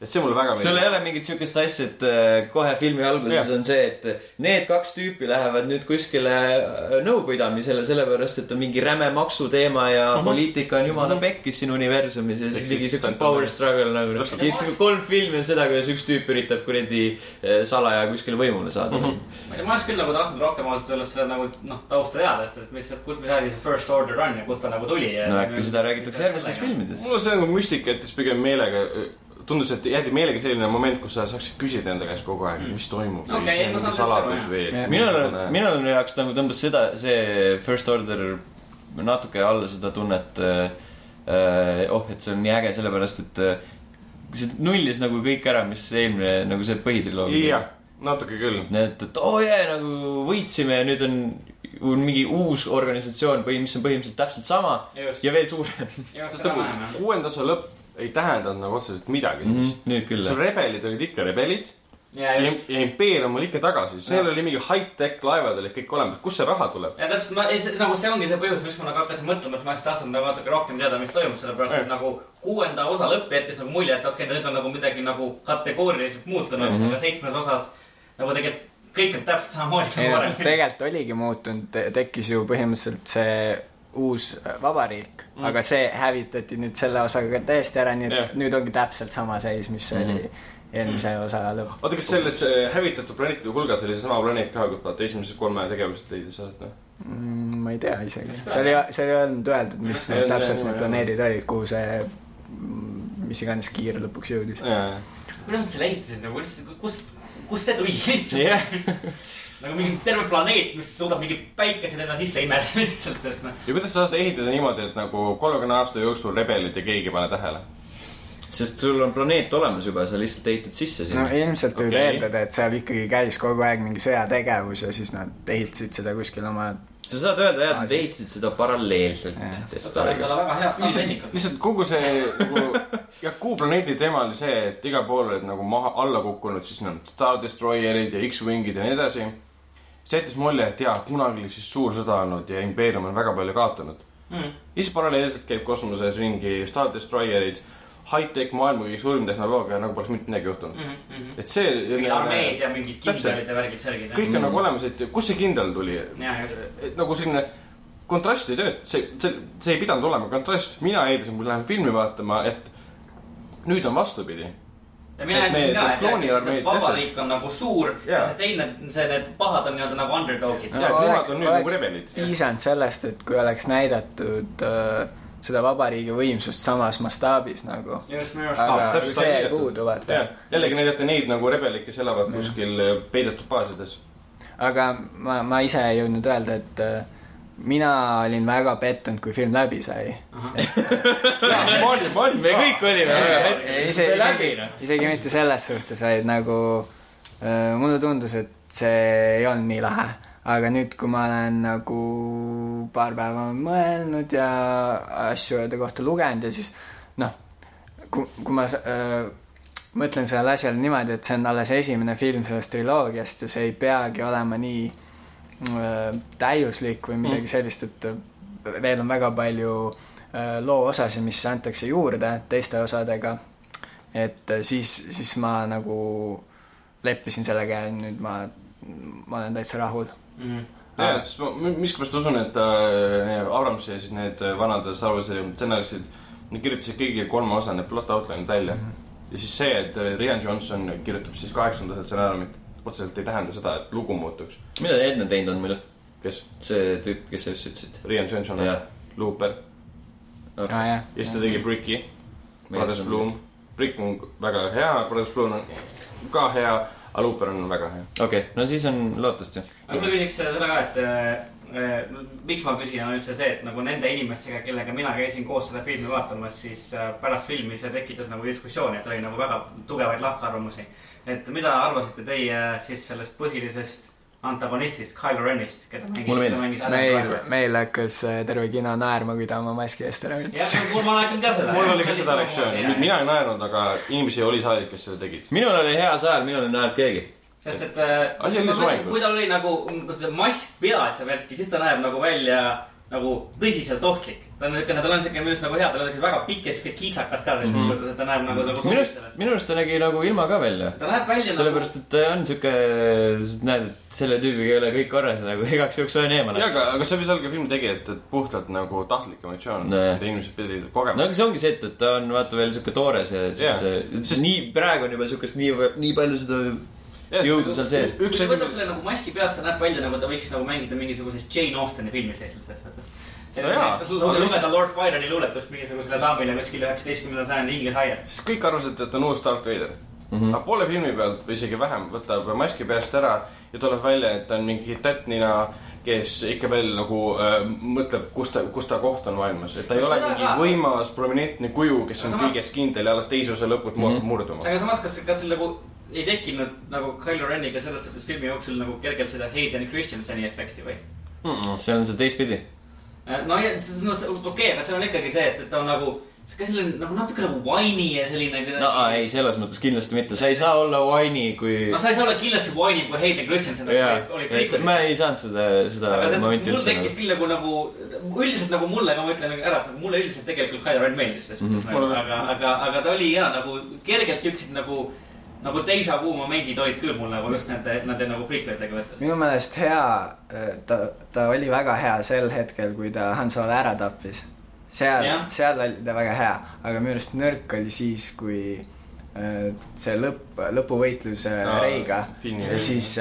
D: et see mulle väga
A: sul ei
D: meeldib .
A: ole mingit siukest asja , et äh, kohe filmi alguses
D: Jah.
A: on see , et äh, need kaks tüüpi lähevad nüüd kuskile äh, nõupidamisele , sellepärast et on mingi räme maksuteema ja poliitika on jumala pekkis siin universumis ja
D: Ehk
A: siis
D: Mhm. siis
A: mingi siukse
D: Phantom
A: power
D: Menace.
A: struggle nagu . ja
D: Täpselt.
A: siis nagu kolm filmi on seda , kuidas üks tüüp üritab kuradi äh, salaja kuskile võimule saada .
D: Mhm.
C: ma ei tea , ma oleks küll nagu tahtnud rohkem ausalt öeldes seda nagu noh , tausta teada , sest et mis , kus , mis asi see First Order on ja kust ta nagu tuli .
A: no äkki seda räägitakse järgmistes . filmides .
D: mulle see nagu müstika jättis pigem meelega , tundus , et jäeti meelega selline moment , kus sa saaksid küsida enda käest kogu aeg , mis toimub
C: Okei,
D: või see on
C: ma saan
D: mingi
C: sellest aru,
D: saladus
C: jah.
D: või .
A: minul , minul on jaoks nagu tõmbas seda , see First Order natuke alla seda tunnet äh, . Äh, oh , et see on nii äge , sellepärast et äh, see nullis nagu kõik ära , mis eelmine nagu see põhitriloogia
D: jah ., natuke küll .
A: et , et oo oh, jee , nagu võitsime ja nüüd on , on mingi uus organisatsioon või mis on põhimõtteliselt täpselt sama
C: Just.
A: ja veel suurem .
C: just ,
D: sest
C: seda
D: nagu
C: vähem jah .
D: kuuenda osa lõpp ei tähendanud nagu otseselt midagi mm . -hmm.
A: nüüd küll
D: see . rebelid olid ikka rebelid
C: ja
D: ja,
C: just ,
D: ja impeerium oli ikka tagasi , siis neil oli mingi high-tech laevad olid kõik olemas , kust see raha tuleb ?
C: ja täpselt , ma , nagu see ongi see põhjus , miks ma nagu hakkasin mõtlema , et ma oleks tahtnud nagu natuke rohkem teada , mis toimub , sellepärast et
D: Jah.
C: nagu kuuenda osa lõpp jättis nagu mulje , et okei okay, , nüüd on nagu midagi nagu kategooriliselt muutunud
A: Mhm.
C: mm , -hmm. aga seitsmes osas nagu tegelikult kõik on täpselt samamoodi
B: ei
C: nagu
B: no
C: varem .
B: tegelikult oligi muutunud , tekkis ju põhimõtteliselt see uus vabariik mm. , aga see hävitati nüüd selle osaga ka täiesti ära , nii et
D: Jah.
B: yeah. nüüd ongi täpselt sama seis , mis oli eelmise mm. osa lõpp .
D: oota , kas selles äh, hävitatud planeetide hulgas oli seesama planeet ka , kus vaata esimesed kolme tegevused leidis sealt , noh .
B: Mm, ma ei tea isegi , seal ei , seal ei olnud öeldud , mis
D: Jah,
B: need
D: jah,
B: täpselt
D: jah,
B: need
D: jah.
B: planeedid olid , kuhu see , mis iganes kiir lõpuks jõudis .
C: kuidas nad selle ehitasid nagu , kuidas , kus , kust see tuli lihtsalt
A: jah ,
C: nagu mingi terve planeet , mis suudab mingi päikeseid enda sisse imeda lihtsalt , et noh .
D: ja kuidas sa saad ehitada niimoodi , et nagu kolmekümne aasta jooksul rebelid ja keegi ei pane tähele ?
A: sest sul on planeet olemas juba , sa lihtsalt ehitad sisse
B: no
A: sinna .
B: ilmselt võib
D: Okei.
B: eeldada , et seal ikkagi käis kogu aeg mingi sõjategevus ja siis nad ehitasid seda kuskil oma
A: sa saad öelda jah , et nad
B: Aa, Ah, siis-
A: ehitasid seda paralleelselt
B: Jah. .
C: seda võib olla väga head sammtehnikat .
D: lihtsalt kogu see nagu jah , Kuu planeedi teema oli see , et igal pool olid nagu maha , alla kukkunud siis need Star Destroyerid ja X-Wingid ja nii edasi . see jättis mulje , et jaa , kunagi oli siis suur sõda olnud ja impeerium on väga palju kaotanud . ja siis paralleelselt käib kosmoses ringi Star Destroyerid , high-tech maailma kõige suurim tehnoloogia , nagu poleks mitte midagi juhtunud .
A: Mhm,
D: et see .
C: mingid armeed ja mingid kindralid
D: täpselt ,
C: ja värgid , särgid .
D: kõik on nagu olemas , et kust see kindral tuli ,
C: ja just ,
D: et nagu selline kontrast ei tööta , see , see , see ei pidanud olema kontrast , mina eeldasin , kui lähen filmi vaatama , et nüüd on vastupidi .
C: ja mina
D: et
C: ütlesin
D: need
C: ka , et jah,
D: klooniarmeed
C: et see
D: täpselt.
C: vabariik on nagu suur ja
D: Jaa.
C: see teine , see , need pahad on nii-öelda nagu underdogid .
D: Jaa, et nemad
B: oleks-
D: on nüüd nagu
B: oleks
D: rebelid.
B: piisanud sellest , et kui oleks näidatud öö, seda vabariigi võimsust samas mastaabis nagu .
C: just , minu arust
D: Aa,
B: aga
D: Ah, täpselt sai
B: see
D: näidatud.
B: puudu , vaata .
D: jällegi näidati neid nagu rebelid , kes elavad kuskil eh, peidetud baasides .
B: aga ma , ma ise ei jõudnud öelda , et öö, mina olin väga pettunud , kui film läbi sai .
D: ma olin , ma olin
A: me kõik olime väga pettunud , see sai läbi noh .
B: isegi mitte selles suhtes , vaid nagu öö, mulle tundus , et see ei olnud nii lahe aga nüüd , kui ma olen nagu paar päeva mõelnud ja asju enda kohta lugenud ja siis noh , kui , kui ma s- öö, mõtlen sellele asjale niimoodi , et see on alles esimene film sellest triloogiast ja see ei peagi olema nii äh, öö, täiuslik või midagi sellist , et veel on äh, väga palju äh, loo osasid , mis antakse juurde teiste osadega . et äh, siis , siis ma nagu leppisin sellega ja nüüd ma , ma olen täitsa rahul .
C: mm .
D: jah , sest ma mi- miskipärast usun , et äh, Abrams ja siis need äh, vanad Star Warsi stsenaristid , nad kirjutasid kõigi kolme osa need plot outline'id välja mm . -hmm. ja siis see , et äh, Rian Johnson kirjutab siis kaheksanda stsenaariumit , otseselt ei tähenda seda , et lugu muutuks .
A: mida ta enne teinud on muidu ?
D: kes ?
A: see tüüp , kes sa just ütlesid .
D: Rian Johnson
A: Jah.
D: on luuper
B: aa jah .
D: ja siis ta tegi Bricki , Brothers Bloom . Brick on väga hea , Brothers Bloom on ka hea , aga luuper on väga hea .
A: okei okay. , no siis on lootust ju .
C: aga ma küsiks seda ka , et äh, äh, miks ma küsin , on üldse see , et nagu nende inimestega , kellega mina käisin koos seda filmi vaatamas , siis äh, pärast filmi see tekitas nagu diskussiooni , et oli nagu väga tugevaid lahkarvamusi . et mida arvasite teie siis sellest põhilisest antagonistist , Kylo Renist , keda
A: Mulle meeldis.
C: mängis .
B: meil , meil hakkas äh, terve kino naerma , kui ta oma maski eest ära võttis .
C: jah , mul , ma nägin ka seda .
D: mul oli ka seda reaktsiooni , mina ei naernud , aga inimesi oli saalis , kes seda tegid .
A: minul oli hea sajal , minul ei naernud keegi .
C: sest et äh,
D: Asi oli
C: ma mõtlesin,
D: soengus.
C: kui tal oli nagu see mask peas ja värki , siis ta näeb nagu välja nagu tõsiselt ohtlik . ta on niisugune , tal on siuke minu arust nagu hea , tal on siuke väga pikk ja siuke kitsakas ka veel mm , -hmm. ta näeb nagu nagu
A: minu arust , minu arust ta nägi nagu ilma ka välja .
C: ta näeb välja
A: sellepärast , et ta on sihuke , näed , et selle tüübiga ei ole kõik korras , nagu igaks juhuks hoian eemale
D: jaa , aga , aga see võis olla ka filmi tegijat , et puhtalt nagu tahtlik emotsioon
A: Nojah. ,
D: mida inimesed pidid kogema
A: no . aga see ongi see , et , et ta on vaata veel sihuke toores ja
D: Jaa.
A: yeah. sest äh, nii praegu on juba siukest nii , nii palju seda
D: Jaa,
A: jõudu
D: sest-
A: seal sees .
D: üks
C: nagu , kui ta
D: asi
C: võtab , selle nagu maski peast , ta näeb välja nagu ta võiks nagu mängida mingisuguses Jane Austeni filmis eestlases .
D: No jaa. Aga
C: lugeda
D: mis-
C: Lord Byroni luuletust mingisugusele daamile kuskil üheksateistkümnenda sajandi Inglise aias .
D: siis kõik arvasid , et on uus Darth Vader mm . -hmm. aga poole filmi pealt või isegi vähem võtab maski peast ära ja tuleb välja , et ta on mingi tättnina , kes ikka veel nagu äh, mõtleb , kus ta , kus ta koht on maailmas , et ta ei
C: No
D: ole
C: seda
D: mingi
C: ka.
D: võimas prominentne kuju , kes
C: Aga
D: on
C: samas-
D: kõiges kindel ja alles teise osa lõpus mm -hmm. murduma .
C: aga samas , kas , kas seal nagu ei tekkinud nagu Kylo Reniga selles suhtes filmi jooksul nagu kergelt seda Hayden Christianseni efekti või ? Hmm.
A: see on see teistpidi .
C: no ja siis no see- okei okay, , aga seal on ikkagi see , et , et ta on nagu , ka selline nagu natuke nagu whiny ja selline .
A: no aa, ei , selles mõttes kindlasti mitte , sa ei saa olla whiny , kui
C: no . sa ei saa olla kindlasti whiny , kui Hayden Christensen
A: jaa
C: oli- oli ,
A: et see- ma
C: prequel .
A: ei saanud seda , seda
C: aga selles suhtes
A: momenti
C: mul
A: üldse
C: tekkis
A: nagu .
C: küll nagu , nagu üldiselt nagu mulle , ma ütlen ära , et nagu mulle üldiselt tegelikult Kylo Ren meeldis selles
A: Mhm.
C: mõttes mm ,
D: Mulle
C: -hmm. aga , aga , aga ta oli ja nagu kergelt siuksed nagu , nagu deja vu momendid olid küll mul nagu just nende , nende nagu prequelitega võttes .
B: minu meelest hea , ta , ta oli väga hea sel hetkel , kui ta Han Solo ära tappis . seal
C: Jah. ,
B: seal oli ta väga hea , aga minu arust nõrk oli siis , kui äh, see lõpp , lõpuvõitlus äh,
D: Aa,
B: Reiga
D: Finni
B: ja
D: Reiga.
B: siis ,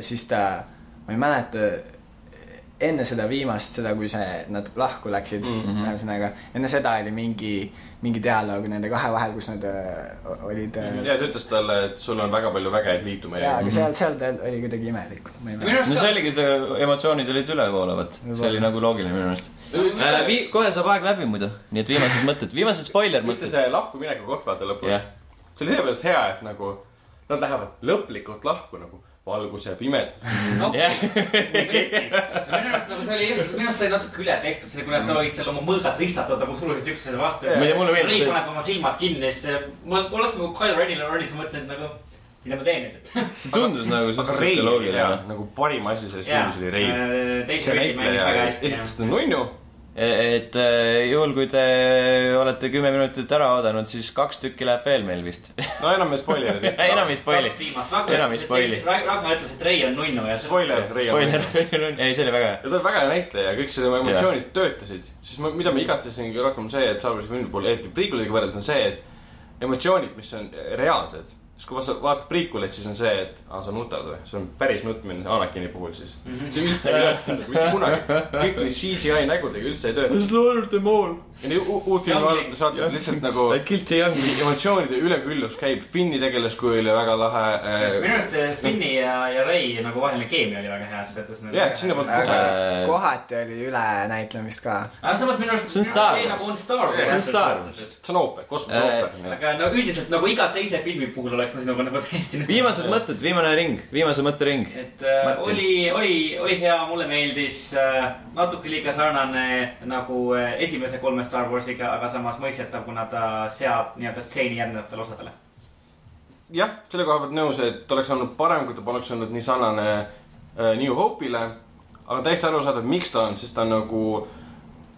B: siis ta , ma ei mäleta , enne seda viimast , seda , kui see , nad lahku läksid mm ,
D: Mhm.
B: -hmm. ühesõnaga , enne seda oli mingi , mingi dialoog nende kahe vahel , kus nad äh, olid äh,
D: ja ta ütles talle , et sul on väga palju vägevaid liitumeid
B: jaa , aga seal , seal ta oli kuidagi imelik , ma ei mäleta .
A: no see oligi , see emotsioonid olid ülevoolavad , see oli nagu loogiline minu meelest . Vii- , kohe saab aeg läbi muidu , nii et viimased mõtted , viimased spoiler
D: üldse
A: mõtted .
D: see lahkumineku koht vaata lõpus
A: Jah.
D: yeah. . see oli sellepärast hea , et nagu nad lähevad lõplikult lahku nagu valgus jääb imedaks .
C: noh ,
A: jah ,
C: minu arust nagu see oli just , minu arust see oli natuke üle tehtud , see kui nad sa võid seal oma mõõgad ristatud nagu surusid üksteise vastu .
A: Ma ei tea, mulle meeldis
C: see .
A: see-
C: paneb oma silmad kinni , siis see- ma oleks nagu Kyle Renile rollis , ma mõtlesin , et nagu mida ma teen nüüd , et .
A: see tundus nagu
D: aga
A: suhteliselt
D: Rein
A: sihuke
D: oli hea
A: loogiline .
D: nagu parim asi selles filmis oli Rein .
C: teise
D: see
C: pildi mängis
D: näitleja
C: Äh, väga , hästi .
D: esiteks ta on nunnu ,
A: et äh, juhul , kui te olete kümme minutit ära oodanud , siis kaks tükki läheb veel meil vist .
D: no enam ei spoil'i .
A: enam ei spoil'i . enam ei spoil'i .
C: Ragnar ütles , et Rei on nunnu ja see .
D: spoil'i .
A: spoiler , ei , see oli väga hea .
D: ja ta on väga hea näitleja ja kõik selle emotsioonid yeah. töötasid , siis ma, mida ma igatsesin rohkem see , et Star Warsi filmi puhul , eriti prequel'iga võrreldes on see , et emotsioonid , mis on reaalsed , siis kui ma sa- vaatan prequel'it , siis on see , et aa , sa nutad või , see on päris nutmine Anakini puhul siis mm . -hmm. see üldse ei töötanud mitte kunagi , kõik need CGI nägudega üldse ei töötanud .
A: slaughtered them all .
D: ja nii u- uut filmi vaadates vaatad lihtsalt nagu
A: I killed the young
D: mingi emotsioonide üleküllus käib , Finni tegelaskuju oli väga lahe
C: minu
D: äh, .
C: arust eh, Finni ja , ja Rei nagu vaheline keemia oli väga hea , selles mõttes . nagu-
D: jah , et sinna poolt
B: aga
A: Äh,
B: kohati oli ülenäitlemist ka .
C: aga samas minu arust .
A: See on Star Wars.
C: nagu on Star Wars .
A: See on Star Wars.
D: see on ooper , kosmosooper
A: Äh,
D: nii et-
C: aga no üldiselt nagu iga teise filmi puhul oleks ma sinuga nagu täiesti nõus .
A: viimased mõtted , viimane ring , viimase mõtte ring .
C: et äh,
A: Martin.
C: oli , oli , oli hea , mulle meeldis äh, , natuke liiga sarnane nagu äh, esimese kolme Star Warsiga , aga samas mõistetav , kuna ta seab nii-öelda stseeni järgnevatele osadele .
D: jah , selle koha pealt nõus , et oleks olnud parem , kui ta poleks olnud nii sarnane äh, New Hope'ile , aga täiesti arusaadav , miks ta on , sest ta on nagu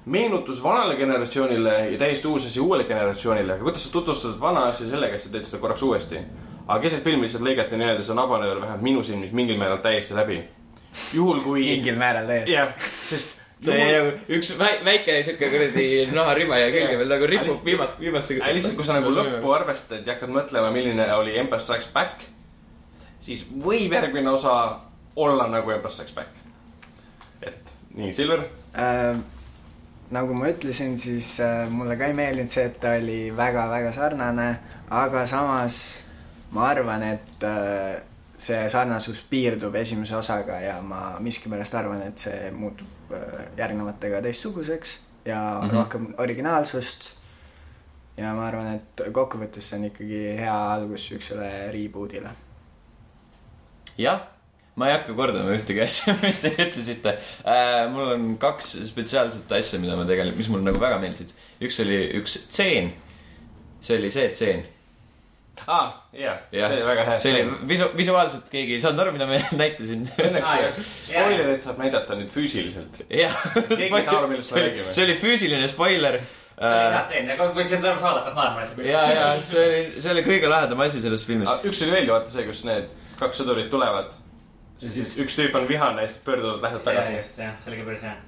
D: meenutus vanale generatsioonile ja täiesti uus asi uuele generatsioonile , aga kuidas sa tutvustad vana asja sellega , et sa teed seda korraks uuesti ? aga keset filmi lihtsalt lõigati nii-öelda see nabanöör vähemalt minu silmis mingil määral täiesti läbi . juhul kui ,
B: mingil määral täiesti .
D: jah , sest
A: nagu üks väi- väike siuke kuradi naharima ja
D: Jah.
A: külge veel nagu
D: Aga lihtsalt-
A: ripub viimast , viimaste .
D: aga lihtsalt , kui sa nagu lõppu . arvestad ja hakkad mõtlema , milline oli Empire Strikes Back , siis võib järgmine osa olla nagu Empire Strikes Back . et nii , Silver ,
B: Äh, nagu ma ütlesin , siis äh, mulle ka ei meeldinud see , et ta oli väga-väga sarnane , aga samas ma arvan , et äh, see sarnasus piirdub esimese osaga ja ma miskipärast arvan , et see muutub äh, järgnevatega teistsuguseks ja mm
A: Mhm.
B: -hmm. rohkem originaalsust . ja ma arvan , et kokkuvõttes see on ikkagi hea algus siuksele reboot'ile .
A: jah , ma ei hakka kordama ühtegi asja , mis te ütlesite äh, . mul on kaks spetsiaalset asja , mida ma tegelikult , mis mulle nagu väga meeldisid . üks oli üks tseen , see oli see tseen .
D: ah, . Yeah,
A: jah
D: see oli väga hea .
A: see oli visu- , visuaalselt keegi ei saanud aru , mida ma näitasin .
D: Õnneks
C: Aa,
D: ah,
C: just.
D: spoilerit saab näidata nüüd füüsiliselt .
A: jah ,
D: Keegi ei saa aru, millest me räägime.
A: see oli füüsiline spoiler .
C: see oli hea stseen , nagu aga võite aru saada , kas naerma asja
A: ja , ja Äh, see oli , see oli kõige lahedam asi selles filmis .
D: Ah, üks oli veel ju vaata see , kus need kaks sõdurit tulevad . ja siis üks tüüp on vihane ja siis pöörduvad lähevad
C: tagasi .
D: tagasi .
C: just , jah , see oli ka päris hea .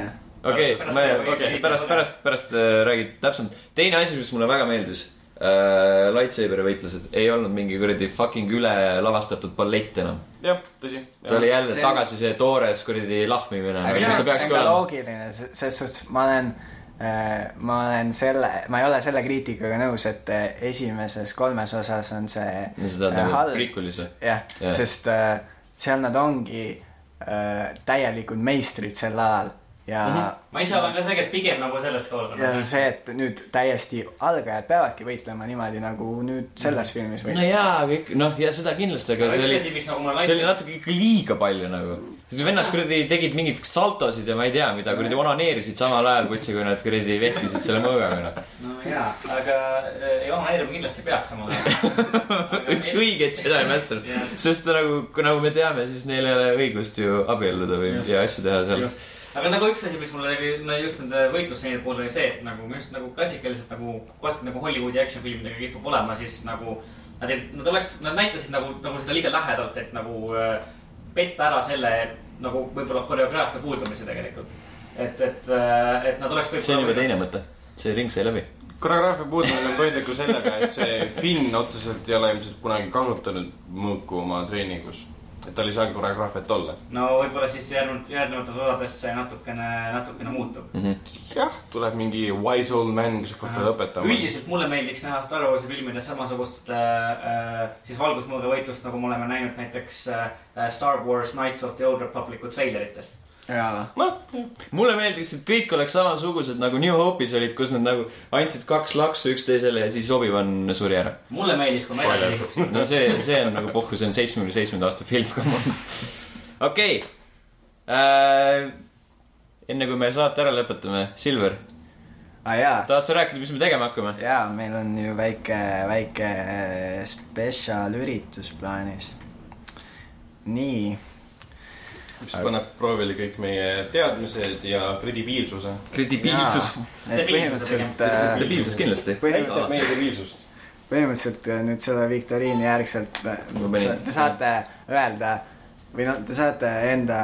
B: jah ,
A: okei ,
C: Pärast
A: ma
C: seda , võiks
A: okei ,
C: siit
A: pärast ,
C: nagu
A: pärast , pärast äh, räägid täpsemalt . teine asi , mis mulle väga meeldis äh, , lightsaber'i võitlused ei olnud mingi kuradi fucking üle lavastatud ballett enam .
D: jah , tõsi .
A: ta oli jälle
B: See
A: see...
B: on-
A: tagasi see toores kuradi lahmimine ,
B: aga
A: mis
B: see
A: ta
B: on- see on
A: peakski
B: ka
A: olema .
B: loogiline , ses suhtes ma olen , ma olen selle , ma ei ole selle kriitikaga nõus , et eh, esimeses kolmes osas on see
A: No seda
B: eh,
A: nagu
B: halb.
A: prequel'is või?
B: jah
A: Jah.
B: yeah. , sest eh, seal nad ongi eh, täielikud meistrid sel alal ja mm ,
A: Mhm.
B: -hmm.
C: ma ise olen ka selge , et pigem nagu selles ka
B: ja
C: olla .
B: see , et nüüd täiesti algajad peavadki võitlema niimoodi , nagu nüüd selles filmis
A: no
B: võitleb .
A: jaa , kõik , noh , ja seda kindlasti , aga
C: Aga
A: see
C: üks
A: oli
C: asi, mis nagu mulle
A: see oli
C: laitsin-
A: natuke ikka liiga palju nagu . siis vennad kuradi tegid mingeid saltosid ja ma ei tea , mida kuradi onaneerisid samal ajal , kutsi , kui nad kuradi vehkisid selle mõõgaga , noh .
C: no jaa , aga äh, ei , omaneerima kindlasti peaks samal ajal .
A: üks õigeid Jedi Master
C: Jah. ,
A: sest nagu , nagu me teame , siis neil ei ole õigust ju abielluda või
C: Just.
A: ja asju teha seal .
C: Just. aga nagu üks asi , mis mulle tegi , no just nende võitlusseeni puhul oli see , et nagu minu arust nagu klassikaliselt nagu kohati nagu Hollywoodi action filmidega kipub olema , siis nagu nad ei , nad oleks , nad näitasid nagu , nagu seda liiga lähedalt , et nagu äh, petta ära selle nagu võib-olla koreograafia puudumise tegelikult . et , et , et nad oleks
A: see on juba . teine mõte , see ring sai läbi .
D: koreograafia puudumine on põhjendatud sellega , et see Finn otseselt ei ole ilmselt kunagi kasutanud mõõku oma treeningus . et tal ei saa koreograafiat olla .
C: no võib-olla siis järgnevat , järgnevates osades see natukene , natukene muutub .
A: Mhm.
D: jah , tuleb mingi wise old man , kes hakkab teda õpetama .
C: üldiselt mulle meeldiks näha Star Warsi filmides samasugust äh, äh, siis valgusmõõgavõitlust , nagu me oleme näinud näiteks äh, äh, Star Wars Knights of the Old Republic'u treilerites .
B: jaa ,
D: noh ,
A: mulle meeldiks , et kõik oleks samasugused nagu New Hope'is olid , kus nad nagu andsid kaks laksu üksteisele ja siis Obi-Wan suri ära .
C: mulle meeldis , kui ma edasi liiguksin .
A: no see , see on nagu puhkus , see on seitsmekümne seitsmenda aasta film , come on . okei . enne kui me saate ära lõpetame , Silver ,
B: aa Ah, jaa
A: tahad sa rääkida , mis me tegema hakkame ?
B: jaa , meil on ju väike , väike äh, spetsial üritus plaanis . nii
D: mis paneb proovile kõik meie teadmised ja kredibiilsuse .
A: kredibiilsus .
B: Jaa, et põhimõtteliselt ,
A: kredibiilsus kindlasti .
D: näitab
B: põhimõtteliselt ,
D: meie kredibiilsust .
B: põhimõtteliselt äh, nüüd selle viktoriini järgselt äh,
A: Ma panin-
B: sa- te saate öelda või noh , te saate enda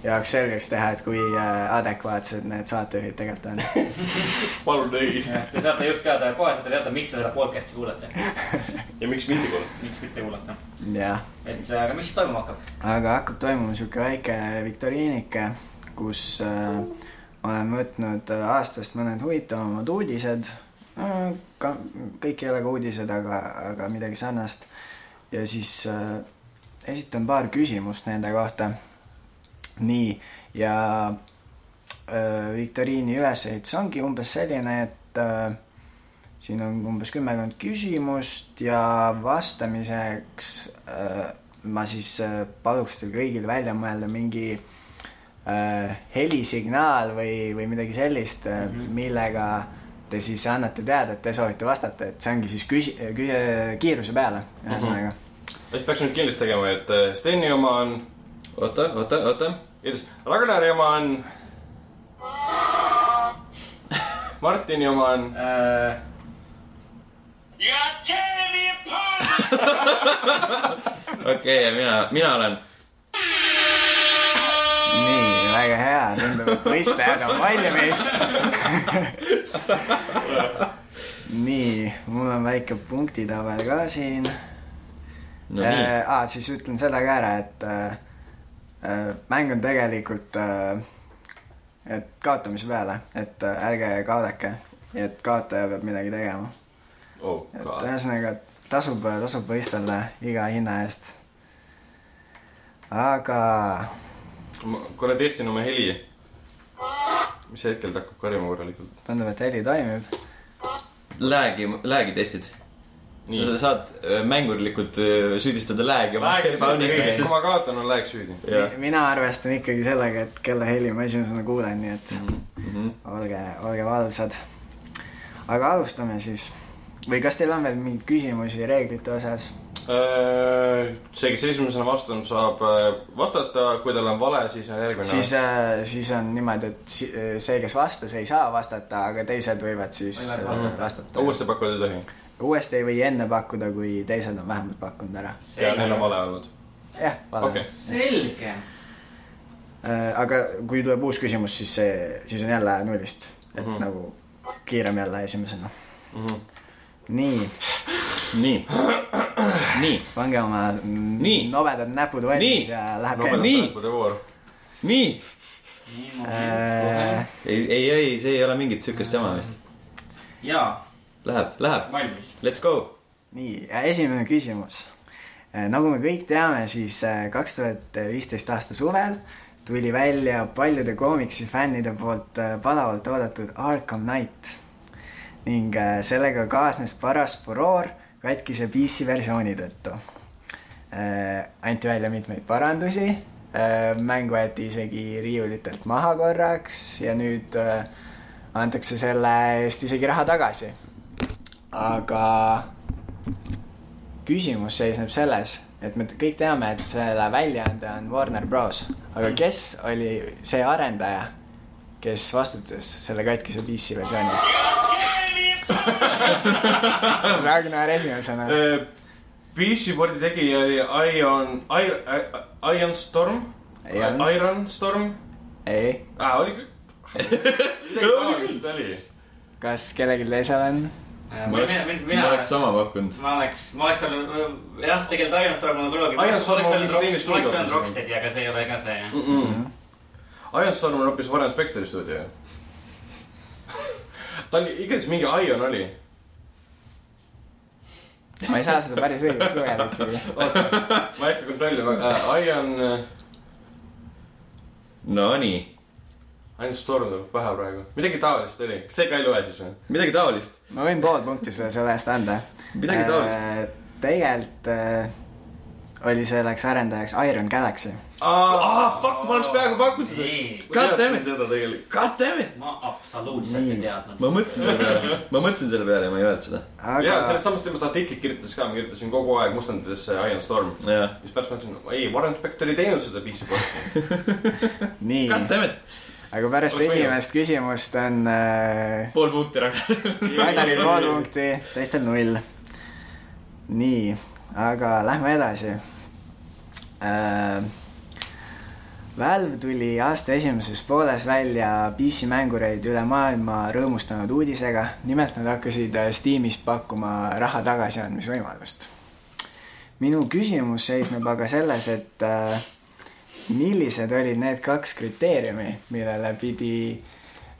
B: jaoks selgeks teha , et kui äh, adekvaatsed need saatejuhid tegelikult on .
D: palun ei .
C: Te saate just teada , kohe saate teada , miks te seda podcast'i kuulate ,
D: ja miks mitte kuulata ?
C: miks mitte kuulata .
B: jah ,
C: et äh, aga mis siis toimuma hakkab ?
B: aga hakkab toimuma sihuke väike viktoriinike , kus äh, ma olen võtnud äh, aastast mõned huvitavamad uudised . ka kõik ei ole ka uudised , aga , aga midagi sarnast . ja siis äh, esitan paar küsimust nende kohta . nii , ja äh, viktoriini ülesehitus ongi umbes selline , et äh, siin on umbes kümmekond küsimust ja vastamiseks äh, ma siis äh, paluks teil kõigil välja mõelda mingi äh, helisignaal või , või midagi sellist mm , -hmm. millega te siis annate teada , et te soovite vastata , et see ongi siis küsi- , kü- , kiiruse peale , ühesõnaga mm . -hmm
D: mis peaks nüüd kindlasti tegema , et äh, Steni oma on ,
A: oota , oota , oota .
D: Ragnari oma on . Martini oma on
C: Äh,
E: You are tearing me apart!
A: okei okay, , ja mina , mina olen .
B: nii , väga hea , tundub , et võistlejad on valmis . nii , mul on väike punktitabel ka siin
A: no
B: äh,
A: nii ,
B: aa , siis ütlen selle ka ära , et äh, äh, mäng on tegelikult äh, , et kaotamise peale , et äh, ärge kaotake , et kaotaja peab midagi tegema .
D: oh
B: et
D: god ,
B: ühesõnaga tasub , tasub võistelda iga hinna eest . aga
D: ma korra testin oma heli . mis hetkel ta hakkab karjuma korralikult ?
B: tundub , et heli toimib .
A: lag'i , lag'i testid . sa saad äh, mängurlikult äh, süüdistada lag'i .
D: kui ma kaotan , on läheks süüdi .
B: mina arvestan ikkagi sellega , et kelle heli ma esimesena kuulen , nii et
D: Mhm.
B: olge , olge valvsad . aga alustame siis . või kas teil on veel mingeid küsimusi reeglite osas ?
D: Äh, see , kes esimesena vastab , saab äh, vastata , kui tal on vale , siis on järgmine .
B: siis , siis on niimoodi , et si- see , kes vastas , ei saa vastata , aga teised võivad siis
C: Võivad
B: äh, vastata .
D: uuesti pakkuda ei tohi .
B: uuesti ei või enne pakkuda , kui teised on vähemalt pakkunud ära .
D: ja neil on vale olnud .
B: jah ,
D: Okei.
B: vale .
C: selge .
B: Äh, aga kui tuleb uus küsimus , siis see , siis on jälle nullist , et
D: Mhm.
B: nagu kiirem jälle esimesena . nii ,
A: nii , nii ,
B: pange oma
A: Nii.
B: mm, nobedad näpud valmis
A: Nii.
B: ja läheb
A: Nobedad.
B: käima .
A: Nii. nii .
C: nii , ma
B: Äh,
C: olen
A: ei , ei , ei , see ei ole mingit siukest jama vist .
C: ja
A: Läheb , läheb ,
C: valmis .
A: let's go .
B: nii , ja esimene küsimus . nagu me kõik teame , siis kaks tuhat viisteist aasta suvel tuli välja paljude koomiksi fännide poolt äh, palavalt oodatud Arkham Knight ning äh, sellega kaasnes paras furoor katkise PC versiooni tõttu . anti välja mitmeid parandusi , mäng võeti isegi riiulitelt maha korraks ja nüüd äh, antakse selle eest isegi raha tagasi . aga küsimus seisneb selles , et me t- kõik teame , et selle väljaande on Warner Bros , aga kes oli see arendaja , kes vastutas selle katkise PC versiooni eest ?
E: Tearing me apart!
B: Ragnar esimesena .
D: Äh, PC board'i tegija oli Ion , Ion Storm ,
B: Ion.
D: Iron Storm .
B: ei ,
D: aa , oli küll . oli küll , oli .
B: kas kellelgi teisel on ?
C: Äh,
A: ma oleks , ma oleks sama pakkunud .
C: ma oleks , ma oleks olnud , jah , tegelikult Iron Storm on kunagi .
D: Iron Storm on
C: olnud
D: teine
C: Rocksteadi , ma
D: stuudio.
C: oleks olnud Rocksteadi , aga see ei ole ka see , jah .
D: Mm. Mhm. Ion Storm on hoopis varem Spectre'i stuudio ju . ta oli , igatahes mingi Ion oli .
B: ma ei saa seda päris õigeks lugeda ikkagi .
D: ma ei hakka kontrollima uh, , Ion uh, ,
A: Nonii ,
D: Ion Storm tuleb pähe praegu . midagi taolist oli , see ka ei loe siis või ?
A: midagi taolist .
B: ma võin pool punkti sulle selle eest anda .
A: Midagi taolist. .
B: tegelikult äh, oli selleks arendajaks Iron Galaxy .
D: aa , fuck , ma oleks peaaegu pakkunud seda .
C: nii ,
A: God damn it.
D: seda tegelikult .
A: God damn it .
C: ma absoluutselt ei
B: Nii.
C: teadnud .
A: ma mõtlesin selle peale , ma mõtlesin selle peale ja ma ei öelnud seda .
B: aga
D: ja sellest samast teemast artiklit kirjutas ka , ma kirjutasin kogu aeg mustanditesse Ion Storm .
A: jah ,
D: siis pärast mõtlesin , ei , Warren Spector ei teinud seda PC board'i .
B: nii ,
A: God damn it .
B: aga pärast
D: Oleks võinud.
B: esimest küsimust on äh,
A: pool punkti ära .
B: Raidaril pool punkti , teistel null . nii , aga lähme edasi äh, . Valve tuli aasta esimeses pooles välja PC-mängureid üle maailma rõõmustanud uudisega . nimelt nad hakkasid äh, Steamis pakkuma raha tagasiandmise võimalust . minu küsimus seisneb aga selles , et äh, millised olid need kaks kriteeriumi , millele pidi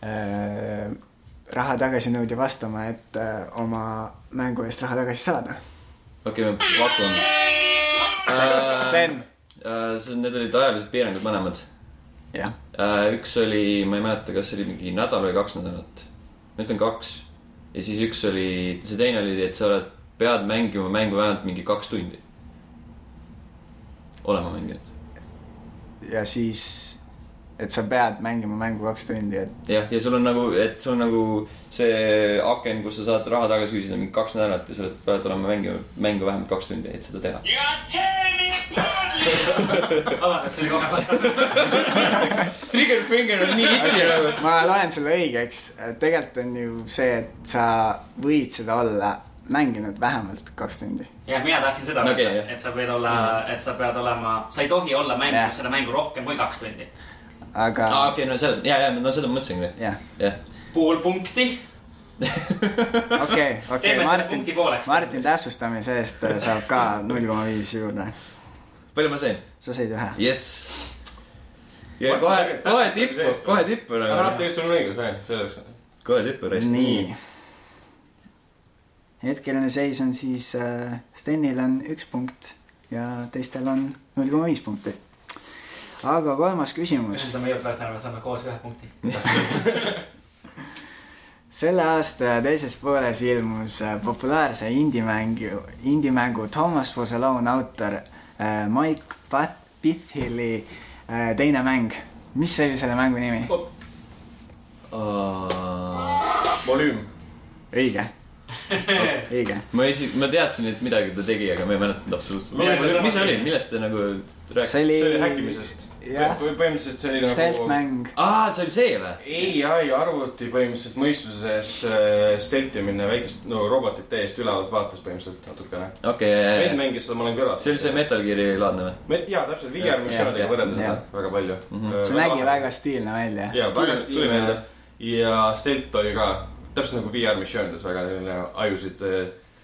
B: äh, raha tagasinõudja vastama , et äh, oma mängu eest raha tagasi saada
A: okei , ma pakun
B: äh... ? Sten .
A: Äh, see , need olid ajalised piirangud mõlemad .
B: jah ,
A: Äh, üks oli , ma ei mäleta , kas see oli mingi nädal või kaks nädalat . ma ütlen kaks . ja siis üks oli , see teine oli , et sa oled , pead mängima mängu vähemalt mingi kaks tundi . olema mänginud .
B: ja siis , et sa pead mängima mängu kaks tundi , et
A: jah , ja sul on nagu , et sul on nagu see aken , kus sa saad raha tagasi küsida mingi kaks nädalat ja sa oled- pead olema mängima mängu vähemalt kaks tundi , et seda teha .
E: You are tearing me apart!
C: vabandust , et Ah, see oli kohe vastu .
A: Trigger finger on nii itši nagu .
B: ma loen selle õigeks , tegelikult on ju see , et sa võid seda olla mänginud vähemalt kaks tundi .
C: jah , mina tahtsin seda
A: Okei,
C: öelda
A: jah.
C: et sa võid olla , et sa pead olema , sa ei tohi olla
B: Jah.
C: mänginud seda mängu rohkem kui kaks tundi .
B: aga
A: aa , okei , no selles , ja , ja no seda ma mõtlesingi ,
B: jah ,
A: jah .
C: pool punkti .
B: okei , okei ,
C: Teeme selle
B: Martin
C: punkti pooleks. ,
B: Martin täpsustamise eest äh, saab ka null koma viis juurde .
A: palju ma sain ?
B: sa said ühe .
A: jess . ja kohe , kohe
D: nagu
A: tippu , kohe tippu
D: aga noh ,
A: nagu .
D: tegelikult sul on õigus , selleks .
A: kohe tippu raisk .
B: nii . hetkeline seis on siis äh, Stenil on üks punkt ja teistel on null koma viis punkti . aga kolmas küsimus
C: seda me ei olnud väga tänu , me saame koos ühe punkti .
B: selle aasta teises pooles ilmus äh, populaarse indie-mängu , indie-mängu Thomas Was Alone autor äh, Mike Pat- Pithili äh, teine mäng . mis oli selle mängu nimi ?
D: volüüm .
B: õige , õige .
A: ma esi- , ma teadsin , et midagi ta tegi , aga ma ei mäletanud absoluutselt .
C: Mis
A: mis
C: see
A: see , mis see
C: oli?
A: oli , millest te nagu rääkisite ?
B: see
D: see
B: oli
D: oli häkkimisest .
B: jah.
D: põhimõtteliselt see oli nagu .
B: stealth-mäng .
A: aa , see oli see või ?
D: ei , ai , arvuti põhimõtteliselt mõistuses äh, steltimine väikest , no robotit täiesti ülevalt vaates põhimõtteliselt natukene .
A: okei , ja ,
D: vend
A: ja ,
D: mängis seda , ma olen kõrval .
A: ja . see oli see . Metal Gear'i laadne või ?
D: jaa , täpselt ,
A: Jah,
D: VR
A: jah,
D: missioonidega võrreldes
B: jah.
D: seda väga palju .
B: see nägi väga stiilne välja .
D: jaa ,
A: Tuli-
D: väga
A: tuli meelde. .
D: ja stelt oli ka täpselt nagu VR missioonides väga selline ajusid äh,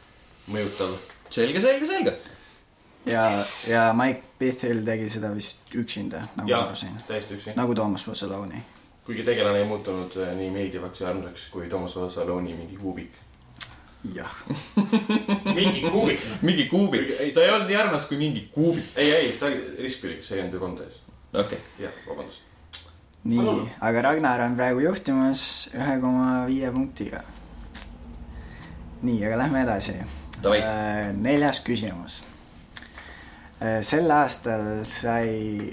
D: mõjutav .
A: selge , selge , selge .
B: ja , ja Mike Pithil tegi seda vist üksinda , nagu ma
D: jah
B: aru sain .,
D: täiesti üksi .
B: nagu Thomas Was Alone'i .
D: kuigi tegelane ei muutunud äh, nii meeldivaks ja armsaks kui Toomas Osaloni mingi kuubik .
B: jah .
C: mingi kuulik .
A: mingi kuubik
D: Kuigi- ei, ,
A: ta ei olnud nii armas kui mingi kuubik .
D: ei , ei , ta oli riskpilliks , ei olnud ju kondes .
A: okei ,
D: jah , vabandust .
B: nii , aga Ragnar on praegu juhtimas ühe koma viie punktiga . nii , aga lähme edasi .
A: Davai.
B: neljas küsimus . sel aastal sai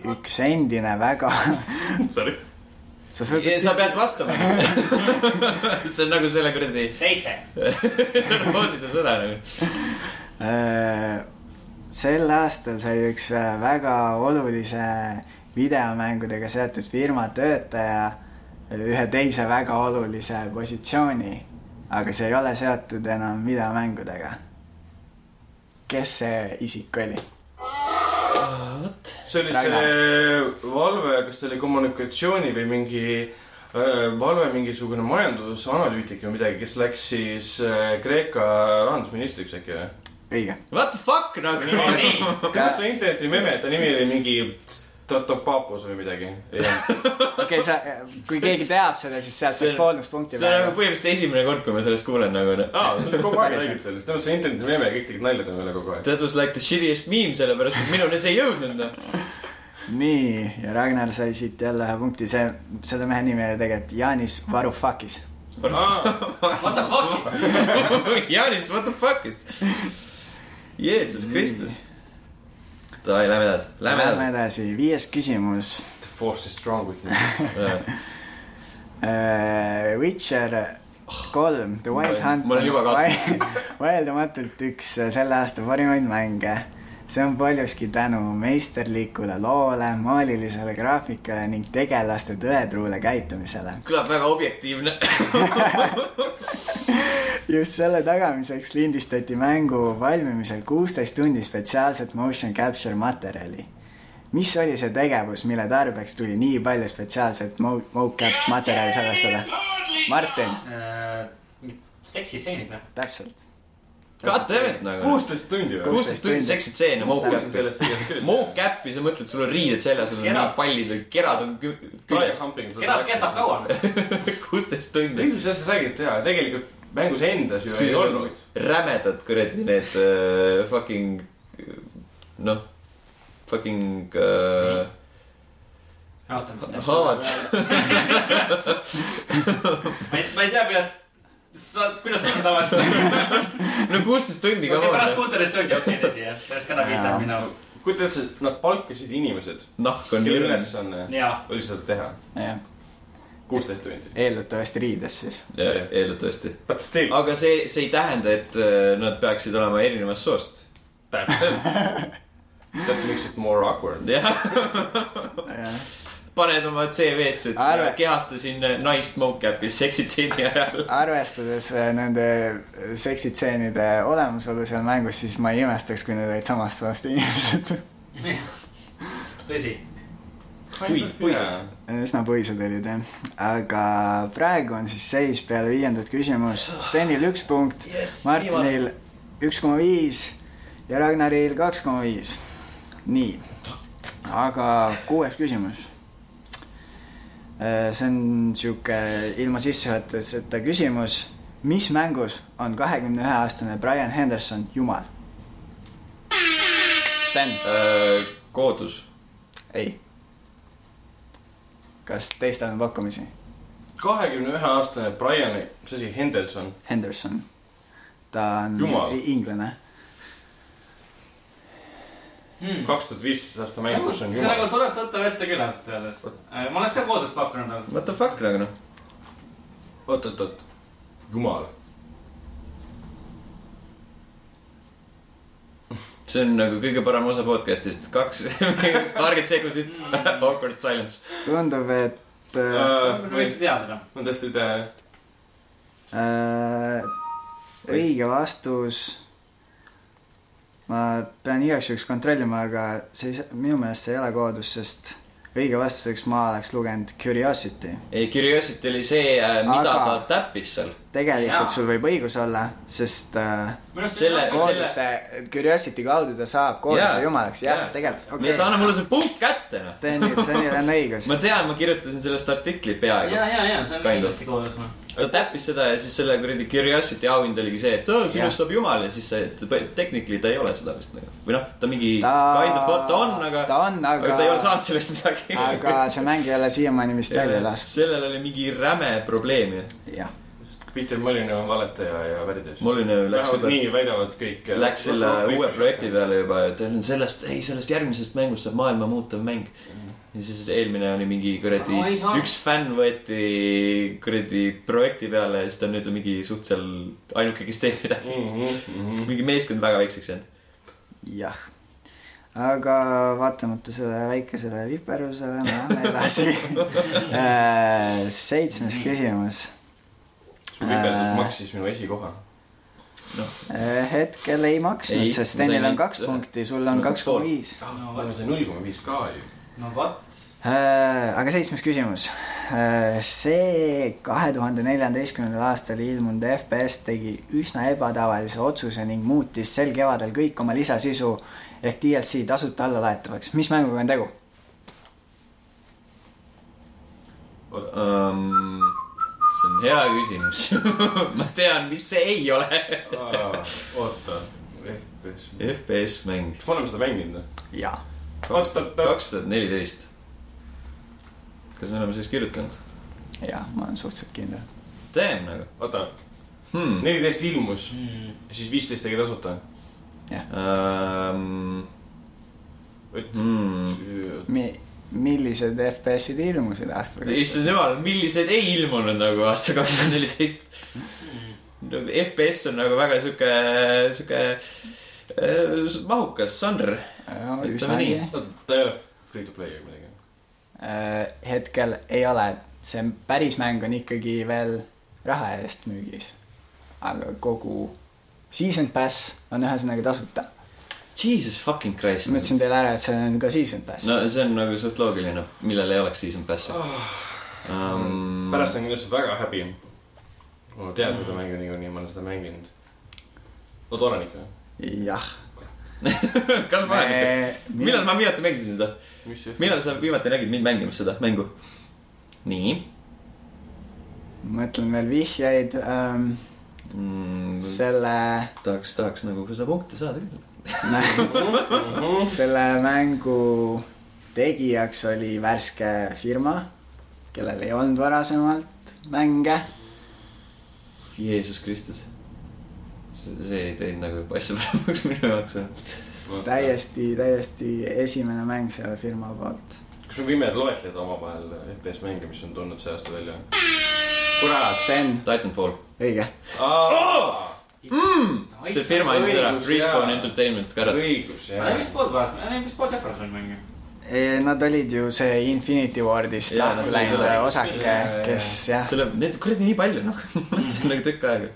B: üks endine väga
D: Sorry .
B: sa sõltud
A: sa pead vastama . see on nagu selle kuradi
C: seitse .
A: rooside sõda nagu .
B: Äh, sel aastal sai üks äh, väga olulise videomängudega seotud firma töötaja ühe teise väga olulise positsiooni , aga see ei ole seotud enam videomängudega . kes see isik oli ?
D: see oli
B: Väga.
D: see valve , kas ta oli kommunikatsiooni või mingi äh, valve mingisugune majandusanalüütik või midagi , kes läks siis äh, Kreeka rahandusministriks äkki või ?
B: õige .
A: What the fuck nagu .
D: kuidas see interneti meme , ta nimi oli mingi Tratopapos või midagi .
B: okei , sa , kui keegi teab seda , siis sealt
A: See-
B: saaks pooleks punkti
A: see on nagu
B: peale .
A: põhimõtteliselt esimene kord , kui ma sellest kuulen nagu noh .
D: aa , kogu aeg räägid sellest , tähendab see interneti meme , kõik tegid nalja tema üle kogu aeg .
A: That was like the shittiest meme , sellepärast et minuni see ei jõudnud noh .
B: nii , ja Ragnar sai siit jälle ühe punkti , see , selle mehe nimi oli tegelikult Janis Varufakis .
C: What the fuck ?
A: Janis , what the fuck is ? Jeesus Kristus . Davai , lähme edasi , lähme
B: Lähme edasi , viies küsimus
D: The force is strong with me .
A: edasi .
B: Äh, Witcher kolm , The Wild
A: Ma-
B: Hunt
A: ma olen juba
B: on vaieldamatult üks eh, selle aasta parimaid mänge . see on paljuski tänu meisterlikule loole , maalilisele graafikale ning tegelaste tõetruule käitumisele .
A: kõlab väga objektiivne .
B: just selle tagamiseks lindistati mängu valmimisel kuusteist tundi spetsiaalset motion capture materjali . mis oli see tegevus , mille tarbeks tuli nii palju spetsiaalset mo- , mocap materjali salvestada ? Martin ,
C: seksistseenid Äh, või ?
B: täpselt .
A: God damn it nagu .
D: kuusteist tundi või ?
A: kuusteist tundi seksid seene ,
D: kuulsin
A: mocap'i .
D: sellest tegelikult küll .
A: Mocap'i , sa mõtled , sul on riided seljas , sul on
C: Kerad.
A: mingid pallid ja kerad on kü- küljes .
C: keda , kestab . kaua ?
A: kuusteist tundi .
D: ilmselt sellest räägiti jaa , tegelikult mängus endas ju ei olnud .
A: rämedad kuradi need uh, fucking noh , fucking uh,
C: oota , mis ta
A: haavad .
C: ma ei , ma ei tea , kuidas sa , kuidas sul seda vastu .
A: no kuusteist tundi ka .
C: pärast kuuteist tundi , okei , tõsi jah , pärast kanab ise
B: Jaa.
C: minu ,
D: kuidas nad palkasid inimesed ,
A: nahk on
D: kelle
A: lirnes .
D: ülesanne
C: jaa .
D: oli seda teha
B: jah ,
D: kuusteist tundi .
B: eeldatavasti riides siis .
A: eeldatavasti .
D: But still ,
A: aga see , see ei tähenda , et äh, nad peaksid olema erinevast soost .
D: täpselt . That makes it more awkward .
A: jah ,
B: jah .
A: paned oma CV-sse ,
B: Arve-
A: et äh, kehastasin naist mocap'is seksitseeni ajal .
B: arvestades äh, nende seksitseenide olemasolu seal mängus , siis ma ei imestaks , kui need olid samast soost inimesed .
C: tõsi ,
A: Puid- puised. .
B: üsna põisad olid jah , aga praegu on siis seis peale viiendat küsimus . Stenil üks punkt , Martinil üks koma viis ja Ragnaril kaks koma viis . nii , aga kuues küsimus . see on sihuke ilma sissejuhatuseta küsimus . mis mängus on kahekümne ühe aastane Brian Henderson jumal ? Sten .
D: Äh.
A: Äh, koodus ,
B: ei . kas teistel on pakkumisi ?
D: kahekümne ühe aastane Brian , mis asi , Hendelson ,
B: Henderson . ta on
D: Jumal.
B: i- inglane .
D: kaks tuhat viisteist aasta mängus on
C: see on nagu
D: jumal .
C: Hmm. tuleb tuttav ette küll ausalt öeldes . ma olen seda koodust pakkunud ausalt .
A: what the fuck nagu noh .
D: oot , oot , oot , jumal .
A: see on nagu kõige parem osa podcast'ist , kaks , paarkümmend sekundit awkward silence .
B: tundub , et äh,
C: ma
D: ma
C: vist ei tea seda .
D: ma tõesti ei tea , jah .
B: äh, õige vastus . ma pean igaks juhuks kontrollima , aga see ei saa , minu meelest see ei ole koodus , sest õige vastuseks ma oleks lugenud curiosity .
A: ei , Curiosity oli see , mida
B: Aga-
A: ta täppis seal .
B: tegelikult
C: Jaa.
B: sul võib õigus olla , sest äh,
C: minu arust
A: Selle-
C: see on
A: Kood-
C: nagu
B: kooduse , curiosity kaudu ta saab kooduse
A: Jaa.
B: jumalaks , jah
A: Jaa. ,
B: tegelikult ,
A: Okay.
B: okei
A: ta
B: okay. .
A: annab mulle see punkt kätte , noh .
B: Stenil , Stenil on õigus .
A: ma tean , ma kirjutasin sellest artikli peaaegu
C: ja , ja , ja see on
A: Kind of.
C: kindlasti koodus noh .
A: ta täppis seda ja siis selle kuradi Curiosity auhind oligi see , et "Aa,
B: Jah.
A: sinust saab jumal ja siis see , et technically ta ei ole seda vist nagu . või noh , ta mingi ta...
B: Ta-
A: kind of what ta on , aga
B: ta on, aga-
A: aga ta ei ole saanud sellest midagi .
B: aga see mäng ei ole siiamaani vist välja lastud .
A: sellel oli mingi räme probleem ja
B: jah ,
D: Peter Molyneux on valetaja ja värvides .
A: Molyneux nagu läks
D: vähemalt
A: seda-
D: nii väidavad kõik . äh,
A: läks selle uue projekti . peale juba , et "Ei, sellest , ei sellest järgmisest mängust saab maailma muutev mäng . ja siis eelmine oli mingi kuradi
C: Ma ei saa- ,
A: üks fänn võeti kuradi projekti peale ja siis ta on nüüd mingi suht seal ainuke , kes teeb midagi .
D: Mhm,
A: mingi meeskond väga väikseks jäänud .
B: jah . aga vaatamata sellele väikesele viperusele , me läheme edasi . Äh, seitsmes küsimus .
D: su viperdus maksis minu esikoha .
B: Äh, hetkel ei maksnud
A: Ei, ,
B: sest
A: ma sain
B: Stenil on
A: ainult
B: kaks
A: ühe.
B: punkti , äh, sul
A: Sul
B: on
A: on kaks
B: kaks koma viis .
C: no
D: aga
C: vot ,
D: see null koma viis ka ju .
C: no vot .
B: Äh, aga seitsmes küsimus . see kahe tuhande neljateistkümnendal aastal ilmunud FPS tegi üsna ebatavalise otsuse ning muutis sel kevadel kõik oma lisasisu ehk DLC tasuta allalaetavaks . mis mänguga on tegu ?
A: Um, see on hea küsimus . ma tean , mis see ei ole .
D: oota , FPS .
A: FPS mäng
D: kas me oleme seda mänginud või ?
B: jaa .
D: kaks tuhat kaks .
A: kaks tuhat neliteist . kas me oleme sellest kirjutanud ?
B: jah , ma olen suhteliselt kindel .
A: Damn nagu
D: oota ,
A: hmm. .
D: neliteist ilmus ,
C: Hmm.
D: siis viisteist tegi tasuta .
A: Um, hmm.
D: oota ,
B: Mi- , millised FPS-id ilmusid aastal ?
A: issand jumal , millised ei ilmunud nagu aasta kaks tuhat neliteist . FPS on nagu väga sihuke , sihuke äh, s- mahukas žanr .
B: üsna
A: ütleme nii.
B: õige .
D: ta ei ole free to play või midagi ?
B: Äh, hetkel ei ole , see päris mäng on ikkagi veel raha eest müügis . aga kogu season pass on ühesõnaga tasuta .
A: Jesus fucking Christ .
B: ma ütlesin teile ära , et see on ka season pass
A: no see on nagu suht loogiline , millel ei oleks season pass'i um, .
D: pärast on kindlasti väga häbi . ma tean seda mängu niikuinii , ma olen seda mänginud . oota , Oranik või ?
B: jah .
A: kas ma
B: Äh,
A: olen , millal ma viimati mängisin seda ?
D: mis see ?
A: millal sa viimati nägid mind mängimas seda mängu ? nii
B: mõtlen veel vihjeid ähm,
A: mm, .
B: selle
A: tahaks , tahaks nagu ka seda punkti saada küll .
B: selle mängu tegijaks oli värske firma , kellel ei olnud varasemalt mänge .
A: Jeesus Kristus . see ei teinud nagu asja paremaks minu jaoks või ?
B: täiesti , täiesti esimene mäng selle firma poolt .
D: kas me võime loetleda omavahel FPS mänge , mis on tulnud see aasta välja ? kurat ,
B: Sten ,
A: Titanfall .
B: õige .
A: see firma andis ära , Respawn Entertainment , kurat .
D: õigus ,
C: ma ei tea , mis pood pärast , ma ei tea , mis pood Jefferson mängib .
B: Nad olid ju see Infinity Wardist
A: Jaa,
B: lahku
A: nad
B: läinud
A: olid
B: äh,
A: lahku.
B: osake
D: Jaa, jaa, jaa. ,
B: kes jah .
A: selle , neid kuradi nii palju , noh , mõtlesin nagu tükk aega .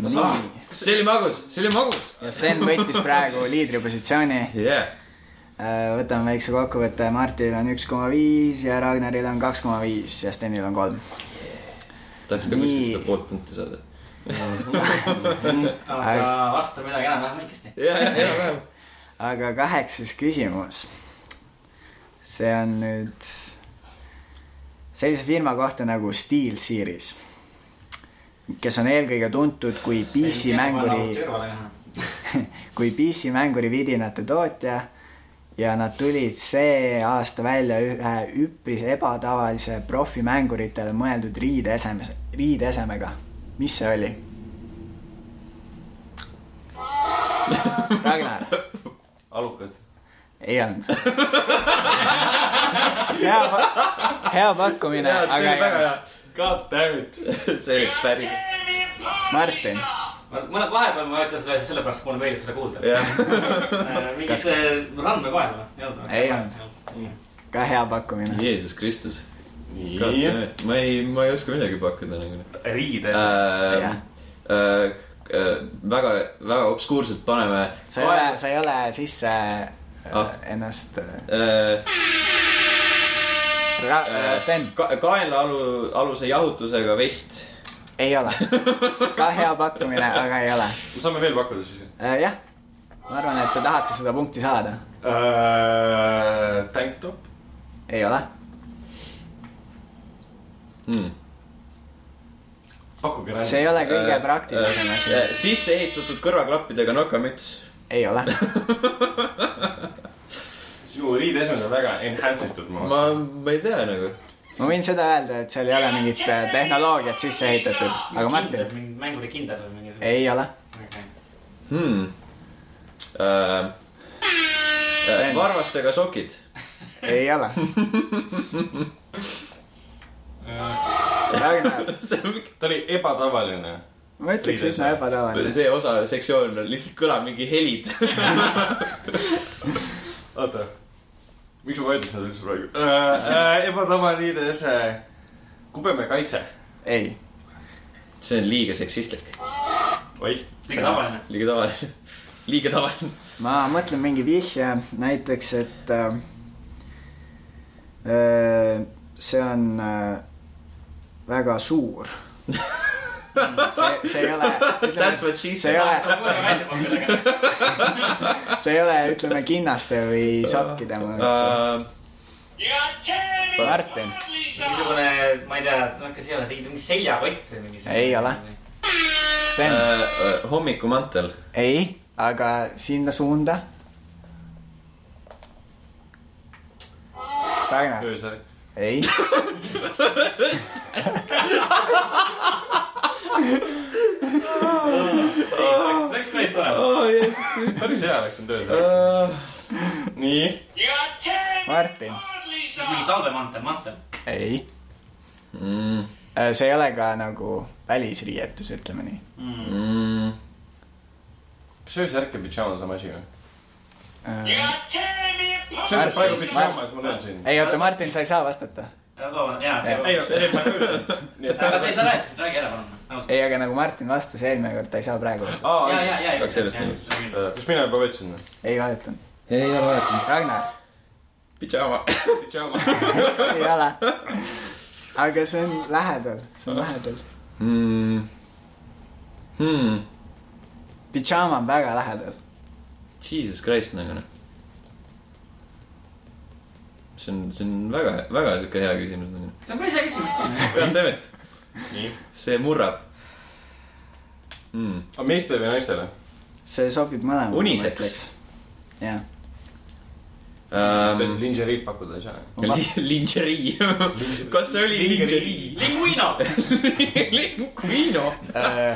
B: nii ,
A: see oli magus , see oli magus .
B: ja Sten võitis praegu liidripositsiooni .
A: jah ,
B: Äh, võtame väikse kokkuvõtte , Martil on üks koma viis ja Ragnaril on kaks koma viis ja Stenil on kolm .
A: tahaks ka kuskilt
B: Nii.
A: seda poolt punkti saada .
C: aga vasta midagi enam-vähem õigesti .
A: ja , ja , enam-vähem .
B: aga kaheksas küsimus . see on nüüd sellise firma kohta nagu SteelSeries , kes on eelkõige tuntud kui PC mänguri , kui PC mänguri vidinate tootja ja nad tulid see aasta välja ühe üpris ebatavalise profimänguritele mõeldud riideeseme , riideesemega . mis see oli ? Ragnar ,
D: alukad .
B: ei olnud . hea , hea pakkumine ,
A: jaa , see
B: aga
A: oli
B: ei
A: väga hea
B: olnud ..
D: God damn it .
A: see oli päris ,
B: Martin.
C: ma , vahepeal ma ütlen seda lihtsalt sellepärast , et mulle meeldib seda kuulda . Äh,
A: jah .
C: mingi see randmekoer või ? ei olnud või ?
B: Ei olnud. ka hea pakkumine .
A: Jeesus Kristus .
D: nii .
A: ma ei , ma ei oska midagi pakkuda nagu .
D: riides äh, .
A: Äh,
B: Jah.
A: äh, väga , väga obskuurselt paneme .
B: sa ei ole , sa ei ole sisse äh,
A: Ah.
B: ennast äh,
A: ole .
B: ra- , Sten ,
A: ka- , kaenlaalu , aluse jahutusega vest .
B: ei ole . ka hea pakkumine , aga ei ole .
D: saame veel pakkuda siis
B: jah , ma arvan , et te tahate seda punkti saada .
D: äh, . Tanktop .
B: ei ole .
A: Hmm.
D: pakkuge
B: see
D: ära .
B: ei ole kõige praktilisem asi .
A: Äh, sisse ehitatud kõrvaklappidega nokamüts .
B: ei ole .
D: sinu riideesemed on väga enhanced itud , ma
A: ma , ma ei tea nagu .
B: ma võin seda öelda , et seal ei ole mingit äh, tehnoloogiat sisse ehitatud , aga Martin ,
C: mingi mänguri kindel või mingi .
B: ei ole .
A: hmm. . Äh, äh, varvastega sokid .
B: ei ole . Ragnar ,
D: ta oli ebatavaline .
B: ma ütleks üsna ebatavaline .
A: see osa , sektsioon on lihtsalt kõlab mingi helid .
D: oota . miks ma vaidlesin seda üldse praegu äh, ? Äh, ebatavaline riideese . kubeme kaitse .
B: ei ,
A: see on liiga seksistlik ,
D: oih .
C: mingi tavaline .
A: liiga tavaline , liiga tavaline .
B: ma mõtlen mingi vihje , näiteks , et äh, äh, see on äh, väga suur . see , see ei ole ,
A: That's what she
B: see ei
A: said .
B: ole , see ei ole , ütleme kinnaste või sokkide
A: Ah.
B: mõõt .
A: Äh,
B: Martin.
C: niisugune , ma ei tea , noh , kas ei ole riid , mingi seljakott või mingi .
B: Ei ole. Sten ,
A: Ah. Äh, hommikumantel ,
B: ei , aga sinna suunda . Ragnar ,
D: öösärk .
B: ei ,
C: see oleks päris tore .
D: päris hea oleks olnud öösärk . nii .
B: Martin ,
C: mingi talvemantel , mantel .
B: ei Äh, see ei ole ka nagu välisriietus , ütleme nii .
D: kas öösärk ja pidžaam on sama asi või ?
B: Äh,
D: see on
B: Märk-
D: praegu
B: Märk-
D: pidžaamas , ma näen sind .
B: ei oota , Martin , sa ei saa vastata .
C: vabandust , jaa .
D: ei , ei , ma ei kujuta
C: aga
D: ette .
C: sa ei saa rääkida , räägi ära palun .
B: ei , aga nagu Martin vastas eelmine kord , ta ei saa praegu vastata .
D: aa ,
C: ja , ja , ja .
A: Kaks sellest nimest. .
D: kas mina juba võtsin või ?
B: ei vajutanud .
A: ei ole vahet ,
B: Ragnar ,
A: pidžaama .
D: pidžaama .
B: ei ole . aga see on lähedal , see on lähedal .
A: Hmm. Hmm.
B: pidžaama on väga lähedal .
A: Jesus Christ nagu noh . see on , see on väga , väga sihuke hea küsimus nagu .
C: see on päris hea küsimus .
A: God damn it ,
D: nii .
A: see murrab mm. .
D: aga meestele või naistele ?
B: see sobib mõlemale .
A: Unisex. .
B: jah ,
D: siis
A: Um,
D: lingeriid pakkuda ei saa .
A: li- lingerie , kas see oli lingerie ?
C: Linguino .
A: Kuino .
B: Äh,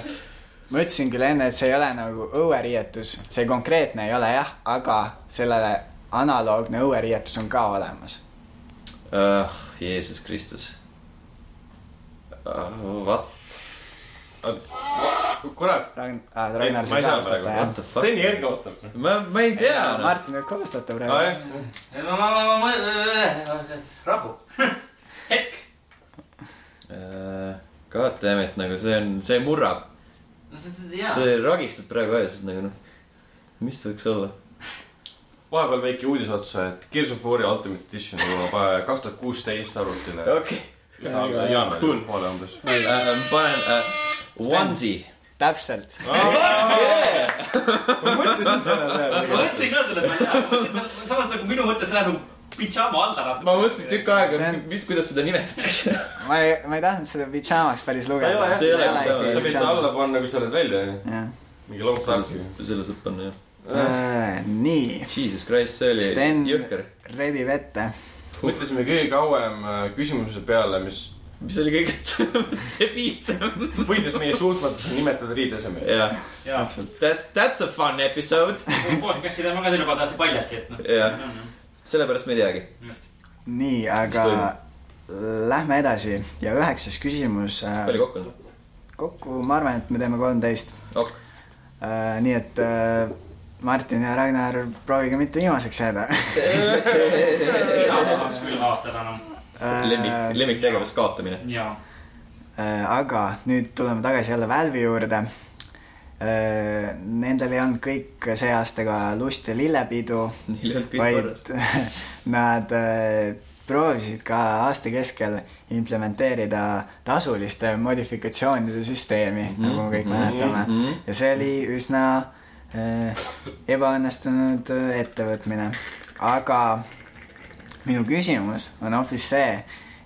B: ma ütlesin küll enne , et see ei ole nagu õueriietus , see konkreetne ei ole jah , aga sellele analoogne õueriietus on ka olemas .
A: Ah, Jeesus Ah, Kristus uh, . What ?
D: kurat ,
B: Ragn- , aa ,
D: Ei, ma
B: Ragnar
D: ei
B: sai
D: saa
B: taastada ,
D: praegu.
B: jah
A: What the fuck?
D: Steni Erga ootab .
A: ma , ma ei tea . noh.
B: Martin võib kõvastada praegu
A: Ah,
D: aa . jah ,
C: ma , ma , ma , ma , rahu , hetk ,
A: Ah, God damn it , nagu see on , see murrab ,
C: jaa .
A: see ragistab praegu ajas , nagu noh , mis ta võiks olla ?
D: vahepeal väike uudis otsa , et Gears of War'i Ultimate Edition jõuab äh, kaks tuhat kuusteist arvutile .
A: okei ,
D: üsna
B: Väga hea.
D: jaanuari
A: Cool.
D: poole umbes .
A: panen äh, onesie .
B: täpselt .
A: Ah. Yeah!
D: ma mõtlesin selle
C: ma
D: peale .
C: mõtlesin ka selle peale , ma mõtlesin , samas nagu minu mõttes läheb nagu pidžaama alla natuke .
A: ma mõtlesin tükk aega
B: See on- ,
A: mis , kuidas seda nimetatakse .
B: ma ei , ma ei tahtnud seda pidžaamaks päris lugeda .
A: See ei ole pidžaam.
D: sa võid ta alla panna , kui sa oled välja , mingi long time .
A: selle saab panna jah . Ah.
B: Äh, nii ,
A: Jesus Christ , see oli
B: Sten-
A: jõhker .
B: rebib ette .
D: mõtlesime kõige kauem äh, küsimuse peale , mis
A: mis oli kõige debiilsem .
D: põhines meie suutmatusel nimetada riideesemeid .
A: jah ,
C: jaa ,
B: täpselt .
A: that's , that's a fun episode .
C: podcast'i teeme ka juba täitsa paljasti , et noh .
A: jah , sellepärast me ei teagi .
B: nii , aga lähme edasi ja üheksas küsimus .
A: palju kokku on ?
B: kokku ma arvan , et me teeme kolmteist .
A: ok ,
B: nii et äh, Martin ja Ragnar , proovige mitte viimaseks jääda .
C: mina tahaks küll vaadata enam .
A: lemmik , lemmiktegevus kaotamine .
C: jaa .
B: Äh, aga nüüd tuleme tagasi jälle Valve'i juurde . Nendel ei olnud kõik see aasta ka lust ja lillepidu ,
A: Neil ei olnud kõik korras .
B: vaid nad äh, proovisid ka aasta keskel implementeerida tasuliste modifikatsioonide süsteemi mm , -hmm. nagu me kõik mäletame mm .
A: mhm.
B: -hmm. ja see oli üsna äh, ebaõnnestunud äh, ettevõtmine . aga minu küsimus on hoopis see ,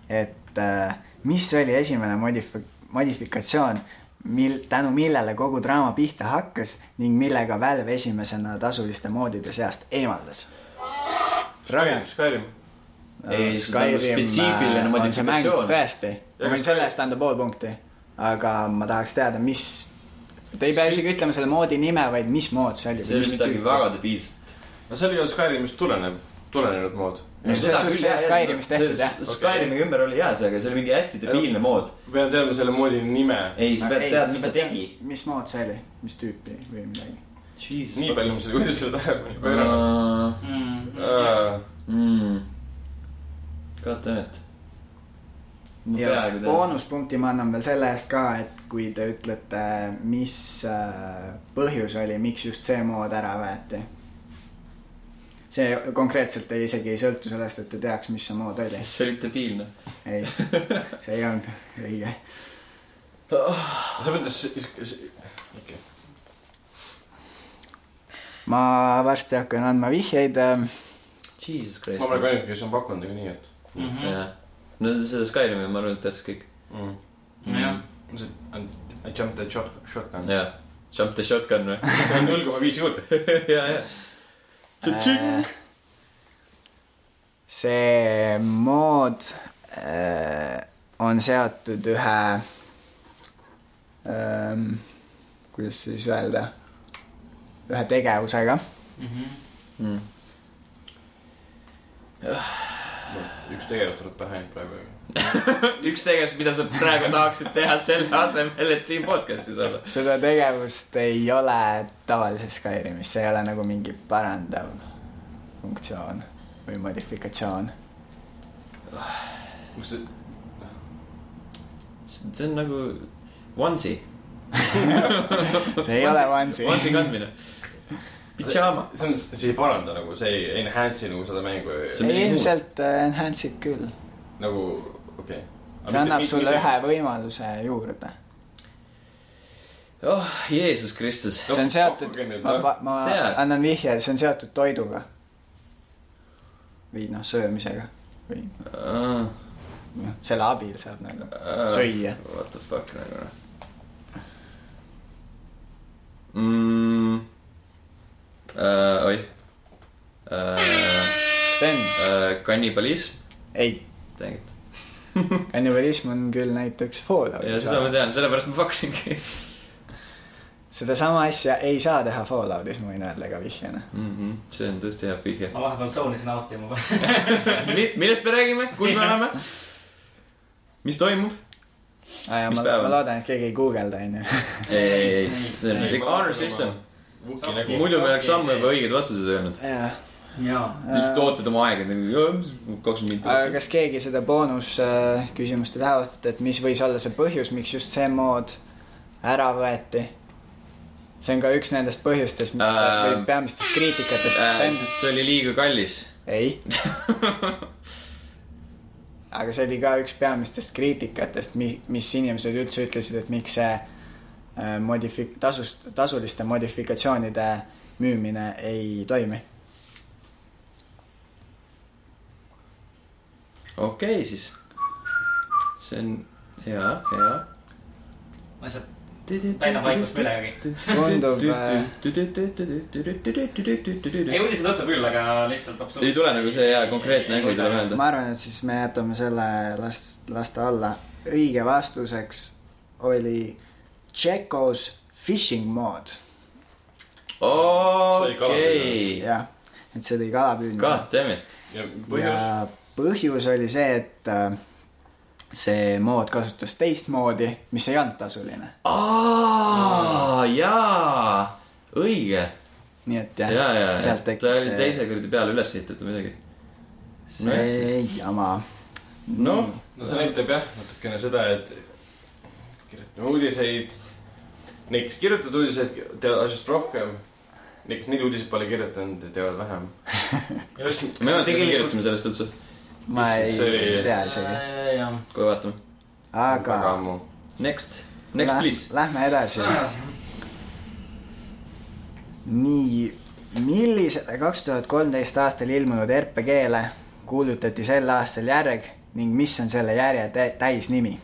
B: et äh, mis oli esimene modif- , modifikatsioon , mil- , tänu millele kogu draama pihta hakkas ning millega Valve esimesena tasuliste moodide seast eemaldas ? Ragnar .
D: Skyrim .
A: Ei, see tähendab spetsiifiline modifikatsioon.
B: tõesti ,
D: Ja
B: ma võin
D: kas-
B: selle eest anda pool punkti , aga ma tahaks teada , mis , te ei pea isegi ütlema selle moodi nime , vaid mis mood see oli .
A: see oli midagi väga debiilset .
D: no see oli ju Skyrimist tulenev , tulenenud mood .
B: Skyrimis tehtud, jah.
A: Skyrimi ümber oli hea see , aga see oli mingi hästi debiilne mood .
D: ma pean teadma selle moodi nime .
A: ei , sa pead teadma , mis ta tegi .
B: mis mood see oli , mis tüüpi või midagi .
D: nii palju ma selle uudisele tähelepanu pööranud . Äh,
A: palju .
C: Mm-hmm.
A: God damn Äh, mm. it . ma
B: ja
A: peaaegu tean .
B: boonuspunkti ma annan veel selle eest ka , et kui te ütlete , mis äh, põhjus oli , miks just see mood ära võeti . see konkreetselt ei, isegi ei sõltu sellest , et te teaks , mis see mood oli .
A: see oli debiilne .
B: ei , see ei olnud õige .
D: sa mõtled , okei .
B: ma varsti hakkan andma vihjeid .
A: Jesus
D: ma olen ka
A: Christ .
D: ainuke , kes on pakkunud niikuinii , et
C: Mm-hmm.
A: Mhm. no seda Skyrimi ma arvan , et teadis kõik .
C: jah ,
D: ma sain , I jumped the shot , shotgun .
A: jah . Jump the shotgun või ?
D: null koma viis juurde .
A: ja , ja .
B: äh, see mood äh, on seotud ühe ähm, , kuidas siis öelda , ühe tegevusega .
C: Mm-hmm.
D: üks tegevus tuleb pähe ainult praegu .
A: üks tegevus , mida sa praegu tahaksid teha selle asemel , et siin podcast'is olla .
B: seda tegevust ei ole tavalises Skyrimis , see ei ole nagu mingi parandav funktsioon või modifikatsioon .
D: kas see ,
A: see on nagu onesie .
B: see ei ole Vansi .
A: onesie kandmine . pidžaama .
D: see on , see ei paranda nagu , see ei enhance'i nagu seda mängu
A: See on midagi muud.
B: ilmselt äh, enhance'id küll ,
D: nagu , okei .
B: see annab sulle ühe võimaluse juurde
A: Noh, oh , Jeesus Kristus .
B: see on seotud
D: pakkuge nüüd, ,
B: ma
D: noh. ,
B: ma
A: Tead.
B: annan vihje , see on seotud toiduga . või noh , söömisega või
A: Ah,
B: noh , selle abil saab nagu süüa .
A: What the fuck nagu noh mm, . Uh, oih uh, .
B: Sten ,
A: Uh, kannibalism .
B: ei ,
A: Dang it .
B: kannibalism on küll
A: ja
B: näiteks
A: seda ma
B: Falloutis .
A: tean , sellepärast ma pakkusingi
B: sedasama asja ei saa teha Falloutis , ma võin öelda ka vihjena .
A: mm . -hmm. see on tõesti hea vihje .
C: ma vahepeal tsoonisin auti oma .
A: Mi- millest me räägime , kus me oleme ? mis toimub ? Mis
B: ma,
A: päev
B: ma
A: on?
B: loodan , et keegi ei guugelda , onju .
A: ei , see on ikka honor system .
D: Vuki nägu .
A: muidu me oleks ammu juba õiged vastused öelnud .
B: jaa . äh,
C: jaa .
A: lihtsalt ootad oma aega , kakskümmend
B: aga
A: minutit .
B: kas keegi seda boonusküsimust ei täheldanud , et mis võis olla see põhjus , miks just see mood ära võeti ? see on ka üks nendest põhjustest ,
A: Äh,
B: või peamistest kriitikatest äh, endast .
A: sest see oli liiga kallis .
B: ei . aga see oli ka üks peamistest kriitikatest , mi- , mis inimesed üldse ütlesid , et miks see äh, modifik- , tasust , tasuliste modifikatsioonide müümine ei toimi .
A: okei okay, , siis . see on hea , hea .
C: ma lihtsalt täidan vaikust millegagi .
B: Tundub, äh,
C: ei ,
A: ei
C: uudised võtab küll , aga lihtsalt absoluutselt .
A: tule nagu see hea konkreetne asi ei tule meelde .
B: ma arvan , et siis me jätame selle , las , las ta olla . õige vastuseks oli Tšekos fishing mod ,
D: See oli kalapüü.
A: okei ,
B: jah . et see tõi kalapüüdmise .
A: god damn it .
D: ja põhjus ,
B: ja põhjus oli see , et äh, see mood kasutas teist moodi , mis ei olnud tasuline .
A: aa , jaa , õige .
B: nii et
A: ja ,
B: jah
A: ja , ja
B: sealt
A: ta
B: tekkis
A: oli
B: see, Mm.
A: teise kuradi peale üles ehitatud midagi . no jah,
B: see jama .
A: noh ,
D: no see näitab jah natukene seda , et kirjutame uudiseid . Need , kes kirjutavad uudiseid , teavad asjast rohkem . Need , kes neid uudiseid pole kirjutanud , teavad vähem .
A: me ei mäleta , kas me kirjutasime sellest üldse ,
B: ma ei
D: See oli-
B: tea isegi ,
C: jah .
A: kohe vaatame .
B: aga .
D: ammu .
A: Next , next
B: lä-
A: please .
B: Lähme edasi . nii , millisele kaks tuhat kolmteist aastal ilmunud RPG-le kuulutati sel aastal järg ning mis on selle järje tä- täisnimi ?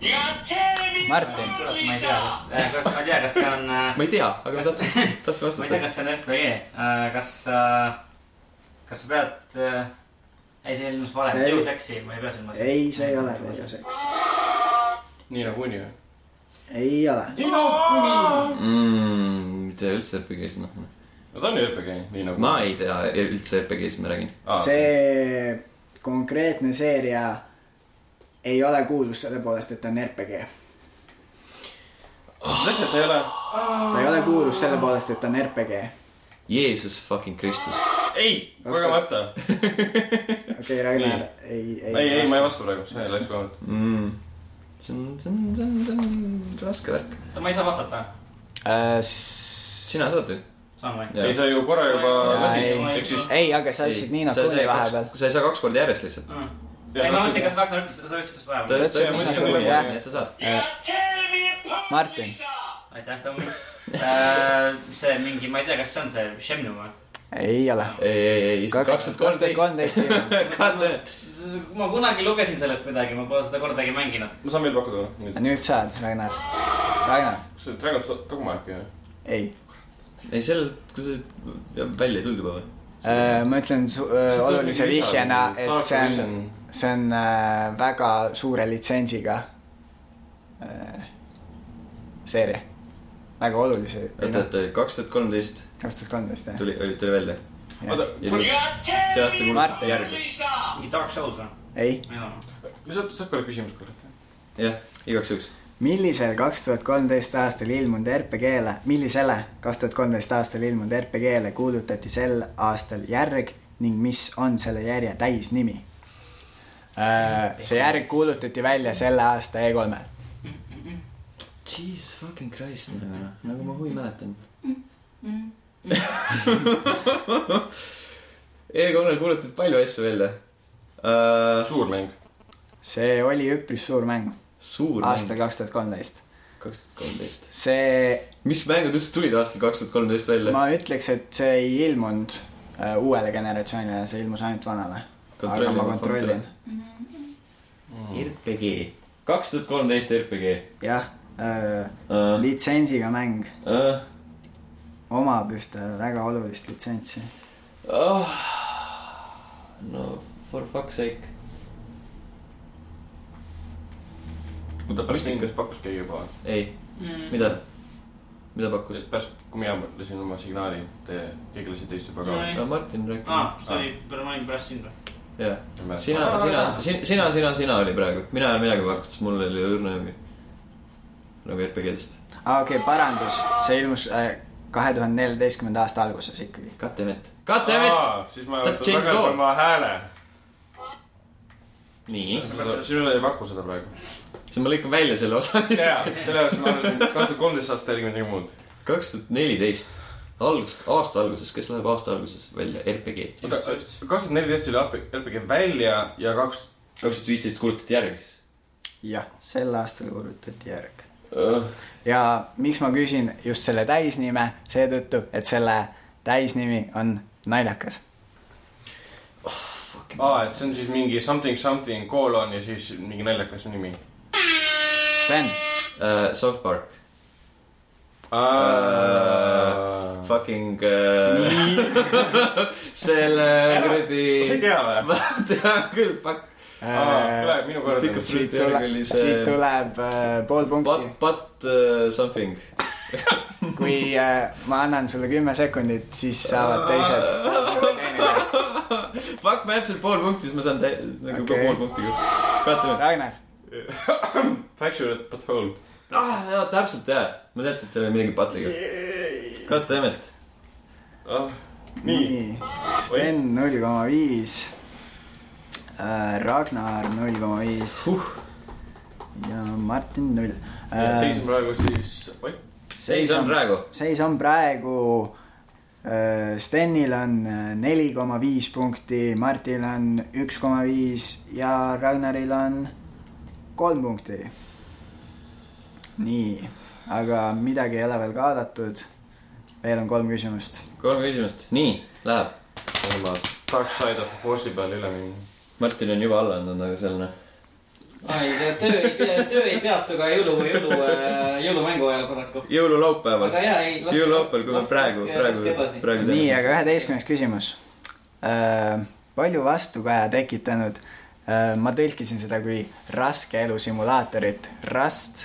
E: You gotta tell me
B: Martin.
E: properly,
C: ma ei tea ,
E: sir.
C: kas , ma ei tea , kas see on , äh, ma
A: ma ei tea , aga ma
C: Kas-
A: tahtsin , tahtsin
C: ei
A: vastata .
C: tea , kas see on RPG , kas , kas sa pead , ei , see ilmus valem ,
B: Ei.
C: Deus Exi , ma ei pea silmas .
B: ei , see ei ole põhjuseks .
D: nii nagu uni või ?
B: ei ole .
D: nii nagu uni .
A: mitte Mm, üldse RPG-st , noh .
D: no ta on ju RPG , nii nagu .
A: ma ei tea üldse RPG-st , ma räägin .
B: see konkreetne seeria ei ole kuulus selle poolest , et ta on RPG .
D: täpselt ei ole .
B: ta ei ole kuulus selle poolest , et ta on RPG .
A: Jeesus fucking Kristus .
D: ei , kogemata .
B: okei , Ragnar , ei , ei .
D: ei , ei , ma ei vasta praegu , see läks kogemata .
A: Mm. see on , see on , see on , see on raske värk .
C: ma ei saa vastata ,
B: Äh, vasta .
A: sina saad ju .
C: saan või ?
D: ei , sa ju korra juba
C: Jaa,
D: lasid
B: ei. ,
D: ehk siis .
B: ei , aga sa ütlesid Niina Kulli vahepeal .
A: sa ei saa kaks korda järjest lihtsalt .
C: Mm. ei , ma mõtlesin , kas Ragnar ütles , sa ütlesid just
A: ta
B: See-
C: vahepeal .
A: ütles , et
B: see-
A: sa kuulid ,
B: jah.
A: nii et sa saad .
E: You gotta tell me properly,
B: Martin.
E: sir.
C: aitäh , Tom . see mingi , ma ei tea , kas see on see Shemnu või ?
B: ei ole .
A: ei , ei , ei ,
B: kaks
A: kaks tuhat
B: tuhat
A: kolmteist .
B: kolmteist ei ole .
C: ma kunagi lugesin sellest midagi , ma pole seda kordagi mänginud .
D: ma saan veel pakkuda või ? nüüd ,
B: nüüd saad , Ragnar . Ragnar ,
D: kas see Dragon's Dogma äkki või ?
B: ei .
A: ei , sellel , kas see välja ei tulnud juba või ?
B: Äh, ma ütlen su- öö, olulise vihjena , et see on ,. see on äh, väga suure litsentsiga äh, seeria . väga olulise .
A: oota , oota , kaks tuhat kolmteist
B: kaks tuhat kolmteist jah .
A: tuli , oli , tuli välja .
D: oota ,
E: You gotta tell
A: see aasta
E: me
B: Martin.
A: kuulutati järgi .
E: properly, sir.
C: mingi Dark Souls või ?
B: ei ,
C: ma ei tea .
D: saad , saad korra küsimust korrata ?
A: jah , igaks juhuks .
B: millisel kaks tuhat kolmteist aastal ilmunud RPG-le , millisele kaks tuhat kolmteist aastal ilmunud RPG-le kuulutati sel aastal järg ning mis on selle järje täisnimi ? see järg kuulutati välja selle aasta E E3-l .
A: Jesus fucking Christ , nagu ma huvi mäletan . E3-l kuulutati palju asju välja uh, .
D: suur mäng .
B: see oli üpris suur mäng ,
A: suur
B: aastal
A: mäng ,
B: kaks tuhat kolmteist .
A: kaks tuhat kolmteist .
B: see
A: mis mängud üldse tulid aastal kaks tuhat kolmteist välja ?
B: ma ütleks , et see ei ilmunud äh, uuele generatsioonile , see ilmus ainult vanale . aga ma kontrollin .
A: RPG , kaks tuhat kolmteist RPG
B: jah äh, ,
A: uh, .
B: litsentsiga mäng
A: Uh,
B: omab ühte väga olulist litsentsi .
A: oh, no for fuck's sake .
D: oota , pärast
A: Mystic.
D: mingit pakkus keegi juba ?
A: ei , mida , mida pakkus ?
D: pärast , kui mina lasin oma signaali , te , eh, keegi lasi teist juba ka
C: Nojah. .
A: Martin rääkis
C: Ah, aa , see oli , ma olin pärast sind või ?
A: jah . sina , sina , sina , sina , sina oli praegu , mina ei ole midagi pakkunud , sest mul oli õrna õmi . nagu RPG-dest .
B: aa , Ah, okei , parandus , see ilmus kahe tuhande neljateistkümnenda aasta alguses ikkagi .
A: Katemet , Katemet !
D: siis ma
A: Ta
D: võtan
A: change
D: tagasi
A: law.
D: oma hääle .
A: nii ,
D: sinule ei paku seda praegu .
A: siis ma lõikan välja selle osa
D: jaa ,
A: vist .
D: sellepärast ma arvasin , et kaks tuhat kolmteist aastat järgi midagi muud .
A: kaks tuhat neliteist , algust , aasta alguses , kes läheb aasta alguses välja , RPG .
D: oota , kaks tuhat neliteist tuli RP- RPG välja ja kaks ,
A: kaks tuhat viisteist kuulutati järgmiseks
B: jah , sel aastal kuulutati järg .
A: uh, .
B: ja miks ma küsin just selle täisnime , seetõttu , et selle täisnimi on naljakas .
D: aa , et see on siis mingi something something kolon ja siis mingi naljakas nimi .
B: Sven ,
A: Uh, South Park uh, ,
D: sa
A: fucking uh, . selle
D: ei
A: kuradi .
D: tea või ?
A: ma tean küll , fuck .
D: kuule , minu
A: Sest
D: kord
A: ikka-
D: on .
B: Äh,
A: Priit
B: siit tuleb
A: Järgeli , see-
B: siit tuleb äh, pool
A: But
B: punkti .,
A: but uh, something .
B: kui äh, ma annan sulle kümme sekundit , siis saavad teised .
A: Fuck , ma jätsin pool punkti , siis ma saan tä- , nagu okay.
B: Okei.
A: pool punkti . vaatame .
B: Ragnar ,
D: Factured but whole .
A: ah , jaa , täpselt jaa . ma teadsin , et seal oli midagi patiga . Goddammit .
D: Ah, nii ,
B: nii . Sven null koma viis . Ragnar null koma viis
A: Huh.
B: ja Martin null .
A: Äh.
D: seis on praegu siis , oih ,
A: seis on praegu .
B: seis on praegu . Stenil on äh, neli koma viis punkti , Martil on üks koma viis ja Ragnaril on kolm punkti . nii , aga midagi ei ole veel kaadatud . veel on kolm küsimust .
A: kolm küsimust , nii , läheb .
D: ma tahaks saada Force'i peale üle minna .
A: Martin on juba alla andnud , aga seal noh .
C: ei , töö , töö ei peatu ka jõulu , jõulu , jõulumängu ajal paraku .
A: jõululaupäeval
C: aga . jaa , ei .
A: jõululaupäeval , kui me praegu , praegu ,
C: praegu .
A: praegu .
B: nii , aga üheteistkümnes küsimus . palju vastukaja tekitanud , ma tõlkisin seda kui raske elu simulaatorit , Rust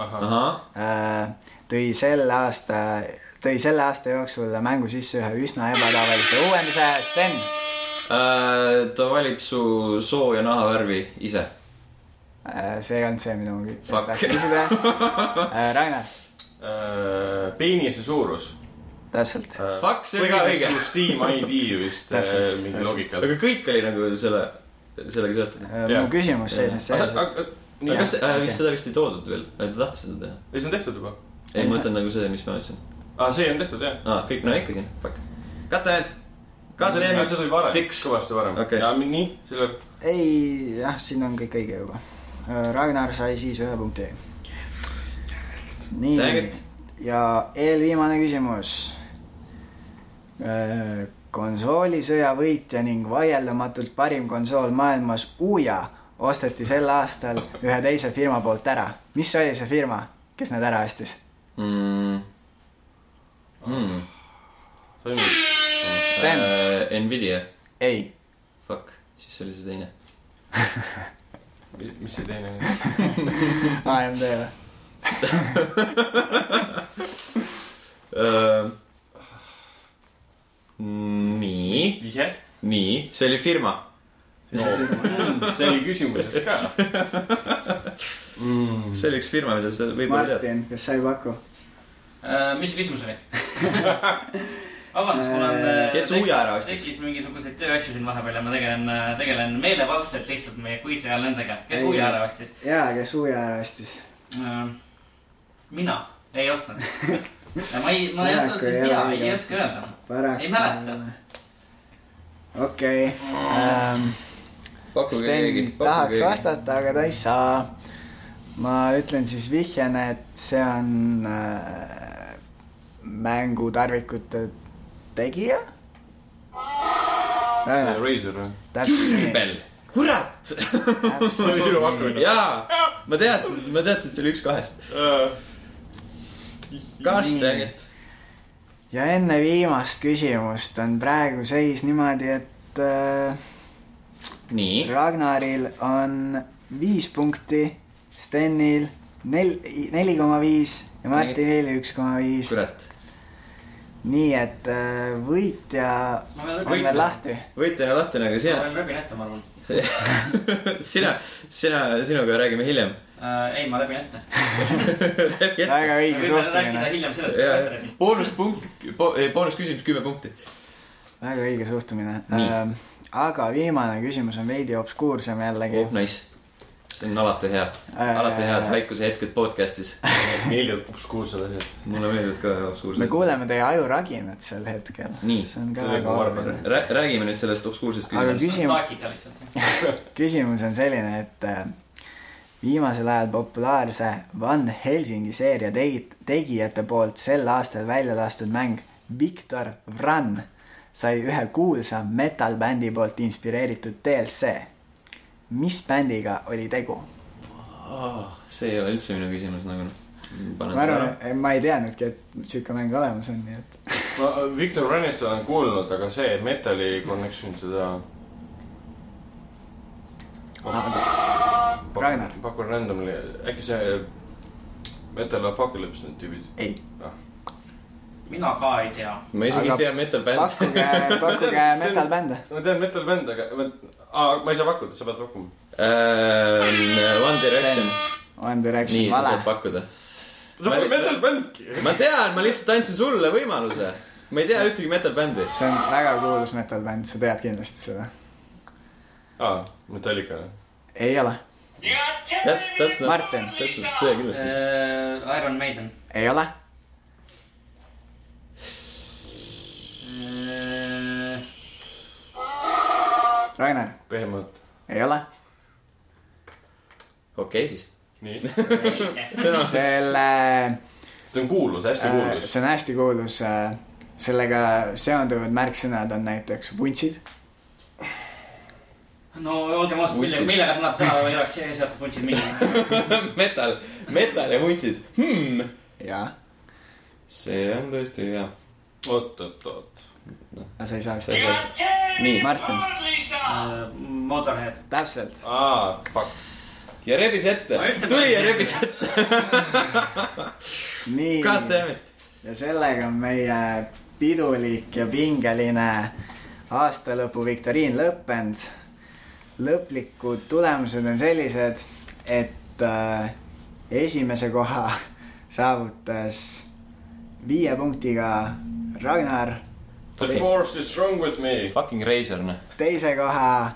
D: ahah ,
A: ahah ,
B: äh, tõi selle aasta , tõi selle aasta jooksul mängu sisse ühe üsna ebatavalise uuenduse , Sten .
A: Äh, ta valib su soo ja nahavärvi ise .
B: Äh, see ei olnud see , mida ma kü-
A: Fuck.
B: tahtsin küsida . Ragnar ,
D: Äh, peenise suurus . Äh,
B: täpselt .
A: Fuck, see oli ka õige.
D: Steam ID vist äh,
B: Täpselt,
D: mingi
B: täpselt.
D: loogika .
A: aga kõik oli nagu selle , sellega seotud .
B: Äh, mu küsimus seisnes selles , et
A: aga
D: ei ,
A: kas äh, ,
B: okei.
A: vist seda vist ei toodud veel , ta tahtis seda teha .
D: see on tehtud juba .
A: ei ,
B: Ei,
A: ma
B: see-
A: mõtlen nagu see , mis ma ütlesin .
D: aa , see on tehtud jah .
A: aa , kõik , no ikkagi , fuck . Kattenet ,
D: see
B: nagu
A: Kattenet .
D: tuli varem ,
A: Tiks.
D: kõvasti varem
A: Okei.
D: ja nii , selle
B: ei , jah , siin on kõik õige juba . Ragnar sai siis ühe punkti . nii
A: Dang it. ,
B: ja eelviimane küsimus . konsoolisõja võitja ning vaieldamatult parim konsool maailmas , Uja , osteti sel aastal ühe teise firma poolt ära . mis oli see firma , kes need ära ostis ?
A: Hmm.
D: sõnumi .
B: Sten ,
A: Äh, Nvidia ,
B: ei ,
A: fuck , siis oli see teine .
D: mis see teine oli ?
B: AMD või ?
A: Äh, nii ,
D: vihje ?
A: nii , see oli firma .
D: see oli küsimuses ka . Mm.
A: see oli üks firma , mida sa võib-olla tead .
B: Martin , kas sa ei paku ?
C: Äh, mis küsimus oli ? vabandust , mul on .
B: Äh,
A: Kes uue ära ostis?
C: tekkis mingisuguseid tööasju siin vahepeal ja ma tegelen , tegelen meelevaldselt lihtsalt meie kuise ajal nendega , kes
B: Ei.
C: uue ära ostis .
B: jaa , kes Uja ära ostis ?
C: mina ei ostnud . ma ei , ma ei
B: Paraku
C: oska ,
B: ei
C: ei tea ,
B: ole
C: ei
B: õige
C: oska
B: vastus.
C: öelda .
B: paraku
C: Ei mäleta. .
B: okei ähm, ,
A: pakkuge keegi
B: Sten , tahaks
A: pakkuge keegi .
B: vastata , aga ta ei saa . ma ütlen siis vihjena , et see on äh, mängutarvikute tegija .
D: Razer või ?
B: täpselt nii ,
A: Apple , kurat .
D: see oli sinu
B: täpselt nii .
D: pakkumine .
A: jaa , ma teadsin , ma teadsin , et see oli üks kahest . Gosh dang it .
B: ja enne viimast küsimust on praegu seis niimoodi , et äh,
A: nii ,
B: Ragnaril on viis punkti , Stenil nel- , neli koma viis ja Martinil üks koma viis .
A: kurat .
B: nii et äh, võitja
C: Ma veel-
B: on
C: võitja.
B: veel lahti .
A: võitjana lahtine , aga
C: ma
A: sina ,
C: veel läbin ette , ma arvan .
A: sina , sina , sinuga räägime hiljem .
C: Äh, ei , ma läbin ette .
B: väga õige
C: rääkida
B: suhtumine ,
C: hiljem sellest , kuidas ette läbin .
A: boonuspunkt , boonusküsimus kümme punkti .
B: väga õige suhtumine Ähm,
A: Nii. .
B: aga viimane küsimus on veidi obskuursem jällegi Äh,
A: oh , nice . see on alati hea , alati head . väikuse hetked podcast'is .
D: meeldivad obskuursed asjad .
A: mulle meeldivad ka obskuursed .
B: me . kuuleme teie ajuraginat sel hetkel .
A: Nii.
B: see on ka
D: See
B: väga
D: on
B: oluline .
A: räägime nüüd sellest obskuursest
B: Aga
A: küsimusest .
B: Küsim-
C: staakika lihtsalt .
B: küsimus on selline , et äh, viimasel ajal populaarse Van Helsingi seeria tegi- , tegijate poolt sel aastal välja lastud mäng Viktor Vran sai ühe kuulsa metal-bändi poolt inspireeritud DLC . mis bändiga oli tegu ?
A: Ah, see ei ole üldse minu küsimus nagu .
B: ma arvan , ma ei teadnudki , et sihuke mäng olemas on , nii et
D: ma äh, Victor Runist olen kuulnud , aga see Metal'i connection seda .
A: Ah.
B: Ragnar.
D: pakun randomly , äkki see Metal Apocalypse need tüübid .
B: ei .
C: mina ka ei tea .
A: ma isegi
B: Aga
A: ei tea metal bändi .
B: pakkuge , pakkuge metal-bände .
D: ma tean metal bänd , aga ma , ma ei saa pakkuda , sa pead pakkuma .
A: Äh, One Direction ,
B: One Direction
A: nii , sa
B: vale
A: saad . pakkuda .
D: sa
A: Ma-
D: pole metal bändki .
A: ma tean , ma lihtsalt andsin sulle võimaluse . ma ei tea ühtegi metal bändi .
B: see on väga kuulus metal-bänd , sa tead kindlasti seda .
D: aa , Metallica .
B: ei ole ,
A: That's , that's not ,
B: Martin ,
A: that's not see kindlasti .
C: Äh, Iron Maiden .
B: ei ole , Rainer ,
D: pehmelt .
B: ei ole
A: okei , siis .
D: nii .
B: selle ,
D: see on kuulus , hästi
A: Äh.
D: kuulus .
B: Äh, see on hästi kuulus , sellega seonduvad märksõnad on näiteks vuntsid ,
C: no olgem ausad , millega ,
A: Vuntsid.
C: millega nad täna ei oleks seotud vuntsid minema .
A: metal , metal ja vuntsid hmm. .
B: jaa ,
A: see on tõesti hea .
D: oot , oot , oot .
B: aga sa ei saa
A: Sa ei
B: seda ,
E: nii ,
B: Martin.
C: Motorhead .
B: täpselt ,
D: aa , fuck .
A: ja rebis ette
C: Ma üldse .
A: tuli
C: ei
A: ja
C: tea.
A: rebis ette .
B: nii ,
A: God damn it .
B: ja sellega on meie pidulik ja pingeline aastalõpu viktoriin lõppenud . lõplikud tulemused on sellised , et äh, esimese koha saavutas viie punktiga Ragnar
D: The force is strong with me .
A: Fucking Razor , noh .
B: teise koha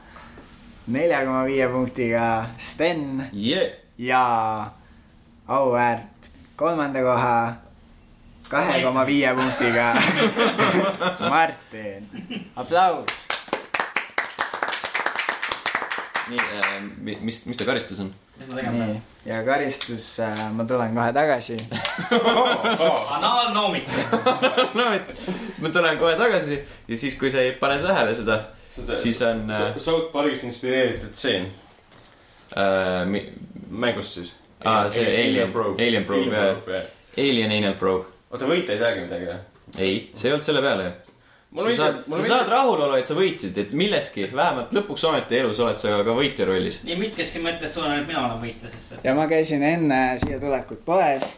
B: nelja koma viie punktiga Sten
A: Yeah.
B: ja auväärt Oh, kolmanda koha kahe koma viie punktiga Martin . aplaus .
A: nii äh, , mis , mis ta karistus on ?
C: mis ma tegema pean
B: nii ,, ja karistus , ma tulen kohe tagasi .
C: anaalnoomik .
A: no , et ma tulen kohe tagasi ja siis , kui sa ei pane tähele seda , siis on äh,
D: South Parkist inspireeritud stseen .
A: äh, mi-
D: mängust siis .
A: Aa, see Alien- Alien Probe, jah.
D: jah .
A: Alien Anal Probe . või ?
D: oota , võita ei saagi midagi , jah ?
A: ei , see ei olnud selle peale ju . sa
D: mulle
A: saad ,
D: meeldib ,
A: sa
D: mulle
A: saad
D: meeldib .
A: rahulolu , et sa võitsid , et milleski , vähemalt lõpuks ometi elus oled sa ka võitja rollis .
C: nii mitmeski mõttes tunnen , et mina olen võitja , sest et
B: ja ma käisin enne siia tulekut poes .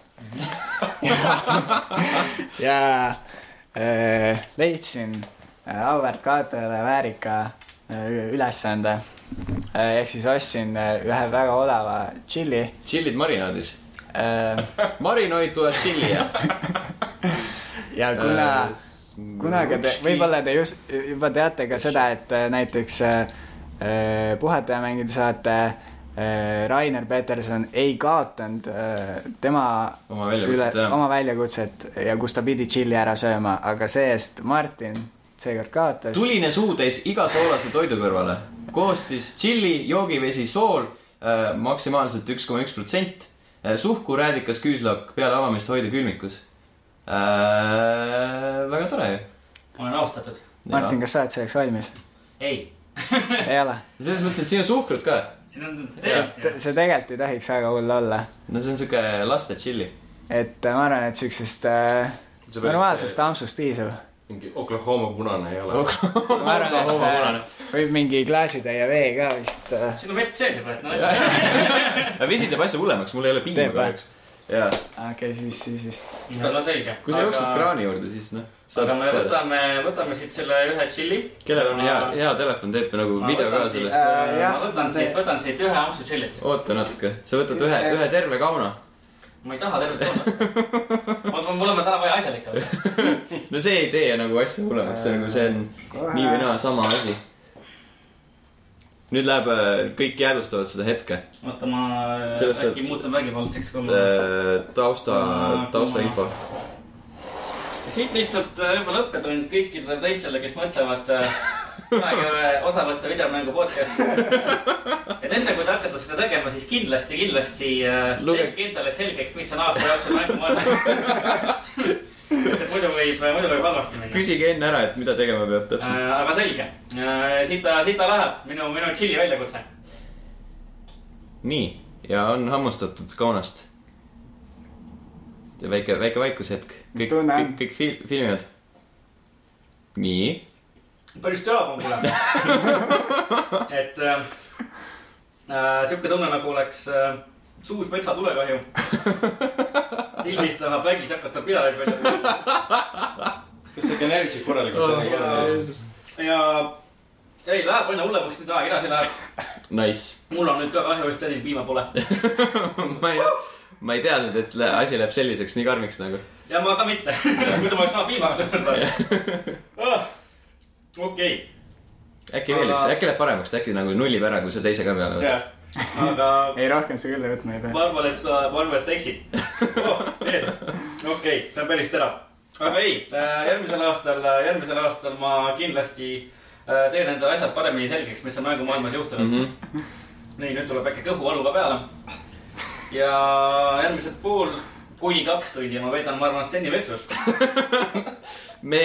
B: ja äh, leidsin äh, auväärt kaotajale väärika äh, ülesande äh, . ehk siis ostsin äh, ühe väga odava tšilli
A: tšillid marinaadis .
B: äh, .
A: marinoid tuleb tšilli ja .
B: ja kuna äh, , kunagi te , võib-olla te just , juba teate ka seda , et äh, näiteks äh, äh, puhataja mängida saate äh, Rainer Peterson ei kaotanud äh, tema
A: Oma väljakutset,
B: üle-
A: jah.
B: oma väljakutset ja kus ta pidi tšilli ära sööma , aga see-eest Martin seekord kaotas .
A: tuline suutäis iga soolase toidu kõrvale . koostis tšilli , joogivesi , sool äh, maksimaalselt üks koma üks protsent . suhku , räädikas , küüslauk peale avamist hoida külmikus äh, . väga tore ju .
C: ma olen austatud .
B: Martin , kas sa oled selleks valmis ?
C: ei ,
B: ei ole ?
A: selles mõttes , et siin on suhkrut ka .
C: siin on
B: see
C: tõesti .
B: see tegelikult ei tohiks väga hull olla ,
A: no see on siuke laste tšilli .
B: et äh, ma arvan , et siuksest äh,
D: See päris-
B: normaalsest ampsust piisab .
D: mingi Oklahoma punane ei ole .
B: ma arvan , et
A: Oklahoma
B: äh, võib mingi klaasitäie vee ka vist äh,
C: siin on vett sees juba , et noh ,
A: vesi teeb asja hullemaks , mul ei ole piima
B: Teeb või?
A: kahjuks . jaa ,
B: okei okay, , siis , siis vist
C: no selge .
A: kui sa jooksed kraani juurde , siis noh . saad
C: aga me
A: teada .
C: võtame , võtame siit selle ühe tšilli .
A: kellel on hea , hea telefon , teeb nagu
C: Ma
A: video
C: võtan
A: ka
C: siit-
A: sellest .
B: Äh, jah,
C: ma võtan
B: on see-
C: siit , võtan siit ühe ampsu tšillit .
A: oota natuke , sa võtad ühe , ühe terve kauna .
C: ma ei taha tervet toona . mul on , mul on täna vaja asjalik olla .
A: no see ei tee nagu asja hullemaks , see nagu see on nii või naa sama asi . nüüd läheb , kõik jäädvustavad seda hetke .
C: oota , ma äh,
A: Selles
C: äkki
A: saab-
C: muutun vägivaldseks , kui ma .
A: äh, tausta ,
C: Mm.
A: taustainfo .
C: siit lihtsalt äh, võib-olla õppetund kõikidele teistele , kes mõtlevad äh, kunagi äh, osa võtta videomängu podcast'i . et enne kui te hakkate seda tegema , siis kindlasti , kindlasti äh,
A: Luge-
C: tehke endale selgeks , mis on aasta jooksul mängu mõeldud . sest muidu võib , muidu võib halvasti minna .
A: küsige enne ära , et mida tegema peab täpselt .
C: Äh, aga selge , siit ta , siit ta läheb , minu , minu tšilli väljakutse .
A: nii , ja on hammustatud kaunast . väike , väike vaikushetk .
B: Mis
A: kõik ,
B: tunne on?
A: kõik , kõik fil- , filmivad . nii ,
C: päris töö on kuule . et äh, äh, sihuke tunne nagu oleks äh, suus metsatulekahju . silmist tahab vägis hakata pidavaid välja
D: kas sa genereerisid korralikult ?
C: ja ei , läheb aina hullemaks , mida aeg edasi läheb .
A: nice .
C: mul on nüüd ka kahju , et sellist piima pole .
A: ma ei , ma ei teadnud , et lä- asi läheb selliseks nii karmiks nagu .
C: ja ma ka mitte , muidu ma oleks sama piimaga tulnud praegu . Ah, okei ,
A: äkki veel üks , äkki läheb paremaks , äkki nagu nullib ära , kui sa teise ka peale võtad .
C: aga
B: ei , rohkem sa küll võtma ei pea .
C: ma arvan , et sa , ma arvan , et sa eksid oh, . okei , see on päris terav . aga ei , järgmisel aastal , järgmisel aastal ma kindlasti äh, teen endale asjad paremini selgeks , mis on mängumaailmas juhtunud mm . -hmm. nii , nüüd tuleb väike kõhuvalu ka peale . ja järgmised pool kuni kaks tundi ma veedan , ma arvan , Steni vetsus .
A: me ,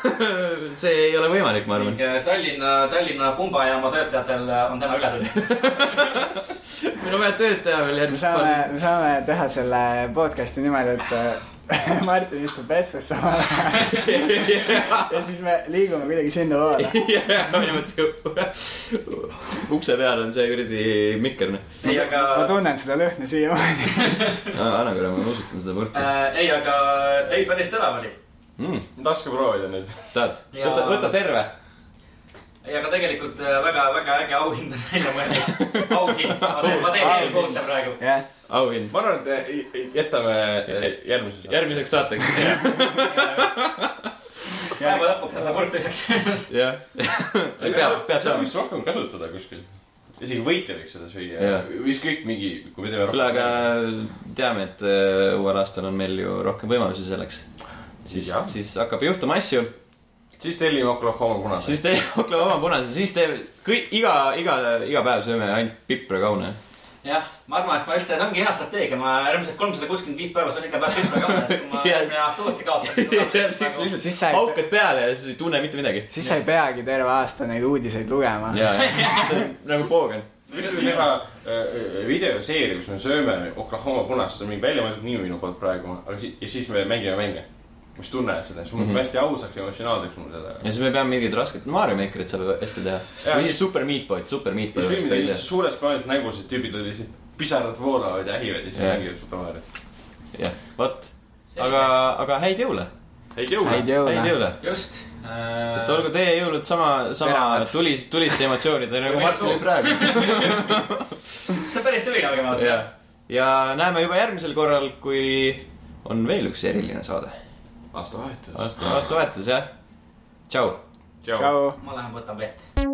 A: see ei ole võimalik , ma arvan
C: ning . äh, Tallinna , Tallinna pumbajaama töötajatel äh, on täna ületund .
A: meil on vaja tööd teha veel
B: me
A: järgmist
B: saame
A: päeva .,
B: me saame teha selle podcast'i niimoodi , et äh, Martin istub vetsus samal ajal ja siis me liigume kuidagi sinnapoole .
A: jah , minu mõttes ka ukse peal on see kuradi mikker , noh .
C: ei , aga
B: ma tunnen seda lõhna siiamaani .
A: anna korra , ma nuusutan seda purki
C: äh, ei , aga ei , päris terav oli
A: mm, .
D: tahaks ka proovida nüüd .
A: tahad ?
C: Ja-
A: võta , võta terve .
C: ei , aga tegelikult äh, väga-väga äge auhind on välja mõeldud . auhind , ma teen , ma teen eelkohta praegu .
B: jah ,
A: auhind .
D: ma arvan , et eh, jätame järgmise saate .
A: järgmiseks saateks .
C: päeva lõpuks sa saad purk tühjaks .
A: jah . ei pea , peab
D: seda
A: saama .
D: võiks rohkem kasutada kuskil . isegi võitja võiks seda süüa
A: Jah. .
D: või ükskõik mingi , kui me teeme
A: kuule , aga teame , et äh, uuel aastal on meil ju rohkem võimalusi selleks . siis
D: Jah. ,
A: siis hakkab juhtuma asju ,
D: siis tellime Oklahoma punase .
A: siis teeme Oklahoma punase , siis teeme kõik , iga , iga , iga päev sööme ainult piprakaune .
C: jah , ma arvan , et ma üldse , see ongi hea strateegia , ma järgmised kolmsada kuuskümmend viis päeva sõin iga päev kümme kammes , kui ma
A: Jah.
C: järgmine aasta uuesti Nagu-
A: ja siis
C: kaotan .
A: lihtsalt
B: Siis sa ei-
A: haukad peale ja siis ei tunne mitte midagi .
B: siis sa ei peagi terve aasta neid uudiseid lugema .
A: ja , ja see on nagu poogen .
D: üks võib teha äh, videoseeria , kus me sööme Oklahoma punast , see on mingi välja mõeldud nimi minu poolt praegu , aga siis , ja siis me mängime mänge . mis tunne seda , see muutub hästi ausaks ja emotsionaalseks mulle seda .
A: ja siis me peame mingid rasked Mario Makerit saab hästi teha .
D: Jaa.
A: või siis Super Meat Boy'd , Super Meat Boy
D: siis
A: oleks
D: filmides
A: päris
D: lihtsalt suures plaanis nägus , et tüübid olid lihtsalt pisarad voolavad ja ähivad ja siis
A: Jah.
D: mängivad Super Mariot .
A: hea . jah , vot . aga , aga häid jõule ,
D: häid jõule
B: häid .
A: häid
B: jõule .
A: jõule .
C: just . Äh,
A: et olgu teie jõulud sama , sama
B: Teravad.
A: tulis , tuliste emotsioonidega nagu
C: Või
A: Martinil
C: suur.
A: praegu .
C: see on päris tõeline , olgem ausad .
A: ja , ja näeme juba järgmisel korral , kui on veel üks eriline saade .
D: aastavahetus .
A: aasta , aastavahetus jah . tšau .
D: tšau .
B: tšau .
C: ma lähen võtan vett .